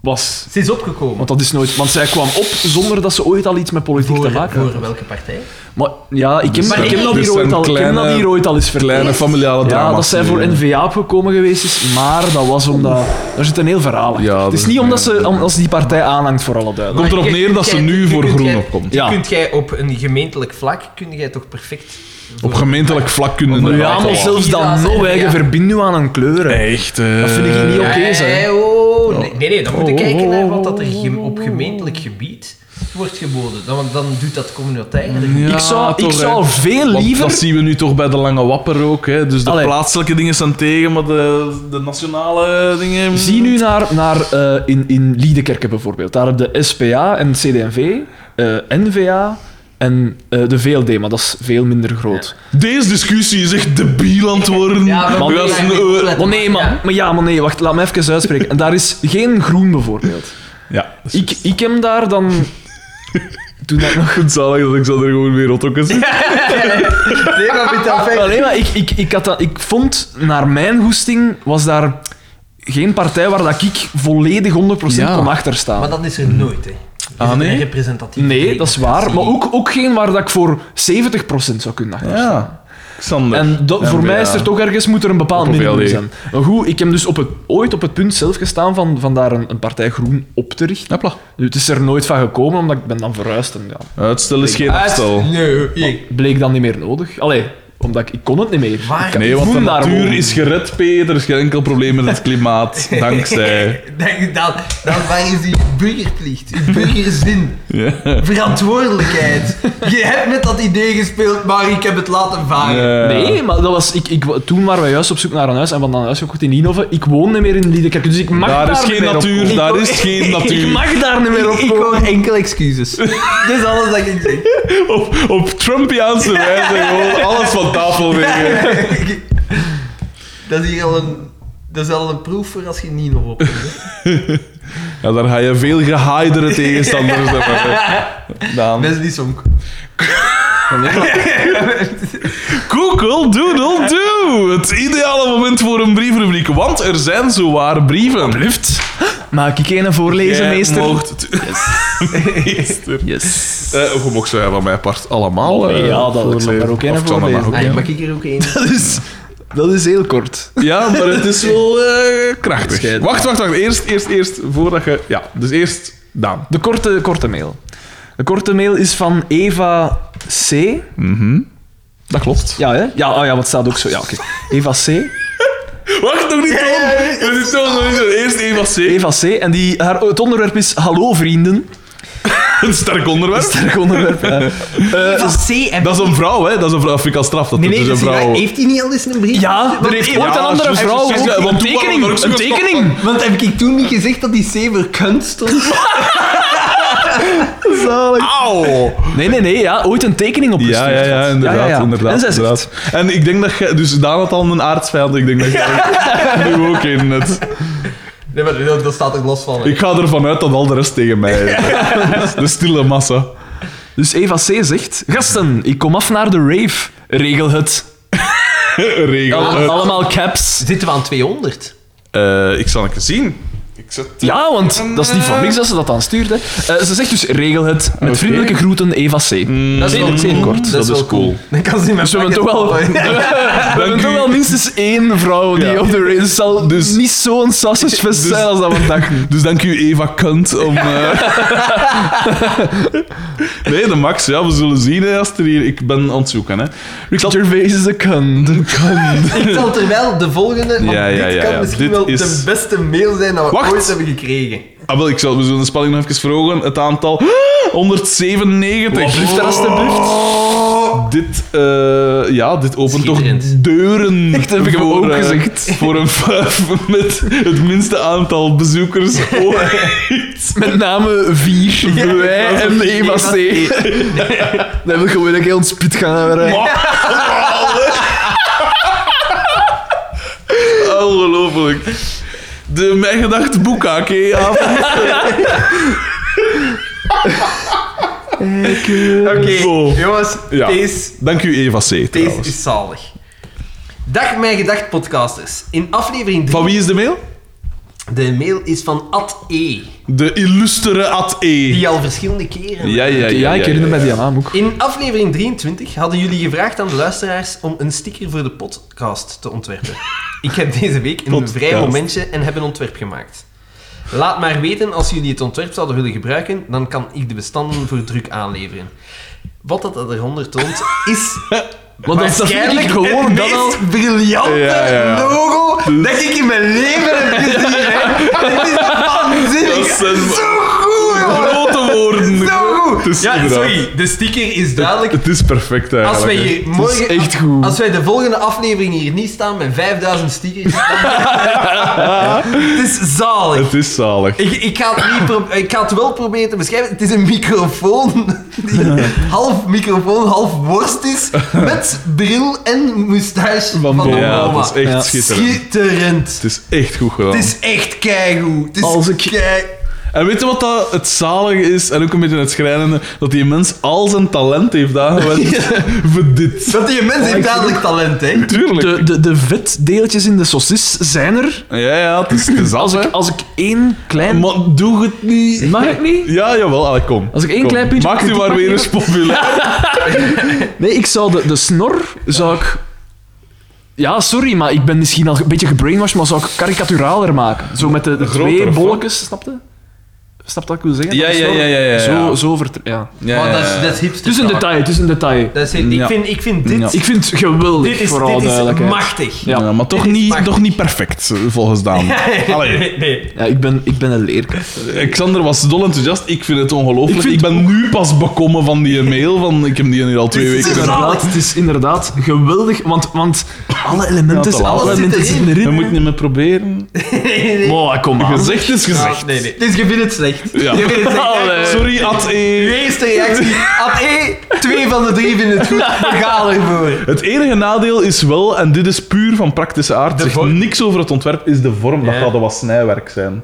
was. Ze is opgekomen. Want dat is nooit... Want zij kwam op zonder dat ze ooit al iets met politiek te Voor, maken voor had. welke partij? Maar ja, ik heb, Maar ik heb, ik- dat, dus hier ooit zijn al, ik heb dat kleine- hier ooit al eens Kleine verleid. familiale drama. Ja, dat zij voor N-VA opgekomen geweest is, maar dat was omdat... Daar zit een heel verhaal achter. Ja, Het is dat- niet omdat ze, omdat ze dus die partij aanhangt, voor alle duidelijkheid. Komt erop Maar jij- neer dat ze jij- nu je voor kunt groen jij- opkomt. je Ja. Kunt jij op een gemeentelijk vlak kun jij toch perfect eh, Op gemeentelijk vlak kunnen we Ja, dat maar wel. zelfs Ja, dan nog, hè. ja. je verbindt nu aan een kleur. hè. Echt, eh, Dat vind ik niet oké, Ja, zeg. ja, oh, geboden. Nee, nee, nee, dan moet je kijken naar wat dat er gem- op gemeentelijk gebied wordt geboden. Dan, want dan doet dat communautaire. ik zou, ik zou veel Want liever... dat zien we nu toch bij de Lange Wapper ook. Hè. Dus de Allee. plaatselijke dingen zijn tegen, maar de, de nationale dingen... Zie nu naar, naar eh, in, in Liedekerke bijvoorbeeld. Daar heb je SPA en CDV, eh NVA en eh, de VLD, maar dat is veel minder groot. Deze discussie is echt debiel aan het worden. Ja, we We moeten gaan- eigenlijk eh, opletten. Maar Oh, nee, man. Ja. Maar ja, maar nee, wacht, laat me even uitspreken. En daar is geen groen bijvoorbeeld. ja, dat is Ik, ik heb daar dan. Toen dat ik nog. zalig dat ik zou er gewoon weer rot op kan zitten. Nee, maar met dat feit- Alleen maar ik, ik, ik, had dat, ik vond, naar mijn goesting, was daar geen partij waar dat ik volledig 100% Ja. kon achterstaan. Maar dat is er nooit, hè. Is Ah, het nee? een representatieve Nee, dat is waar. Maar ook, ook geen waar dat ik voor 70% zou kunnen achterstaan. Ja. Xander. En dat, Ja, voor mij ja. is er toch ergens moet er een bepaald Op een minimum VLD. zijn. Maar goed, ik heb dus op het, ooit op het punt zelf gestaan van, van daar een, een partij groen op te richten. Hopla. Nu, het is er nooit van gekomen, omdat ik ben dan verhuisd. En, ja, Uitstel is geen afstel. Nee, nee. bleek dan niet meer nodig. Allee, omdat ik, ik kon het niet meer. Waar? Ik- ik Nee, want de moet daar natuur wonen. is gered, Peter. Er is geen enkel probleem met het <laughs> klimaat. Dankzij. Dan, dan, dan waar is die burgerplicht, die burgerzin, Ja. verantwoordelijkheid. Je hebt met dat idee gespeeld, maar ik heb het laten varen. Ja. Ah, Nee, maar dat was, ik, ik, toen waren we juist op zoek naar een huis en van een huis gekocht in Inhoven. Ik woon niet meer in Liedekerk, dus ik mag daar, Daar is niet geen meer op natuur, komen. daar is <laughs> geen Ik natuur. mag daar niet meer op Ik komen. hoor enkel <laughs> excuses. Dat is alles dat ik zeg. <laughs> Op, op <laughs> Trumpiaanse wijze gewoon alles van tafel wegen. Dat is hier al een, dat is al een proef voor als je niet nog <laughs> op. Ja, daar ga je veel gehaaidere tegenstanders <laughs> hebben. Daan. Mensen die zonk. Google <laughs> Doodle Do! Het ideale moment voor een brievenrubriek, want er zijn zowaar brieven. Blijft. Maak ik een voorlezen, meester? meester. Yes. Eh, je mocht ze van mij apart allemaal. Ja, eh, dat voorlezen. Alexander ook één Of het kan voorlezen. allemaal Ah, ook, ja, ja. mag ik er ook één? <laughs> Dat is, dat is heel kort. Ja, maar het is wel eh, krachtig. Schijt. Wacht, wacht, wacht. Eerst, eerst, eerst, voordat je... Ja, dus eerst Daan. De korte, korte mail. De korte mail is van Eva C. Dat klopt. Ja, hè? Ja, oh ja, want het staat ook zo. Ja, oké. Eva C. Wacht, nog niet, Toon. Dat is Toon, nog niet Toon. Eerst Eva C. Eva C. En die, haar, het onderwerp is Hallo vrienden. Een sterk onderwerp. Sterk onderwerp. ja. Eh, Van C en Dat is een vrouw, hè. Dat is een vrouw. Dat vind ik al straf. Dat Nee, dat nee, is dus dat een is niet vrouw. waar. heeft hij niet al eens een brief? ja, er Want- heeft Ja, ooit een andere juist, vrouw juist, juist, ook een want toen waren we tekening. er ook Een zo geschokt tekening. Want heb ik toen niet gezegd dat die C voor kunst <laughs> stond? Auw! Nee, nee, nee. Ah. Ja, ooit een tekening Ja, opgestuurd. ja, ja, had. inderdaad. ja, ja. inderdaad En zij zegt- inderdaad. En ik denk dat je... Dus Daan had al een aardsvijand. Ik denk dat jij nu ook in het... Nee, maar dat staat er los van. Ik ga ervan uit dat al de rest tegen mij is. De stille massa. Dus Eva C. zegt... Gasten, ik kom af naar de rave. Regel het. Eh, Regel. Alle- het. Allemaal caps. Zitten we aan 200? Eh, ik zal het zien. Ik zet... Ja, want dat is niet voor niks dat ze dat dan stuurt. Hè. Eh, ze zegt dus, regel het. Met Oké. vriendelijke groeten, Eva C. Mm. dat is wel zeer kort. Dat, is wel cool. Dan kan ze niet meer. Dus we hebben toch wel, we <laughs> hebben toch wel minstens één vrouw die Ja. op de race zal dus Dus- niet zo'n sausagefest Dus- zijn als dat we <laughs> dachten. Dus dank u, Eva Kunt, om... eh, nee, de Max, ja, we zullen zien hè, als er hier... Ik ben aan het zoeken, hè. Ricky Gervais is een kunt. <laughs> Ik zal terwijl de volgende. want Ja, ja, dit ja, kan ja. misschien Dit wel is- de beste mail zijn dat we Wacht. ooit hebben gekregen. Ah, wel, ik zal, we zullen de spanning nog even verhogen. Het aantal <gasps> 197. Wat blijft er alstublieft? Oh. Dit, eh, ja, dit opent toch Schitterend. deuren. <laughs> Echt, heb ik hem ook eh, gezegd. <laughs> Voor een vijf <laughs> met het minste aantal bezoekers <laughs> ooit. Met name vier. wij en E. Eva C. <laughs> Dan wil ik gewoon een heel spit gaan hebben. Ongelooflijk. De mijn gedacht boekake avond. Oké, Zo. jongens, Ja. deze, Dank u Eva C. deze Trouwens. is zalig. Dag, mijn gedacht podcasters. In aflevering 3. Van wie is de mail? De mail is van Ad E. De illustere Ad E. Die al verschillende keren. Ja, ja, ja. Ja, ik herinner me die naam ook. In aflevering 23 hadden jullie gevraagd aan de luisteraars om een sticker voor de podcast te ontwerpen. Ik heb deze week in een Podcast. vrij momentje en heb een ontwerp gemaakt. Laat maar weten als jullie het ontwerp zouden willen gebruiken, dan kan ik de bestanden voor druk aanleveren. Wat dat eronder toont, is Want Maar dat vind ik waarschijnlijk gewoon het dat meest al- briljante Ja, ja. logo dat ik in mijn leven heb gezien. hè. Dit is Dat eh, waanzinnig. zijn Zo goed, jongen. grote woorden. Zo goed. Het is ja, inderdaad- sorry. De sticker is duidelijk. Het is perfect eigenlijk. Als wij, hier Het is morgen, echt goed. als wij de volgende aflevering hier niet staan met 5000 stickers. dan- het is zalig. Het is zalig. Ik, ik, ga het niet pro- ik ga het wel proberen te beschrijven. Het is een microfoon die half microfoon, half worst is. Met bril en moustache van, de ja, mama. het is echt Ja. schitterend. Schitterend. Het is echt goed gedaan. Het is echt keigoed. Het is Als ik- kei- En weet je wat dat het zalige is? En ook een beetje het schrijnende. Dat die mens al zijn talent heeft aangewend voor dit. Want die mens heeft dadelijk talent, hè. Tuurlijk. De, de, de vetdeeltjes in de saucis zijn er. Ja, ja, het is, het is Als af, ik, hè. als ik één klein... Maar doe het niet. Mag ik niet? Ja, jawel. Allee, kom. Als ik één Kom. klein puntje- Maak u maar weer eens populair. Nee, ik zou de, de snor zou ik. Ja, sorry, maar ik ben misschien al een beetje gebrainwashed, maar zou ik karikaturaler maken. Zo met de, de grotere, twee of wat? bolletjes, snapte? Snap dat ik wil zeggen? Ja, De ja, snor. ja, ja, ja, Zo, ja. zo vert... Ja. Ja, Maar dat ja, is, ja. dat is hipster. Het is Dus een taal. detail, het is een detail. Dat is, ik, Ja. vind, ik vind dit... Ja. Ik vind het geweldig, Dit is, vooral dit is duidelijkheid. machtig. Ja. Ja, maar toch Dit is niet, makkelijk. toch niet perfect, eh, volgens <laughs> Daan. Allee, Nee, nee. Ja, ik ben, ik ben een leerkracht. Xander was dol enthousiast. Ik vind het ongelooflijk. Ik Ik, vind- ben nu pas bekomen van die mail. Van, ik heb die hier al twee Het is weken... inderdaad, het is inderdaad geweldig, want, want alle elementen, Ja, te laat. alle elementen Alles zit zitten erin. We erin. moeten niet meer proberen. Wow, kom aan. Gezegd is gezegd. Nee, nee. Dus je vindt het slecht. Ja. Oh. Je vindt het slecht. Allee. Sorry, at Uw E. eerste reactie. Ad E, twee van de drie vinden het goed. We gaan ervoor. Het enige nadeel is wel, en dit is puur van praktische aard, zegt niks over het ontwerp, is de vorm. Dat Ja. gaat wel wat snijwerk zijn.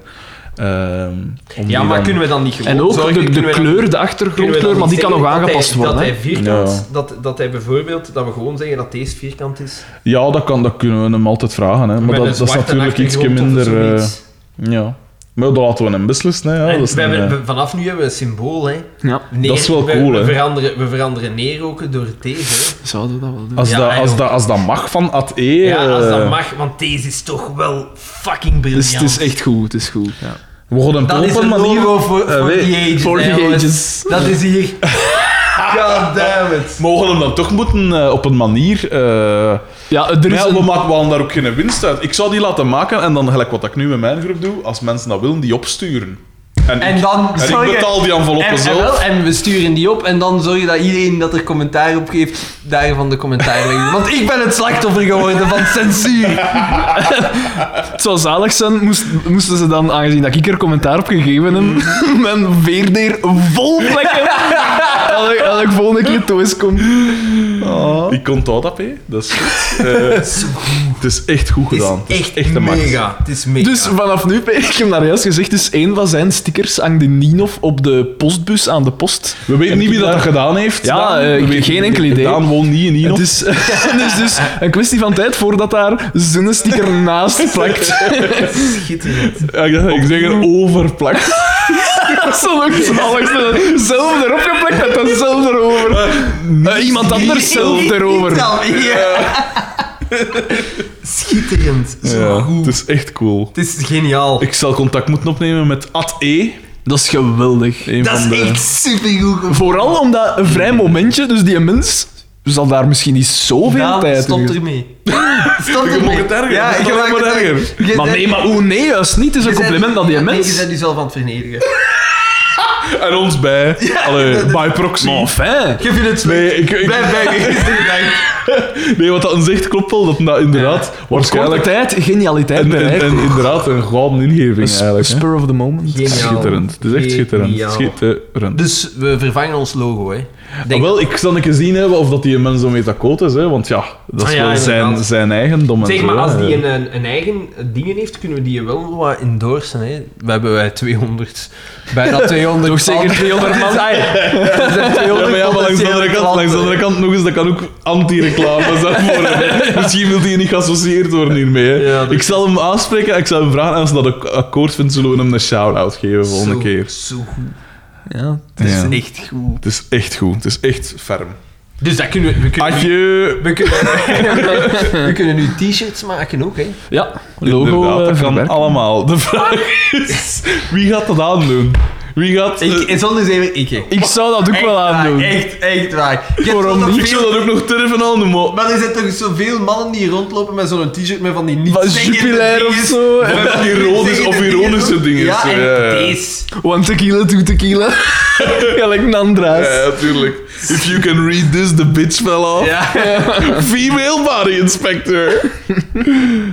Ehm, om die Ja, maar dan- kunnen we dan niet gewoon... En ook zorgen- de, kunnen de we dan- kleur, de kunnen we dan achtergrondkleur, maar niet die kan nog zeggen dat aangepast hij- worden. Dat hè. hij vierkant... Ja. Dat, dat hij bijvoorbeeld... Dat we gewoon zeggen dat deze vierkant is. Ja, dat, kan, dat kunnen we hem altijd vragen. Hè. Maar Met dat, een dat is zwarte natuurlijk iets achtergrond of minder... eh, zoiets. ja. Maar dat laten we hem beslissen. Hè. Ja, En dat, is we een, hebben- eh, we- vanaf nu hebben we een symbool, hè. Ja, Neer- Dat is wel we- cool, we, hè. veranderen, we veranderen neerroken door deze. hè. zouden we dat wel doen? als, Ja, dat, als, eigenlijk. dat, als dat mag van at E... Ja, als dat eh, mag, want deze is toch wel fucking briljant. Dus het is echt goed, het is goed. Ja. We gaan hem Dat is op een een manier... logo voor, Eh, voor weet- the ages. voor hè, the jongens. ages. Dat is hier. <laughs> God damn it. Mogen we hem dan toch moeten eh, op een manier... eh, er is Maar ja, we, een... maken, we halen daar ook geen winst uit. Ik zou die laten maken en dan, gelijk wat ik nu met mijn groep doe, als mensen dat willen, die opsturen. En, En ik, dan en zorgen- ik betaal die enveloppen En, en, zelf. wel, en we sturen die op en dan zorg je dat iedereen dat er commentaar op geeft, daarvan de commentaar legt. Want ik ben het slachtoffer geworden van <laughs> censuur. Het zou zalig zijn, moest, moesten ze dan, aangezien dat ik er commentaar op gegeven heb, <laughs> mijn veerdeer vol <laughs> plekken. Als ik, als ik volgende keer thuis kom. Oh. Ik onthoud dat, hè. Dat is <laughs> goed. Eh, het is echt goed Het gedaan. Het is is echt, de max. mega. Het is mega. Dus vanaf nu, P, ik heb daar juist gezegd, dus één van zijn stickers hangt in Ninov op de postbus aan de post. We weten En niet wie ik dat, daar- gedaan heeft. Ja, Daan. We eh, weten geen niet. enkel idee. Daan woont niet in Nino. Het is, <laughs> het is dus een kwestie van tijd voordat daar zo'n sticker naast plakt. Schitterend. Ja, ik dacht, ik zeg er <laughs> <laughs> overplakt. Dat zal ook zalig zijn. Zelf erop geplakt met datzelfde erover. Eh, iemand anders zelf erover. Dan weer. <laughs> Schitterend. Zo Ja, goed. het is echt cool. Het is geniaal. Ik zal contact moeten opnemen met Ad E. Dat is geweldig. Een Dat van is de... echt supergoed gevonden. Vooral omdat een vrij momentje, dus die mens zal daar misschien niet zoveel Ja, tijd in stop hebben. <laughs> ermee. Stop ermee. mag het erger. Ja, Dat ik mag maak maar het erger. erger. Je Maar bent- nee, maar hoe nee, juist niet. Het is je een bent- compliment aan die Ja, nee, mens. Je bent jezelf aan het vernederen. En ons bij. Allee, by proxy. Maar fijn. <laughs> Je vindt het Nee, ik, ik- Blijf bij me. Is er dank. <laughs> nee, wat dat zegt klopt wel. Dat dat inderdaad Korte waarschijnlijk... tijd, genialiteit En, en, bereikt. en inderdaad, een gouden ingeving Een eigenlijk. hè. spur of the moment. <laughs> Geniaal. Schitterend. Het is echt schitterend. Geniaal. Schitterend. Dus we vervangen ons logo, hè. Ah, wel, ik zal een keer zien hè, of dat die mens zo mee akkoord is. Hè, want ja, dat is Ah, ja, wel zijn, inderdaad. zijn eigendom. en Zeg zo, maar, hè. als die een, een eigen dingen heeft, kunnen we die wel wat endorsen. Hè? We hebben wij 200. <laughs> Bijna Ah, 200. Toch zeker 200 man. Ja, maar, ja, Ah, maar langs, de andere kant, langs de andere kant nog eens, dat kan ook anti-reclame zijn voor hem. <laughs> Misschien wil hij niet geassocieerd worden hiermee. Hè. Ja, dat ik zal hem aanspreken en ik zal hem vragen. En als hij dat ak- akkoord vindt, zullen we hem een shout-out geven volgende Zo- keer. Zo goed. Ja. Dat is Ja. echt goed. Het is echt goed. Het is echt ferm. Dus dat kunnen we... We kunnen, Adieu! we kunnen, we kunnen nu t-shirts maken ook, hè. <laughs> ja, logo Inderdaad, eh, dat kan verwerken. allemaal. De vraag is, wie gaat dat aandoen? Wie gaat... eh, Ik, en zonder zeven, ik. hè. Ik zou dat ook Echt wel waar, aandoen. Echt, echt waar. Je hebt Waarom wel niet? <laughs> nog ik veel- zou dat ook nog durven aan doen, maar... Maar er zijn toch zoveel mannen die rondlopen met zo'n t-shirt met van die niet Van zeggende Jupiler of dinges. zo. Of ironisch- of ironische dingen. Ja, en ja. deze. One tequila, two tequila. <laughs> Gelijk Nandra's. Ja, ja, tuurlijk. If you can read this, the bitch fell off. Ja. <laughs> Female body inspector.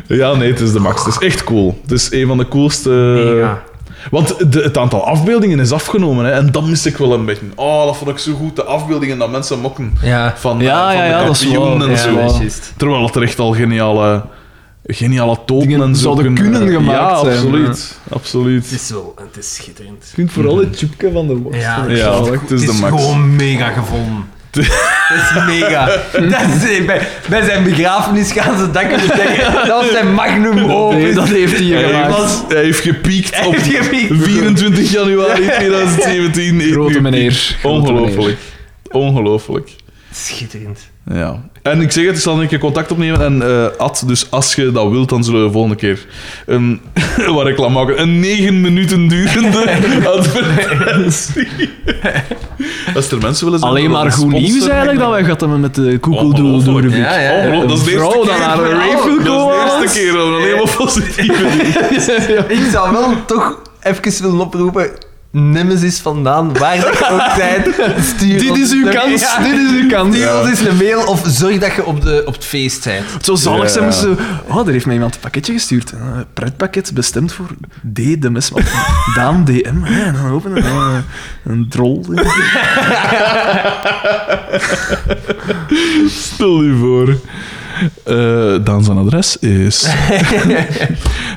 ja, nee, het is de max. Het is echt cool. Het is een van de coolste... Mega. Want de, het aantal afbeeldingen is afgenomen, hè, en dat mis ik wel een beetje. Oh, dat vond ik zo goed, de afbeeldingen dat mensen mokken. Ja. Van, Ja, eh, van ja, de ja, dat is kampioenen waar. en Ja, zo. dat is juist. Terwijl dat er echt al geniale, geniale tonen Dingen en zo zouden kunnen gemaakt ja, zijn, Absoluut, absoluut. Het is wel, het is schitterend. Je kunt vooral het chupke van de worst. Ja, vinden. Ja, het is de het is max. gewoon mega gevonden. Dat is mega. Dat is, bij, bij zijn begrafenis gaan ze dat kunnen zeggen. Dat was zijn magnum Oh, Nee, opus. dat heeft hij Hij gemaakt. heeft, hij heeft gepiekt op heeft gepiekt. 24 <laughs> januari 2017. heeft Grote gepiekt. meneer. Grote Ongelooflijk. Ongelooflijk. Schitterend. Ja. En ik zeg het, ik zal een keer contact opnemen. En eh Ad, dus als je dat wilt, dan zullen we de volgende keer een, <laughs> wat reclame maken. Een 9 <laughs> minuten durende advertentie. Als er mensen willen zijn, Alleen maar goed nieuws eigenlijk dat wij gehad hebben met de koekeldoel door de Oh, Ja, ja. Oh, dat is de eerste Vrouw keer. dat naar een rave wil dat is de komen. eerste keer, dat we alleen maar positieve dingen. <laughs> Ik zou wel toch even willen oproepen. Nemesis vandaan, waar dat je ook bent. Stuur Dit ons is uw een- kans, Ja. dit is uw kans. Stuur ons eens een mail of zorg dat je op, de, op het feest bent. Het zou zalig Ja. zijn moesten ze... Oh, er heeft mij iemand een pakketje gestuurd. Een eh, pretpakket bestemd voor D, de mes... of <laughs> Daan DM. Ja, en dan openen we dan, eh, een drol. Stel je voor. Eh Daan zijn adres <laughs> is.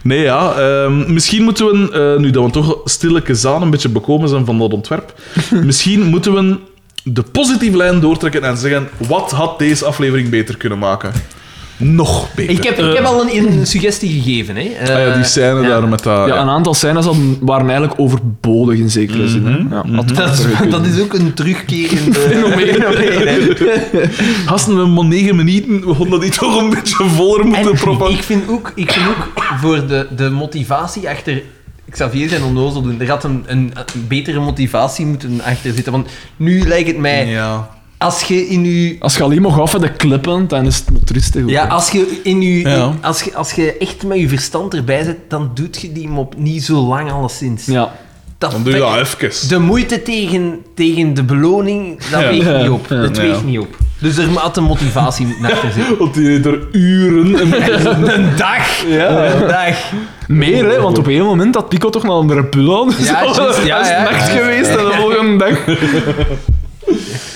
nee, ja. ehm, misschien moeten we, eh, nu dat we toch stilletjes aan een beetje bekomen zijn van dat ontwerp, misschien moeten we de positieve lijn doortrekken en zeggen: wat had deze aflevering beter kunnen maken? Nog beter. Ik heb, ik heb al een, een suggestie gegeven. Hè. Eh, Ah ja, die scène daar met dat. Ja, een aantal scènes hadden- waren eigenlijk overbodig in zekere zin. hè. Ja, had Mhm. <laughs> dat, beter <laughs> is, gekund. dat is ook een terugkerende fenomeen. hè. Gasten, we hebben maar negen minuten, we hadden dat niet toch een beetje voller moeten proppen. En ik vind ook, ik vind ook voor de, de motivatie achter Xavier zijn onnozel doen, er had een, een, een betere motivatie moeten achter zitten. Want nu lijkt het mij, Ja. als je in je... Als je alleen maar gaf de klippen, dan is het motoristen Ja, als je, in je, Ja. in- als, je, als je echt met je verstand erbij zit, dan doet je die mop niet zo lang alleszins. ja. Dat Dan doe je dat- dat even. De moeite tegen, tegen de beloning, dat Ja. weegt Ja. niet op. Ja. Dat Ja. weegt niet op. Dus er had een motivatie <laughs> moeten achter <laughs> zitten. Want die heeft er uren en Een dag! Een dag! Meer, hè, want op een moment had Pico toch nog een repul aan. Dus Ja, <laughs> dat juist, ja, is ja. nacht Ja, ja, geweest en de volgende <laughs> dag.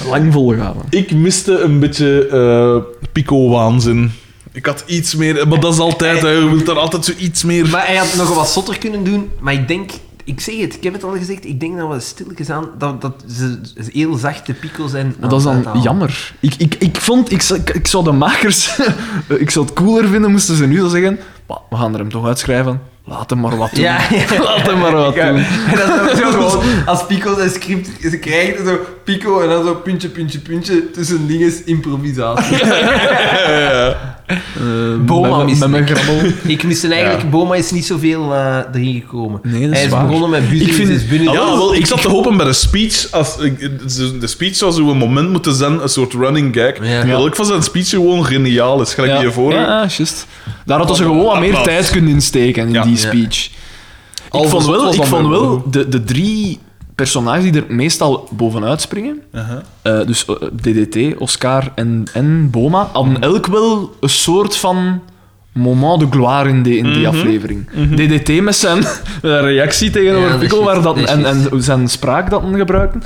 Lang volgaan. hè. Ik miste een beetje eh pico-waanzin. Ik had iets meer... Maar dat is altijd, hè. Je wilt daar altijd zoiets meer... Maar hij had nog wat zotter kunnen doen, maar ik denk... Ik zeg het, ik heb het al gezegd, ik denk dat we stilletjes aan... Dat, dat ze ze heel zacht de pico zijn. Maar dat is aan dan het uithalen. jammer. Ik, ik, ik vond, ik, zou- ik, ik zou de makers, <laughs> ik zou het cooler vinden moesten ze nu al zeggen, "Bah, we gaan er hem toch uitschrijven. Laat hem maar wat doen. Ja, <laughs> ja. Laat hem maar wat Ja, doen. <laughs> en dat is dan zo <laughs> gewoon, als Pico zijn script, ze krijgen zo Pico en dan zo puntje, puntje, puntje, tussen dinges improvisatie. Eh, Boma met- mist Met mijn grabbel. Ik miste eigenlijk, Boma is niet zoveel eh erin gekomen. Nee, dat is Hij is waar. begonnen met business, Ik vind- is binnen... Ja, wel, ik zat te hopen bij de speech. Als, ik- de- de speech zou zo'n moment moeten zijn, een soort running gag. Ja. Dat ik van zijn speech gewoon geniaal is. Gelijk Ja, hiervoor. ja, Ja. ja, juist. Daar hadden ze gewoon wat meer Applaus. tijd kunnen insteken in Ja. die Ja. speech. Ik Alvast dus- vond wel, was ik dat vond wel wel de, de drie personages die er meestal bovenuit springen, Uh-huh. eh, dus eh, DDT, Oscar en, en Boma, hadden Mhm. elk wel een soort van moment de gloire in die, in die Mhm. aflevering. DDT met zijn, <laughs> met zijn reactie tegenover Ja, dat is Pico juist, waar dat, dat is en, juist. en zijn spraak dat men gebruikte.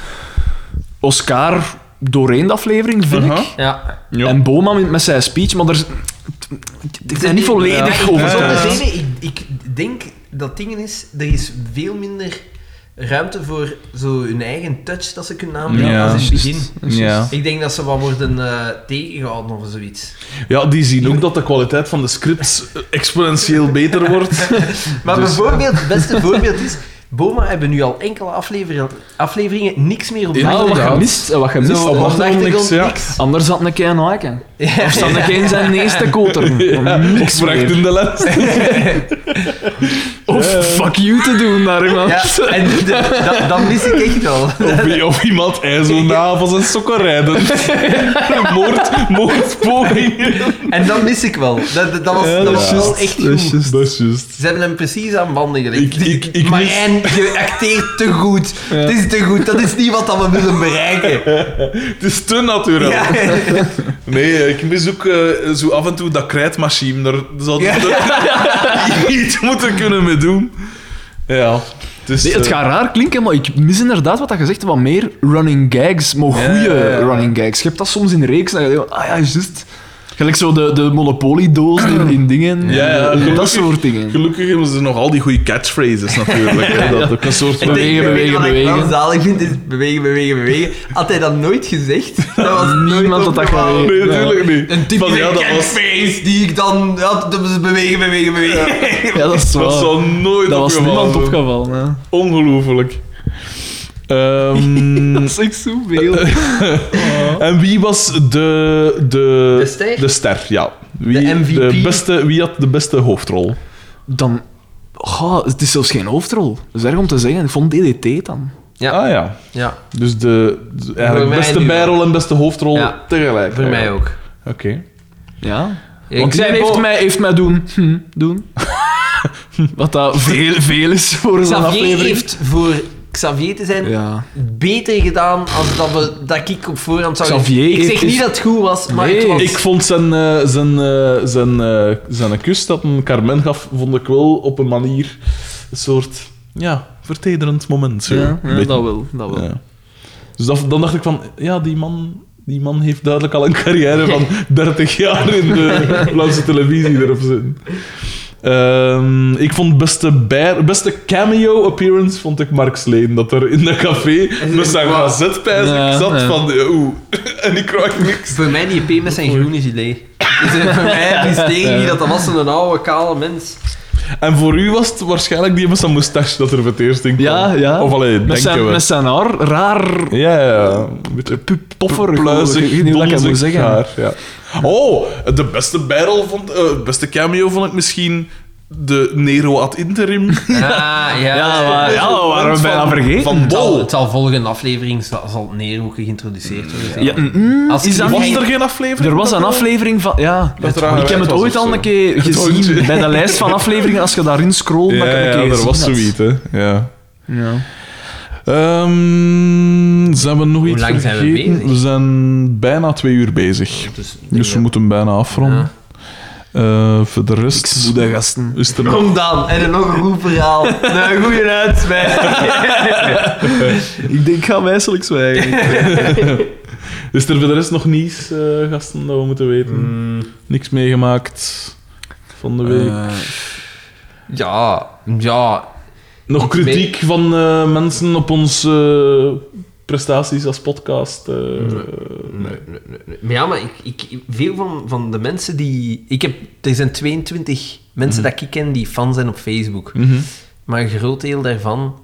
Oscar doorheen de aflevering, vind Aha. ik. Ja. En Boma met, met zijn speech, maar er... Ik ben niet volledig Ja, ik- over. zonder Ja. zeven, ik, ik denk dat dingen is, er is veel minder ruimte voor zo hun eigen touch dat ze kunnen aanbrengen Ja, als in het begin. juist. Ja. Ik denk dat ze wat worden eh, tegengehouden of zoiets. ja, die zien ook dat de kwaliteit van de scripts exponentieel beter <laughs> wordt. Dus- <laughs> Maar bijvoorbeeld, het beste voorbeeld is... Boma hebben nu al enkele afleveringen, afleveringen niks meer op de Ah, wat achtergrond. gemist, wat gemist. Zo, Op op de achtergrond achtergrond niks, ja. niks. Anders had een kein haken. Ja. Of zat een kein zijn eerste <laughs> koter. Of Niks vraagt meer. in de les. Of fuck you te doen naar iemand. Ja, en de- dat, dat mis ik echt wel. <laughs> Of, of iemand ijzelnaaf als een sokken <laughs> rijden. Moord, moordpogingen. En dat mis ik wel. Dat, dat, dat was, dat was wel echt goed. Dat is juist. Ze hebben hem precies aan banden Ik, gelegd. ik, ik mis... Marijn, je acteert te goed. Het is te goed. Dat is niet wat dat we willen <laughs> bereiken. Het is te natuurlijk. Ja. Nee, ik mis ook eh, zo af en toe dat krijtmachine. Daar zou Ja. er <laughs> iets moeten kunnen mee doen. Ja. Het, is, Nee, het eh, gaat raar klinken, maar ik mis inderdaad wat dat gezegd wat meer running gags, maar goede Ja, ja, ja. running gags. Je hebt dat soms in reeks, dat je denkt, ah ja, juist. Gelijk zo de, de Monopoly-doos in, in dingen, Ja, ja, eh, gelukkig. dat soort dingen. Gelukkig hebben ze nog al die goede catchphrases natuurlijk. <laughs> hè. Dat ook een soort van... Bewegen, Weet je bewegen, Wat ik wel bewegen. zalig vind, is bewegen, bewegen, bewegen. Had hij dat nooit gezegd, dat was Niemand had nooit dat opgevallen. geweten. Nee, natuurlijk niet. Een Van, typische ja, dat was... catchphrase die ik dan had. Dat was bewegen, bewegen, bewegen. Ja, dat is Dat waar. zal nooit Dat was opgevallen niemand zijn. opgevallen. hè. Ongelooflijk. Ehm, <laughs> Dat is echt zoveel. en wie was de... De, De ster? De ster, ja. Wie, De MVP? beste, wie had de beste hoofdrol? Dan... Goh, het is zelfs geen hoofdrol. Dat is erg om te zeggen. Ik vond DDT dan. Ja. Ah ja. Ja, Dus de, de- eigenlijk mij beste nu bijrol en beste hoofdrol Ja. tegelijk. voor mij ook. Oké. Ja. Ik Want die zei heeft Bo- mij, heeft mij doen... Hm, doen. Wat dat veel, veel is voor zo'n Xavier aflevering. heeft voor Xavier te zijn Ja. beter gedaan als dat, we, dat ik op voorhand zou... Xavier ik zeg is- niet dat het goed was, maar Nee. het was... Ik vond zijn, eh, zijn, eh, zijn, eh, zijn kus dat een Carmen gaf, vond ik wel op een manier een soort ja, vertederend moment. Zo. Ja, Een beetje. dat wel. Dat wel. Ja. Dus dat- dan dacht ik van, ja, die man, die man heeft duidelijk al een carrière <laughs> van 30 jaar in de Vlaamse televisie erop zitten. Ehm, ik vond beste, bij- beste cameo-appearance vond ik Mark Sleen. Dat er in de <laughs> café met zijn gazetpijs Ja, zat ja. van... eh, Oeh, <laughs> en ik krijg niks. Voor mij die EP met zijn groene gilet. Dus eh, voor mij die stering die dat dat was een oude, kale mens. En voor u was het waarschijnlijk die met zijn moustache dat er voor het eerst in kwam. Ja, ja. Of alleen, Met denken zijn, we. met zijn haar, raar, Ja, ja. Een beetje poffer, pluizig, ik weet niet wat ik dat moet donzig zeggen. haar, ja. Oh, de beste battle vond, eh, de beste cameo vond ik misschien de Nero ad <laughs> interim. Ja, ja. Ja, maar, ja, we waren we Van- bijna vergeten. Van Het zal, Bol. het zal volgende aflevering zal, zal Nero geïntroduceerd worden. ja, mm, Als is die dat Was niet- er geen aflevering? er was een van? aflevering van... Ja, Dat er aan ik heb gewijd het was ooit of al zo. een keer <laughs> Het hondje. gezien bij de lijst van afleveringen. Als je daarin scrollt, Ja, dat ik het een ja, keer er gezien was had. zoiets, hè. Ja. Ja. Ehm, zijn we nog iets lang zijn we vergeten? bezig? We zijn bijna twee uur bezig. Dus, Dus we moeten bijna afronden. Eh, voor de rest Boede gasten. <laughs> is er nog Kom dan, en een nog een goed verhaal. <laughs> Een goede uitspraak. Ik denk, ik ga wijselijk zwijgen. Is er voor de rest nog nieuws, eh, gasten, dat we moeten Hmm. weten? Mm, Niks meegemaakt van de Eh, week. Ja, ja. nog kritiek van eh, mensen op onze eh, prestaties als podcast? eh, Nee, nee, nee. Maar ja, maar ik, ik, veel van, van de mensen die... Ik heb, er zijn 22 mensen dat ik ken die fan zijn op Facebook. mhm. Maar een groot deel daarvan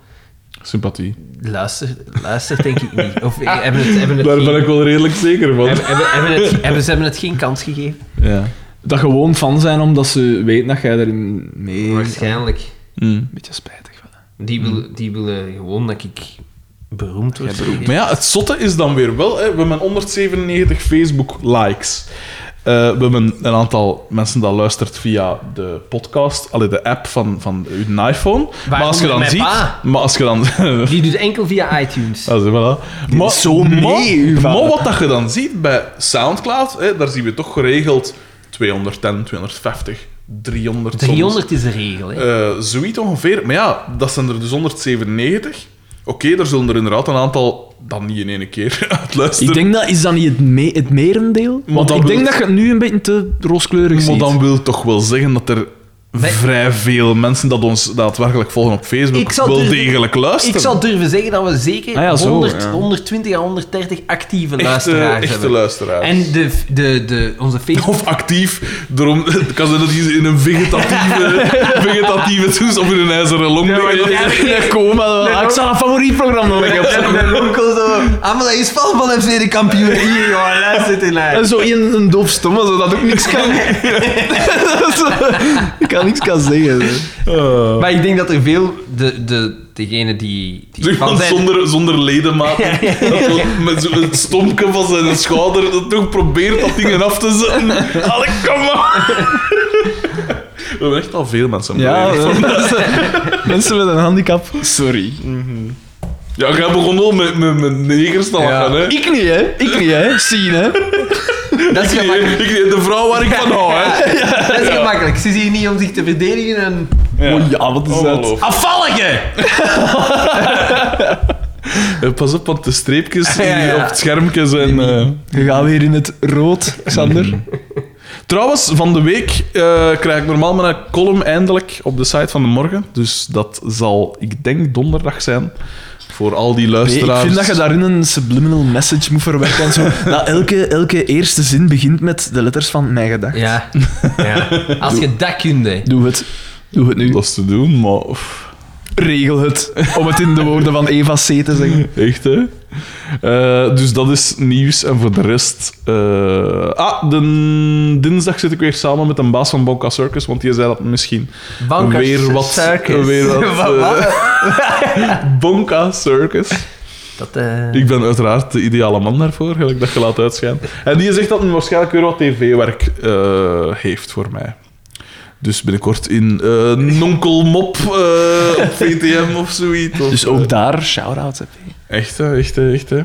Sympathie. luistert, luistert denk ik niet. Of eh, hebben het, hebben het Daar geen- ben ik wel redelijk zeker van. hebben, hebben, hebben het, hebben, ze hebben het geen kans gegeven. Ja. Dat gewoon fan zijn, omdat ze weten dat jij erin mee... Waarschijnlijk. Mm. Beetje spijtig. wel. Die willen, die willen gewoon dat ik Mm. beroemd word. Maar ja, het zotte is dan weer wel, hè, we hebben 197 Facebook-likes. Eh, we hebben een aantal mensen dat luistert via de podcast, allee, de app van, van uw iPhone. maar als je dan mijn ziet... pa? Maar als je dan... <laughs> Die doet enkel via iTunes. Ah, zie, voilà. Maar, zo mee, uw maar, vader. maar wat dat je dan ziet bij Soundcloud, hè, daar zien we toch geregeld 210, 250, 300... soms. 300 is de regel, hè. Eh, zoiets ongeveer. Maar ja, dat zijn er dus 197. Oké, daar zullen er inderdaad een aantal dan niet in één keer <laughs> uit luisteren. Ik denk dat... Is dat niet het, me- het merendeel? Want dan ik denk wil- dat je het nu een beetje te rooskleurig <laughs> Maar ziet. dan wil toch wel zeggen dat er vrij veel mensen dat ons daadwerkelijk volgen op Ik Facebook zal wel durven- degelijk luisteren. Ik zou durven zeggen dat we zeker Ah ja, zo, 100, ja. 120 à 130 actieve Echte, luisteraars eh, echte hebben. luisteraars. En de, de, de, <laughs> onze Facebook... Of actief, daarom <laughs> het kan zijn dat die in een vegetatieve, <laughs> vegetatieve toestand of in een ijzeren long liggen. Ja, kom, maar, ah, ik zal een favoriet programma nog <laughs> hebben. Mijn onkel zo... Ah, maar dat is van van FC de kampioen. Hier, jongen, luister in haar. En zo in een doof stomme, zodat ik niks kan... <laughs> ik kan niks kan zeggen. zo. <laughs> Oh. Maar ik denk dat er veel... De, de, degene die... die Zeg van maar, zijn- zonder, zonder ledemaat. <laughs> Dat wel met zo'n stomke van zijn schouder dat toch probeert dat dingen af te zetten. <laughs> Allee, kom maar! We hebben echt al veel mensen Ja, <laughs> beledigd. eh, mensen met een handicap. Sorry. Ja, jij begon al met, met, met negers te lachen, hè? Eh, Ik niet, hè. Ik niet, hè. Zien, hè. Dat is Ik- gemakkelijk. ik- de vrouw waar ik van hou, hè? Dat is gemakkelijk. Ze is hier niet om zich te verdedigen en... Ja. Oh ja, wat is dat? Ongelooflijk. <laughs> Afvallige! Eh, Pas op, want de streepjes Ja, ja. die op het schermpje zijn... eh, We gaan weer in het rood, Xander. Trouwens, van de week eh, krijg ik normaal mijn column eindelijk op de site van de morgen. Dus dat zal, ik denk, donderdag zijn. Voor al Nee, die ik luisteraars. vind dat je daarin een subliminal message moet verwerken. want <laughs> Zo, dat elke, elke eerste zin begint met de letters van mijn gedacht. Ja. ja. Als je dat kunt, hè. Doe het. Doe het nu. Dat is te doen, maar pff, Regel het. Om het in de woorden van Eva C. te zeggen. echt hè. Eh, dus dat is nieuws. En voor de rest. eh, ah, de dinsdag zit ik weer samen met een baas van Bonka Circus. Want die zei dat misschien Banker weer wat. Circus. Weer <laughs> wat, Wat, wat? eh, <laughs> Bonka Circus. Dat, eh, Ik ben uiteraard de ideale man daarvoor, gelijk dat je laat uitschijnen. En die zegt dat hij waarschijnlijk weer wat tv-werk eh, heeft voor mij. Dus binnenkort in eh Nonkel Mop <laughs> eh, op VTM of zoiets. Of, Dus ook daar, shout-out. hè. Echt, hè, echt, hè, echt, hè.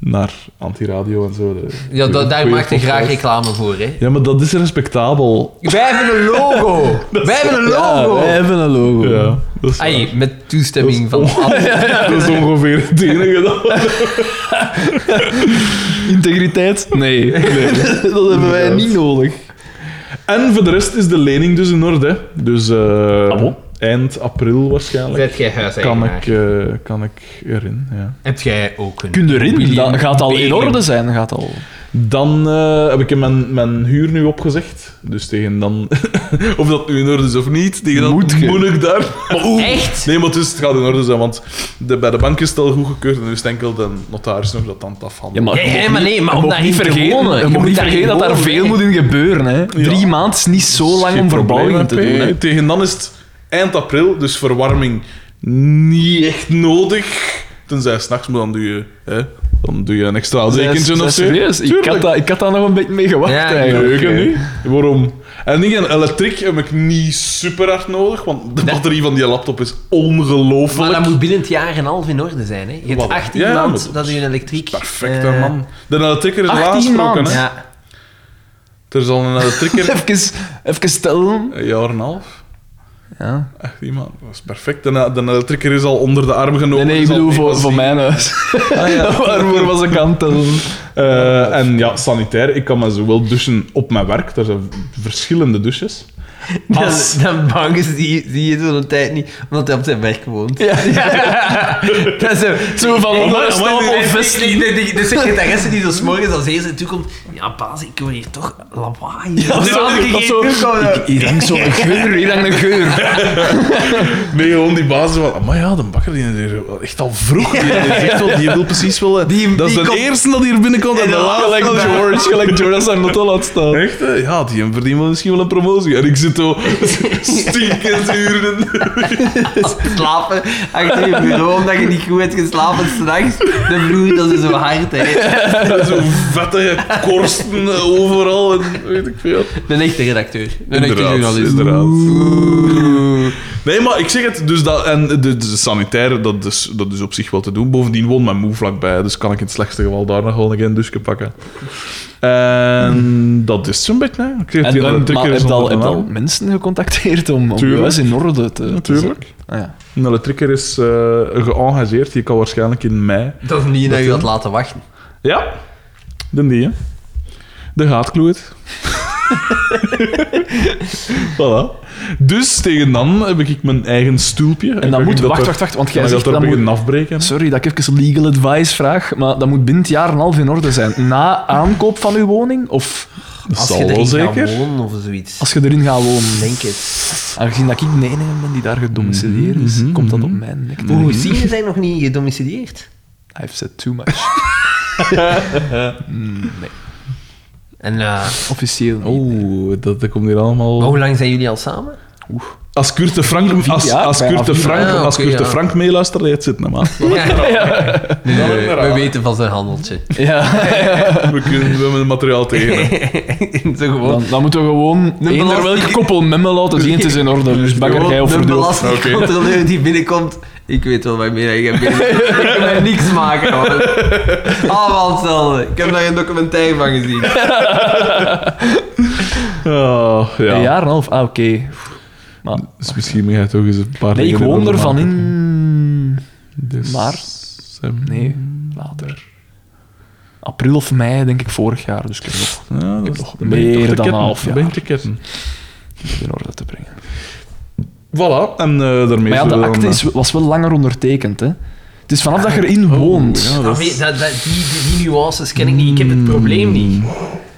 Naar antiradio en zo. de- ja, da- goeie- daar goeie maakt hij graag podcast. reclame voor, hè. Ja, maar dat is respectabel. Wij hebben een <laughs> logo. Wij hebben een Ja, logo. wij hebben een logo. Ja, dat is, Ai, met dat is toestemming van on- alle... dat is ongeveer het enige dat... Integriteit? <laughs> Nee. dat hebben wij niet nodig. En voor de rest is de lening dus in orde. hè. Dus eh, eind april waarschijnlijk. Zet jij huis kan ik, eh, kan ik erin. Ja. Heb jij ook een... Kun je erin? William Dat gaat al in Bailey. orde zijn. Gaat al. Dan eh, heb ik mijn, mijn huur nu opgezegd. Dus tegen dan, <laughs> of dat nu in orde is of niet, tegen dat Moet je. moet ik daar. <laughs> Maar oeh. Oh, Echt? Nee, maar dus het gaat in orde zijn, want de, bij de bank is het al goedgekeurd en nu is het enkel de notaris nog dat aan het afhandelen. Ja, je ja, mag maar nee, maar je om mag daarin niet te vergeten, wonen. Je Je mag moet niet daarin vergeten dat daar wonen, veel hè. moet in gebeuren. Hè. Drie maanden is niet zo lang om verbouwingen verbouwing te doen. hè. Tegen dan is het eind april, dus verwarming niet echt nodig. Tenzij s'nachts, maar dan doe je, hè, dan doe je een extra Zij- dekentje zij- of zo. Serieus, ik Tuurlijk. had, dat, ik had daar nog een beetje mee gewacht Ja, eigenlijk. Leuke hè. nu. Waarom? En dingen, elektriek heb ik niet super hard nodig, want de batterie van die laptop is Maar ongelooflijk. dat moet binnen het jaar en een half in orde zijn, hè. Je hebt Wat? 18 Ja, maar maanden dat dat is je een elektriek... Perfect, eh, hè, man. De elektrieker is 18 aangesproken, maand. hè. Ja. Er is al een elektrieker... <laughs> Even, even stellen. een jaar en een half. Ja. Echt niet, man. Dat is perfect. De, de elektrieker is al onder de arm genomen. Nee, nee, ik is al bedoel mee voor, gezien. voor mijn huis. <laughs> Waarvoor was ik aan het tellen? Eh, en ja, sanitair. Ik kan me zowel douchen op mijn werk. Er zijn verschillende douches. Dan, Als- dan bang is die, die je zo'n tijd niet, omdat hij op zijn werk woont. <laughs> Ja. Dat is zo, Zo van onder maar- maar- of de, de, <laughs> de secretaresse die zo s'morgens als eerste toekomt. Ja, baas, ik hoor hier toch lawaai. Ja, zo- of zo- Hier hangt zo'n geur, hier hangt een geur. Nee, gewoon die basis van... Maar ja, de bakker die is hier wel echt al vroeg. Die, die, is echt wel- die wil precies wel... eh, Die- dat is die de komt- eerste dat hier binnenkomt en de laatste. Gelijk George, gelijk George zijn motto laat staan. Echt, hè? ja, die verdient wel misschien wel een promotie. En ik zit zo stinkend uren. slapen achter je bureau omdat je niet goed hebt geslapen s'nachts. De vloer, dat is zo hard. Hè. Zo vettige korsten eh, overal en weet ik veel. Ik ben echt een redacteur. Ik ben echt een Inderdaad, journalist. inderdaad. Nee, maar ik zeg het, dus dat, en de, de sanitaire, dat is, dat is op zich wel te doen. Bovendien woont mijn moe vlakbij, dus kan ik in het slechtste geval daar nog wel een keer een douche pakken. En dat is zo'n beetje, hè. Ik zeg, het, En die dan, elektriker maar is heb je al, dus heb onder je de al naam. mensen gecontacteerd om, om je Tuurlijk. huis in orde te... Natuurlijk. Ah, ja. Een elektriker is eh geëngageerd, die kan waarschijnlijk in mei Dat is niet dat je had laten wachten. <laughs> Ja, dan die, hè. De gaatkloed. Voilà. Dus tegen dan heb ik mijn eigen stoelpje. En dan moet... Wacht, wacht, wacht, want jij Jij zegt... dat er Dat beginnen moet, afbreken. sorry dat ik even legal advice vraag, maar dat moet binnen het jaar en een half in orde zijn. Na aankoop van uw woning? Of Dat Als zal je wel erin zeker. gaat wonen of zoiets. als je erin gaat wonen? Denk het. Aangezien dat ik de enige ben die daar gedomicileerd is, komt dat op mijn nek. Hoe zien zijn nog niet gedomicileerd? I've said too much. En eh, Officieel niet. Oeh, dat, dat komt hier allemaal... Oh. maar hoe lang zijn jullie al samen? Als Kurt de Frank, als, jaar, als bijna Kurt de vier Frank, jaar. Ah, als oké, Kurt de ja. Frank meeluistert, hij het zit <laughs> hem aan. we weten van zijn handeltje. Ja, We kunnen we hebben het materiaal tegen. <laughs> Zo gewoon. dan, dan moeten we gewoon eender belasting- welke koppel met me laten zien, het is in orde. Dus bakker jij of de verdoe. belastingcontroleur <laughs> die binnenkomt. Ik weet wel waarmee je <laughs> binnenkomt. Ik kan mij niks maken, man. Allemaal hetzelfde. Ik heb daar een documentaire van gezien. Oh, ja. Een jaar en een half? Ah, oké. Maar, Dus misschien ga je toch eens een paar nee, ik dingen woon orde ervan maken. in... Dus- Maar- Sem- Nee, later. April of mei, denk ik, vorig jaar. Dus ik heb nog Ja, dat is nog dan ben je meer toch dan te ketten. een half ben je jaar. te ketten. in orde te brengen. Voilà, en eh daarmee Maar ja, zullen we de dan, akte eh, is, was wel langer ondertekend, hè. Het is vanaf dat je erin woont. Oh, ja, dat is- Allee, dat, dat, die, die, die nuances ken ik niet. Ik heb het probleem niet. eh,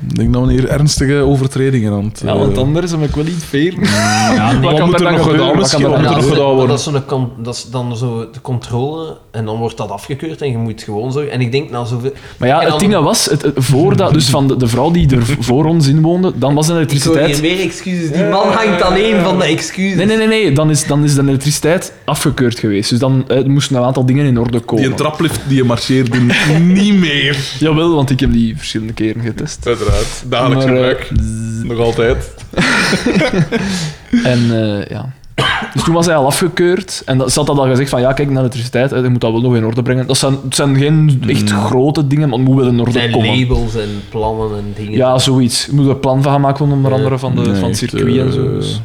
Ik denk dat we hier ernstige overtredingen aan het... Ja, eh, want anders heb ik wel iets Mm, veer. <laughs> wat kan er moet er dan nog gebeuren? gedaan Wat misschien? kan er Wat dan moet gebeuren? er nog gedaan Dat worden? is, zo'n con- dat is dan zo de controle en dan wordt dat afgekeurd en je moet gewoon zorgen. En ik denk nou zoveel. Maar ja, En het dan- ding dat was, het, het- voor dat, dus van de, de vrouw die <laughs> er voor ons in woonde, dan was de Ik hoor hier elektriciteit... meer excuses. Die man hangt alleen van de excuses. Nee, nee, nee, nee. Dan, is, dan is de elektriciteit afgekeurd geweest. Dus dan eh, moesten een aantal dingen in orde komen. Die een traplift die <laughs> je marcheert doen, niet meer. Jawel, want ik heb die verschillende keren getest. Uiteraard, dagelijks Maar, eh, gebruik. Nog altijd. En eh, ja. Dus toen was hij al afgekeurd. En dat, ze had dat al gezegd van, ja, kijk, naar elektriciteit, eh, je moet dat wel nog in orde brengen. Dat zijn, het zijn geen echt grote dingen, maar het moet wel in orde Mm. zijn komen. labels en plannen en dingen. Ja, zoiets. Je moet er een plan van gaan maken, onder andere van, de, Nee, van het echt, circuit en zo. eh, Dus.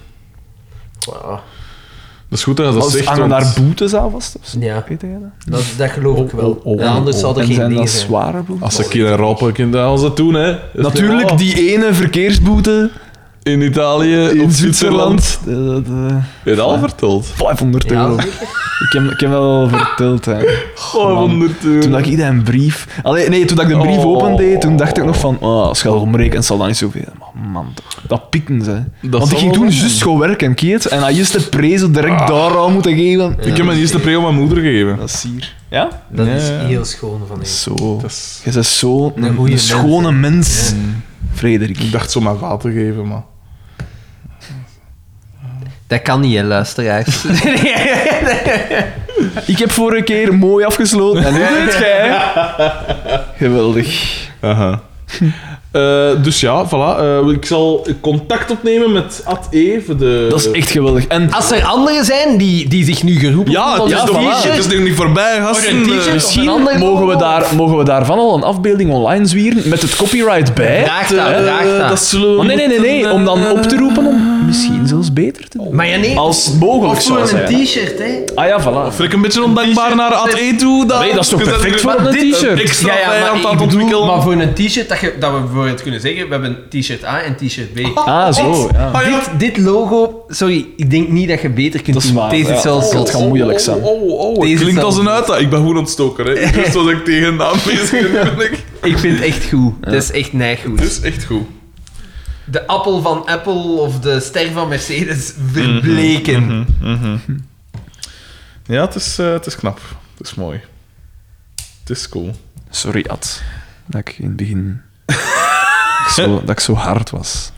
Wow. Dat is goed dat je dat Dat zegt. hangen want- daar boetes aan vast? Of zo? Ja, Weet jij dat? dat, dat geloof ik wel. Oh, oh, Ja, anders oh. zou er En geen zijn dingen dat zijn. zware boetes? Als ik hier een rap kan dat als dat doen, hè. Is Natuurlijk, dat- die ene verkeersboete In Italië, in <laughs> op Zwitserland. Dat, eh, Heb je dat al verteld? 500 euro. Ja, Ik heb, ik heb wel verteld, hè. Oh, euro. Toen dat ik dat een brief... Allee, nee, toen dat ik de brief Oh. opendeed, toen dacht ik nog van... Oh, als je dat omrekent, zal dat niet zoveel. Maar man, toch. Dat pikken ze. Want zal ik ging wel toen zijn. Ah. juist gewoon werken, keet. En hij is de prezen direct daar al moeten geven. Ik heb mijn eerste pre aan mijn moeder gegeven. Dat is hier. Ja? dat is Ja. heel schoon van hem. Zo. Dat is- Je bent zo'n Een goeie een schone mens. Frederik. Ik dacht zo mijn vader geven, maar... Dat kan niet, hè, <laughs> luisteraars. Ik heb vorige keer mooi afgesloten. En nu doet het <laughs> jij. Geweldig. Aha. <laughs> Eh, dus ja, voilà. Eh, ik zal contact opnemen met Ad E. voor de... Dat is echt geweldig. En Als er anderen zijn die, die zich nu geroepen Ja, Ah, het voelen is, nog, om een niet- t-shirt- het is nog niet voorbij, gasten. Voor een t-shirt? Eh, misschien Of een ander mogen we, logo. daar, mogen we daarvan al een afbeelding online zwieren met het copyright bij. Draag dat, Eh, draag dat. dat zullen we eh, Maar nee, nee, nee, nee. Om dan op te roepen om misschien zelfs beter te doen. Maar ja, nee. Als het mogelijk of zou voor een zijn. t-shirt, hè. Ah ja, voilà. Vind ik een beetje ondankbaar naar Ad E toe. Dan. Nee, dat is <laughs> toch Je zet perfect er- voor op maar een dit- t-shirt? Extra vijand aan het ik bedoel, ontwikkelen. maar voor een t-shirt dat, je- dat we bijvoorbeeld kunnen zeggen, we hebben t-shirt A en t-shirt B. Ah, zo. Ja. Ah, ja. Dit, dit logo, sorry, ik denk niet dat je beter kunt Dat is doen. waar, Deze ja. is zelfs... Dat gaat moeilijk zijn. Oh, oh, oh, Deze klinkt zal- als een uitdaging. Ik ben gewoon <laughs> ontstoken, hè. Ik wist wat ik tegen de aanwezig ben. Ik vind het echt goed. Dat is echt nijgoed. <laughs> Dus Het is echt goed. de appel van Apple of de ster van Mercedes Mhm, verbleken. Ja, het is, eh, het is knap. Het is mooi. Het is cool. Sorry, Ad. Dat ik in het begin... zo, dat ik zo hard was.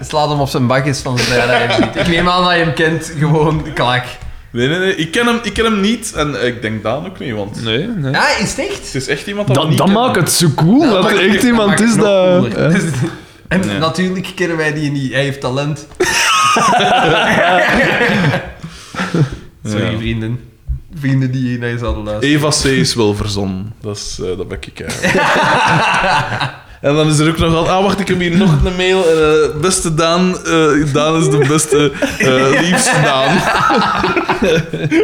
Slaat hem op zijn bakjes van zodra dat je hem ziet. Ik neem aan dat je hem kent, gewoon klak. Nee, nee, nee. Ik ken hem, ik ken hem niet en eh, ik denk Daan ook niet, want Nee, nee. Ja, is het echt? het is echt iemand dat we Dat, niet dat kennen. maakt het zo cool dat maakt er echt het- iemand maakt het is nog dat... cooler. <laughs> eh. Dus- en Ja. natuurlijk kennen wij die niet. Hij heeft <laughs> talent. <laughs> Sorry, Ja. vrienden. Vrienden die hier naar je zouden luisteren. Eva C. is wel verzonnen. Dat, is, eh, dat ben ik eigenlijk. En dan is er ook nog al... Ah, wacht, ik heb hier nog een mail. Eh, beste Daan. eh, Daan is de beste, eh, liefste Daan.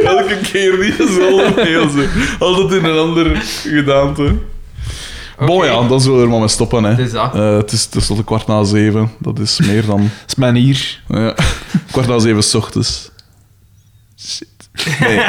Elke keer die dezelfde mail. Zo. Altijd in een andere gedaante. Bon, ja, dan zullen we er maar mee stoppen. Hè. is dat. Eh, het is tenslotte kwart na zeven. Dat is meer dan... Dat is mijn hier. ja. Kwart na zeven 's ochtends. Shit. Nee.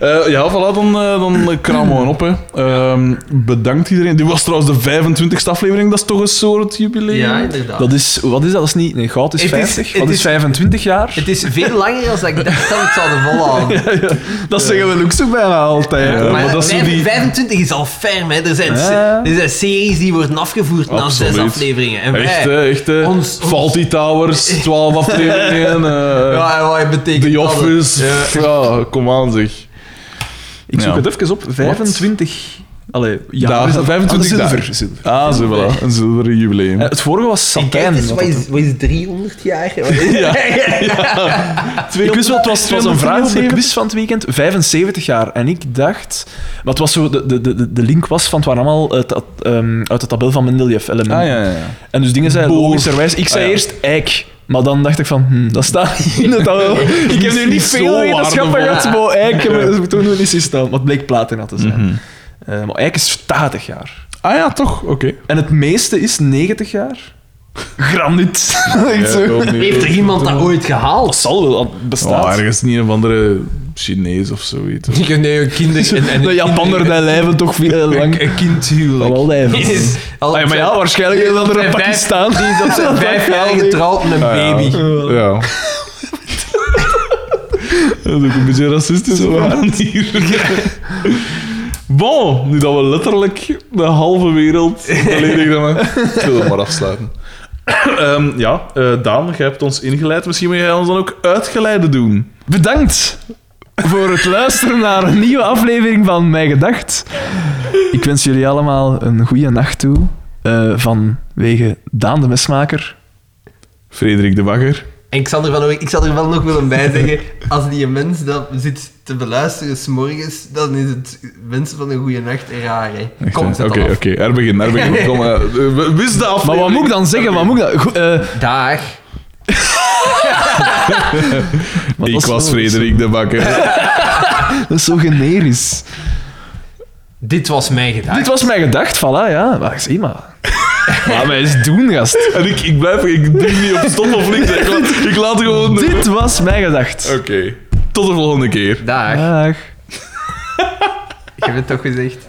Eh, ja, voilà, dan, eh, dan kramen we op. Hè. Ehm, bedankt iedereen. Dit was trouwens de 25e aflevering. Dat is toch een soort jubileum? Ja, inderdaad. Dat is, wat is dat? Dat is niet, nee, goud is Het is- 50. het wat is is- 25 jaar? Het is veel langer dan ik dacht dat we het zouden volhouden. dat zeggen we ook zo bijna altijd. Ja, maar maar dat is zo vijf- die- 25 is al ferm, hè. Er zijn, se- Ja. er zijn series die worden afgevoerd na zes Absoluut. afleveringen. En Echt, wij... hè, echt. hè. Ons- ons- Faulty <laughs> Towers, 12 afleveringen. eh, Ja, en wat betekent The dat? Office. Ja. kom aan zeg. Ik zoek Ja. het even op. 25. Allee, ja, Daar- is dat 25 zilver. daar. zilver. Ah, zo voilà. Een zilveren jubileum. Eh, het vorige was En satijn. kijk eens, wat wat dat- is, wat is 300 jaar? <laughs> Ik wist wel, het was, het was een vraag op de 270. quiz van het weekend. 75 jaar. En ik dacht... Maar het was zo, de, de, de, de link was van het waren allemaal uit, dat, ehm, uit de tabel van Mendeleev-elementen. Ah, ja, ja, ja. En dus dingen zijn Boor. logischerwijs... Ik zei Ah, ja. eerst eik. Maar dan dacht ik van, hm, dat staat niet in het <laughs> tabel. Ik heb nu niet Zo veel wetenschappen waardevol. gehad, maar eik, maar dat moet toen nog niet zo staan. Maar het bleek platina te zijn. Mhm. Eh, maar eik is 80 jaar. Ah ja, toch? Oké. En het meeste is 90 jaar. Graniet. <laughs> Echt zo. Ja, kom niet. Heeft er iemand dat ooit Dat gehaald? zal wel bestaan. Oh, ergens niet een of andere Chinees of zoiets. hoor. Nee, een <laughs> kinder... en- en- de Japanner die lijven toch veel lang. Een kindhuwelijk. Wel lijven. <laughs> Is- al- Ah, ja, maar ja, waarschijnlijk is dat er een Vijf- Pakistan. Die is op zijn <laughs> <laughs> vijf jaar getrouwd met een Ah, ja. baby. Ja. <laughs> Dat is ook een beetje racistisch op een manier. Bon, nu dat we letterlijk de halve wereld <laughs> beledigd hebben. Ik wil het maar afsluiten. Ehm, ja, eh, Daan, jij hebt ons ingeleid. Misschien wil jij ons dan ook uitgeleiden doen. Bedankt voor het luisteren naar een nieuwe aflevering van Mijn Gedacht. Ik wens jullie allemaal een goede nacht toe. eh, vanwege Daan de Mesmaker. Frederik de Bagger. En ik zal, er wel, ik zal er wel nog willen bij zeggen, als die mens dat zit te beluisteren s'morgens, dan is het wensen van een goede nacht raar, hè. Echt, Kom, hè? zet Oké, dat af. oké. Er begin, er begin. Kom, <laughs> eh, eh, wist de aflevering. Maar wat moet ik dan zeggen? Wat moet ik dan... Goed, eh, Dag. wat Ik was nou? dat? Frederik de Bakker. Dat is zo generisch. Dit was mijn gedachte. Dit was mijn gedacht, voilà, ja. Maar zie maar. Laat mij eens doen, gast. <laughs> en ik, ik blijf, ik druk niet op stop of links. Ik laat, ik laat gewoon... de- Dit was mijn gedacht. Oké. Tot de volgende keer. Dag. Dag. Ik heb het toch gezegd.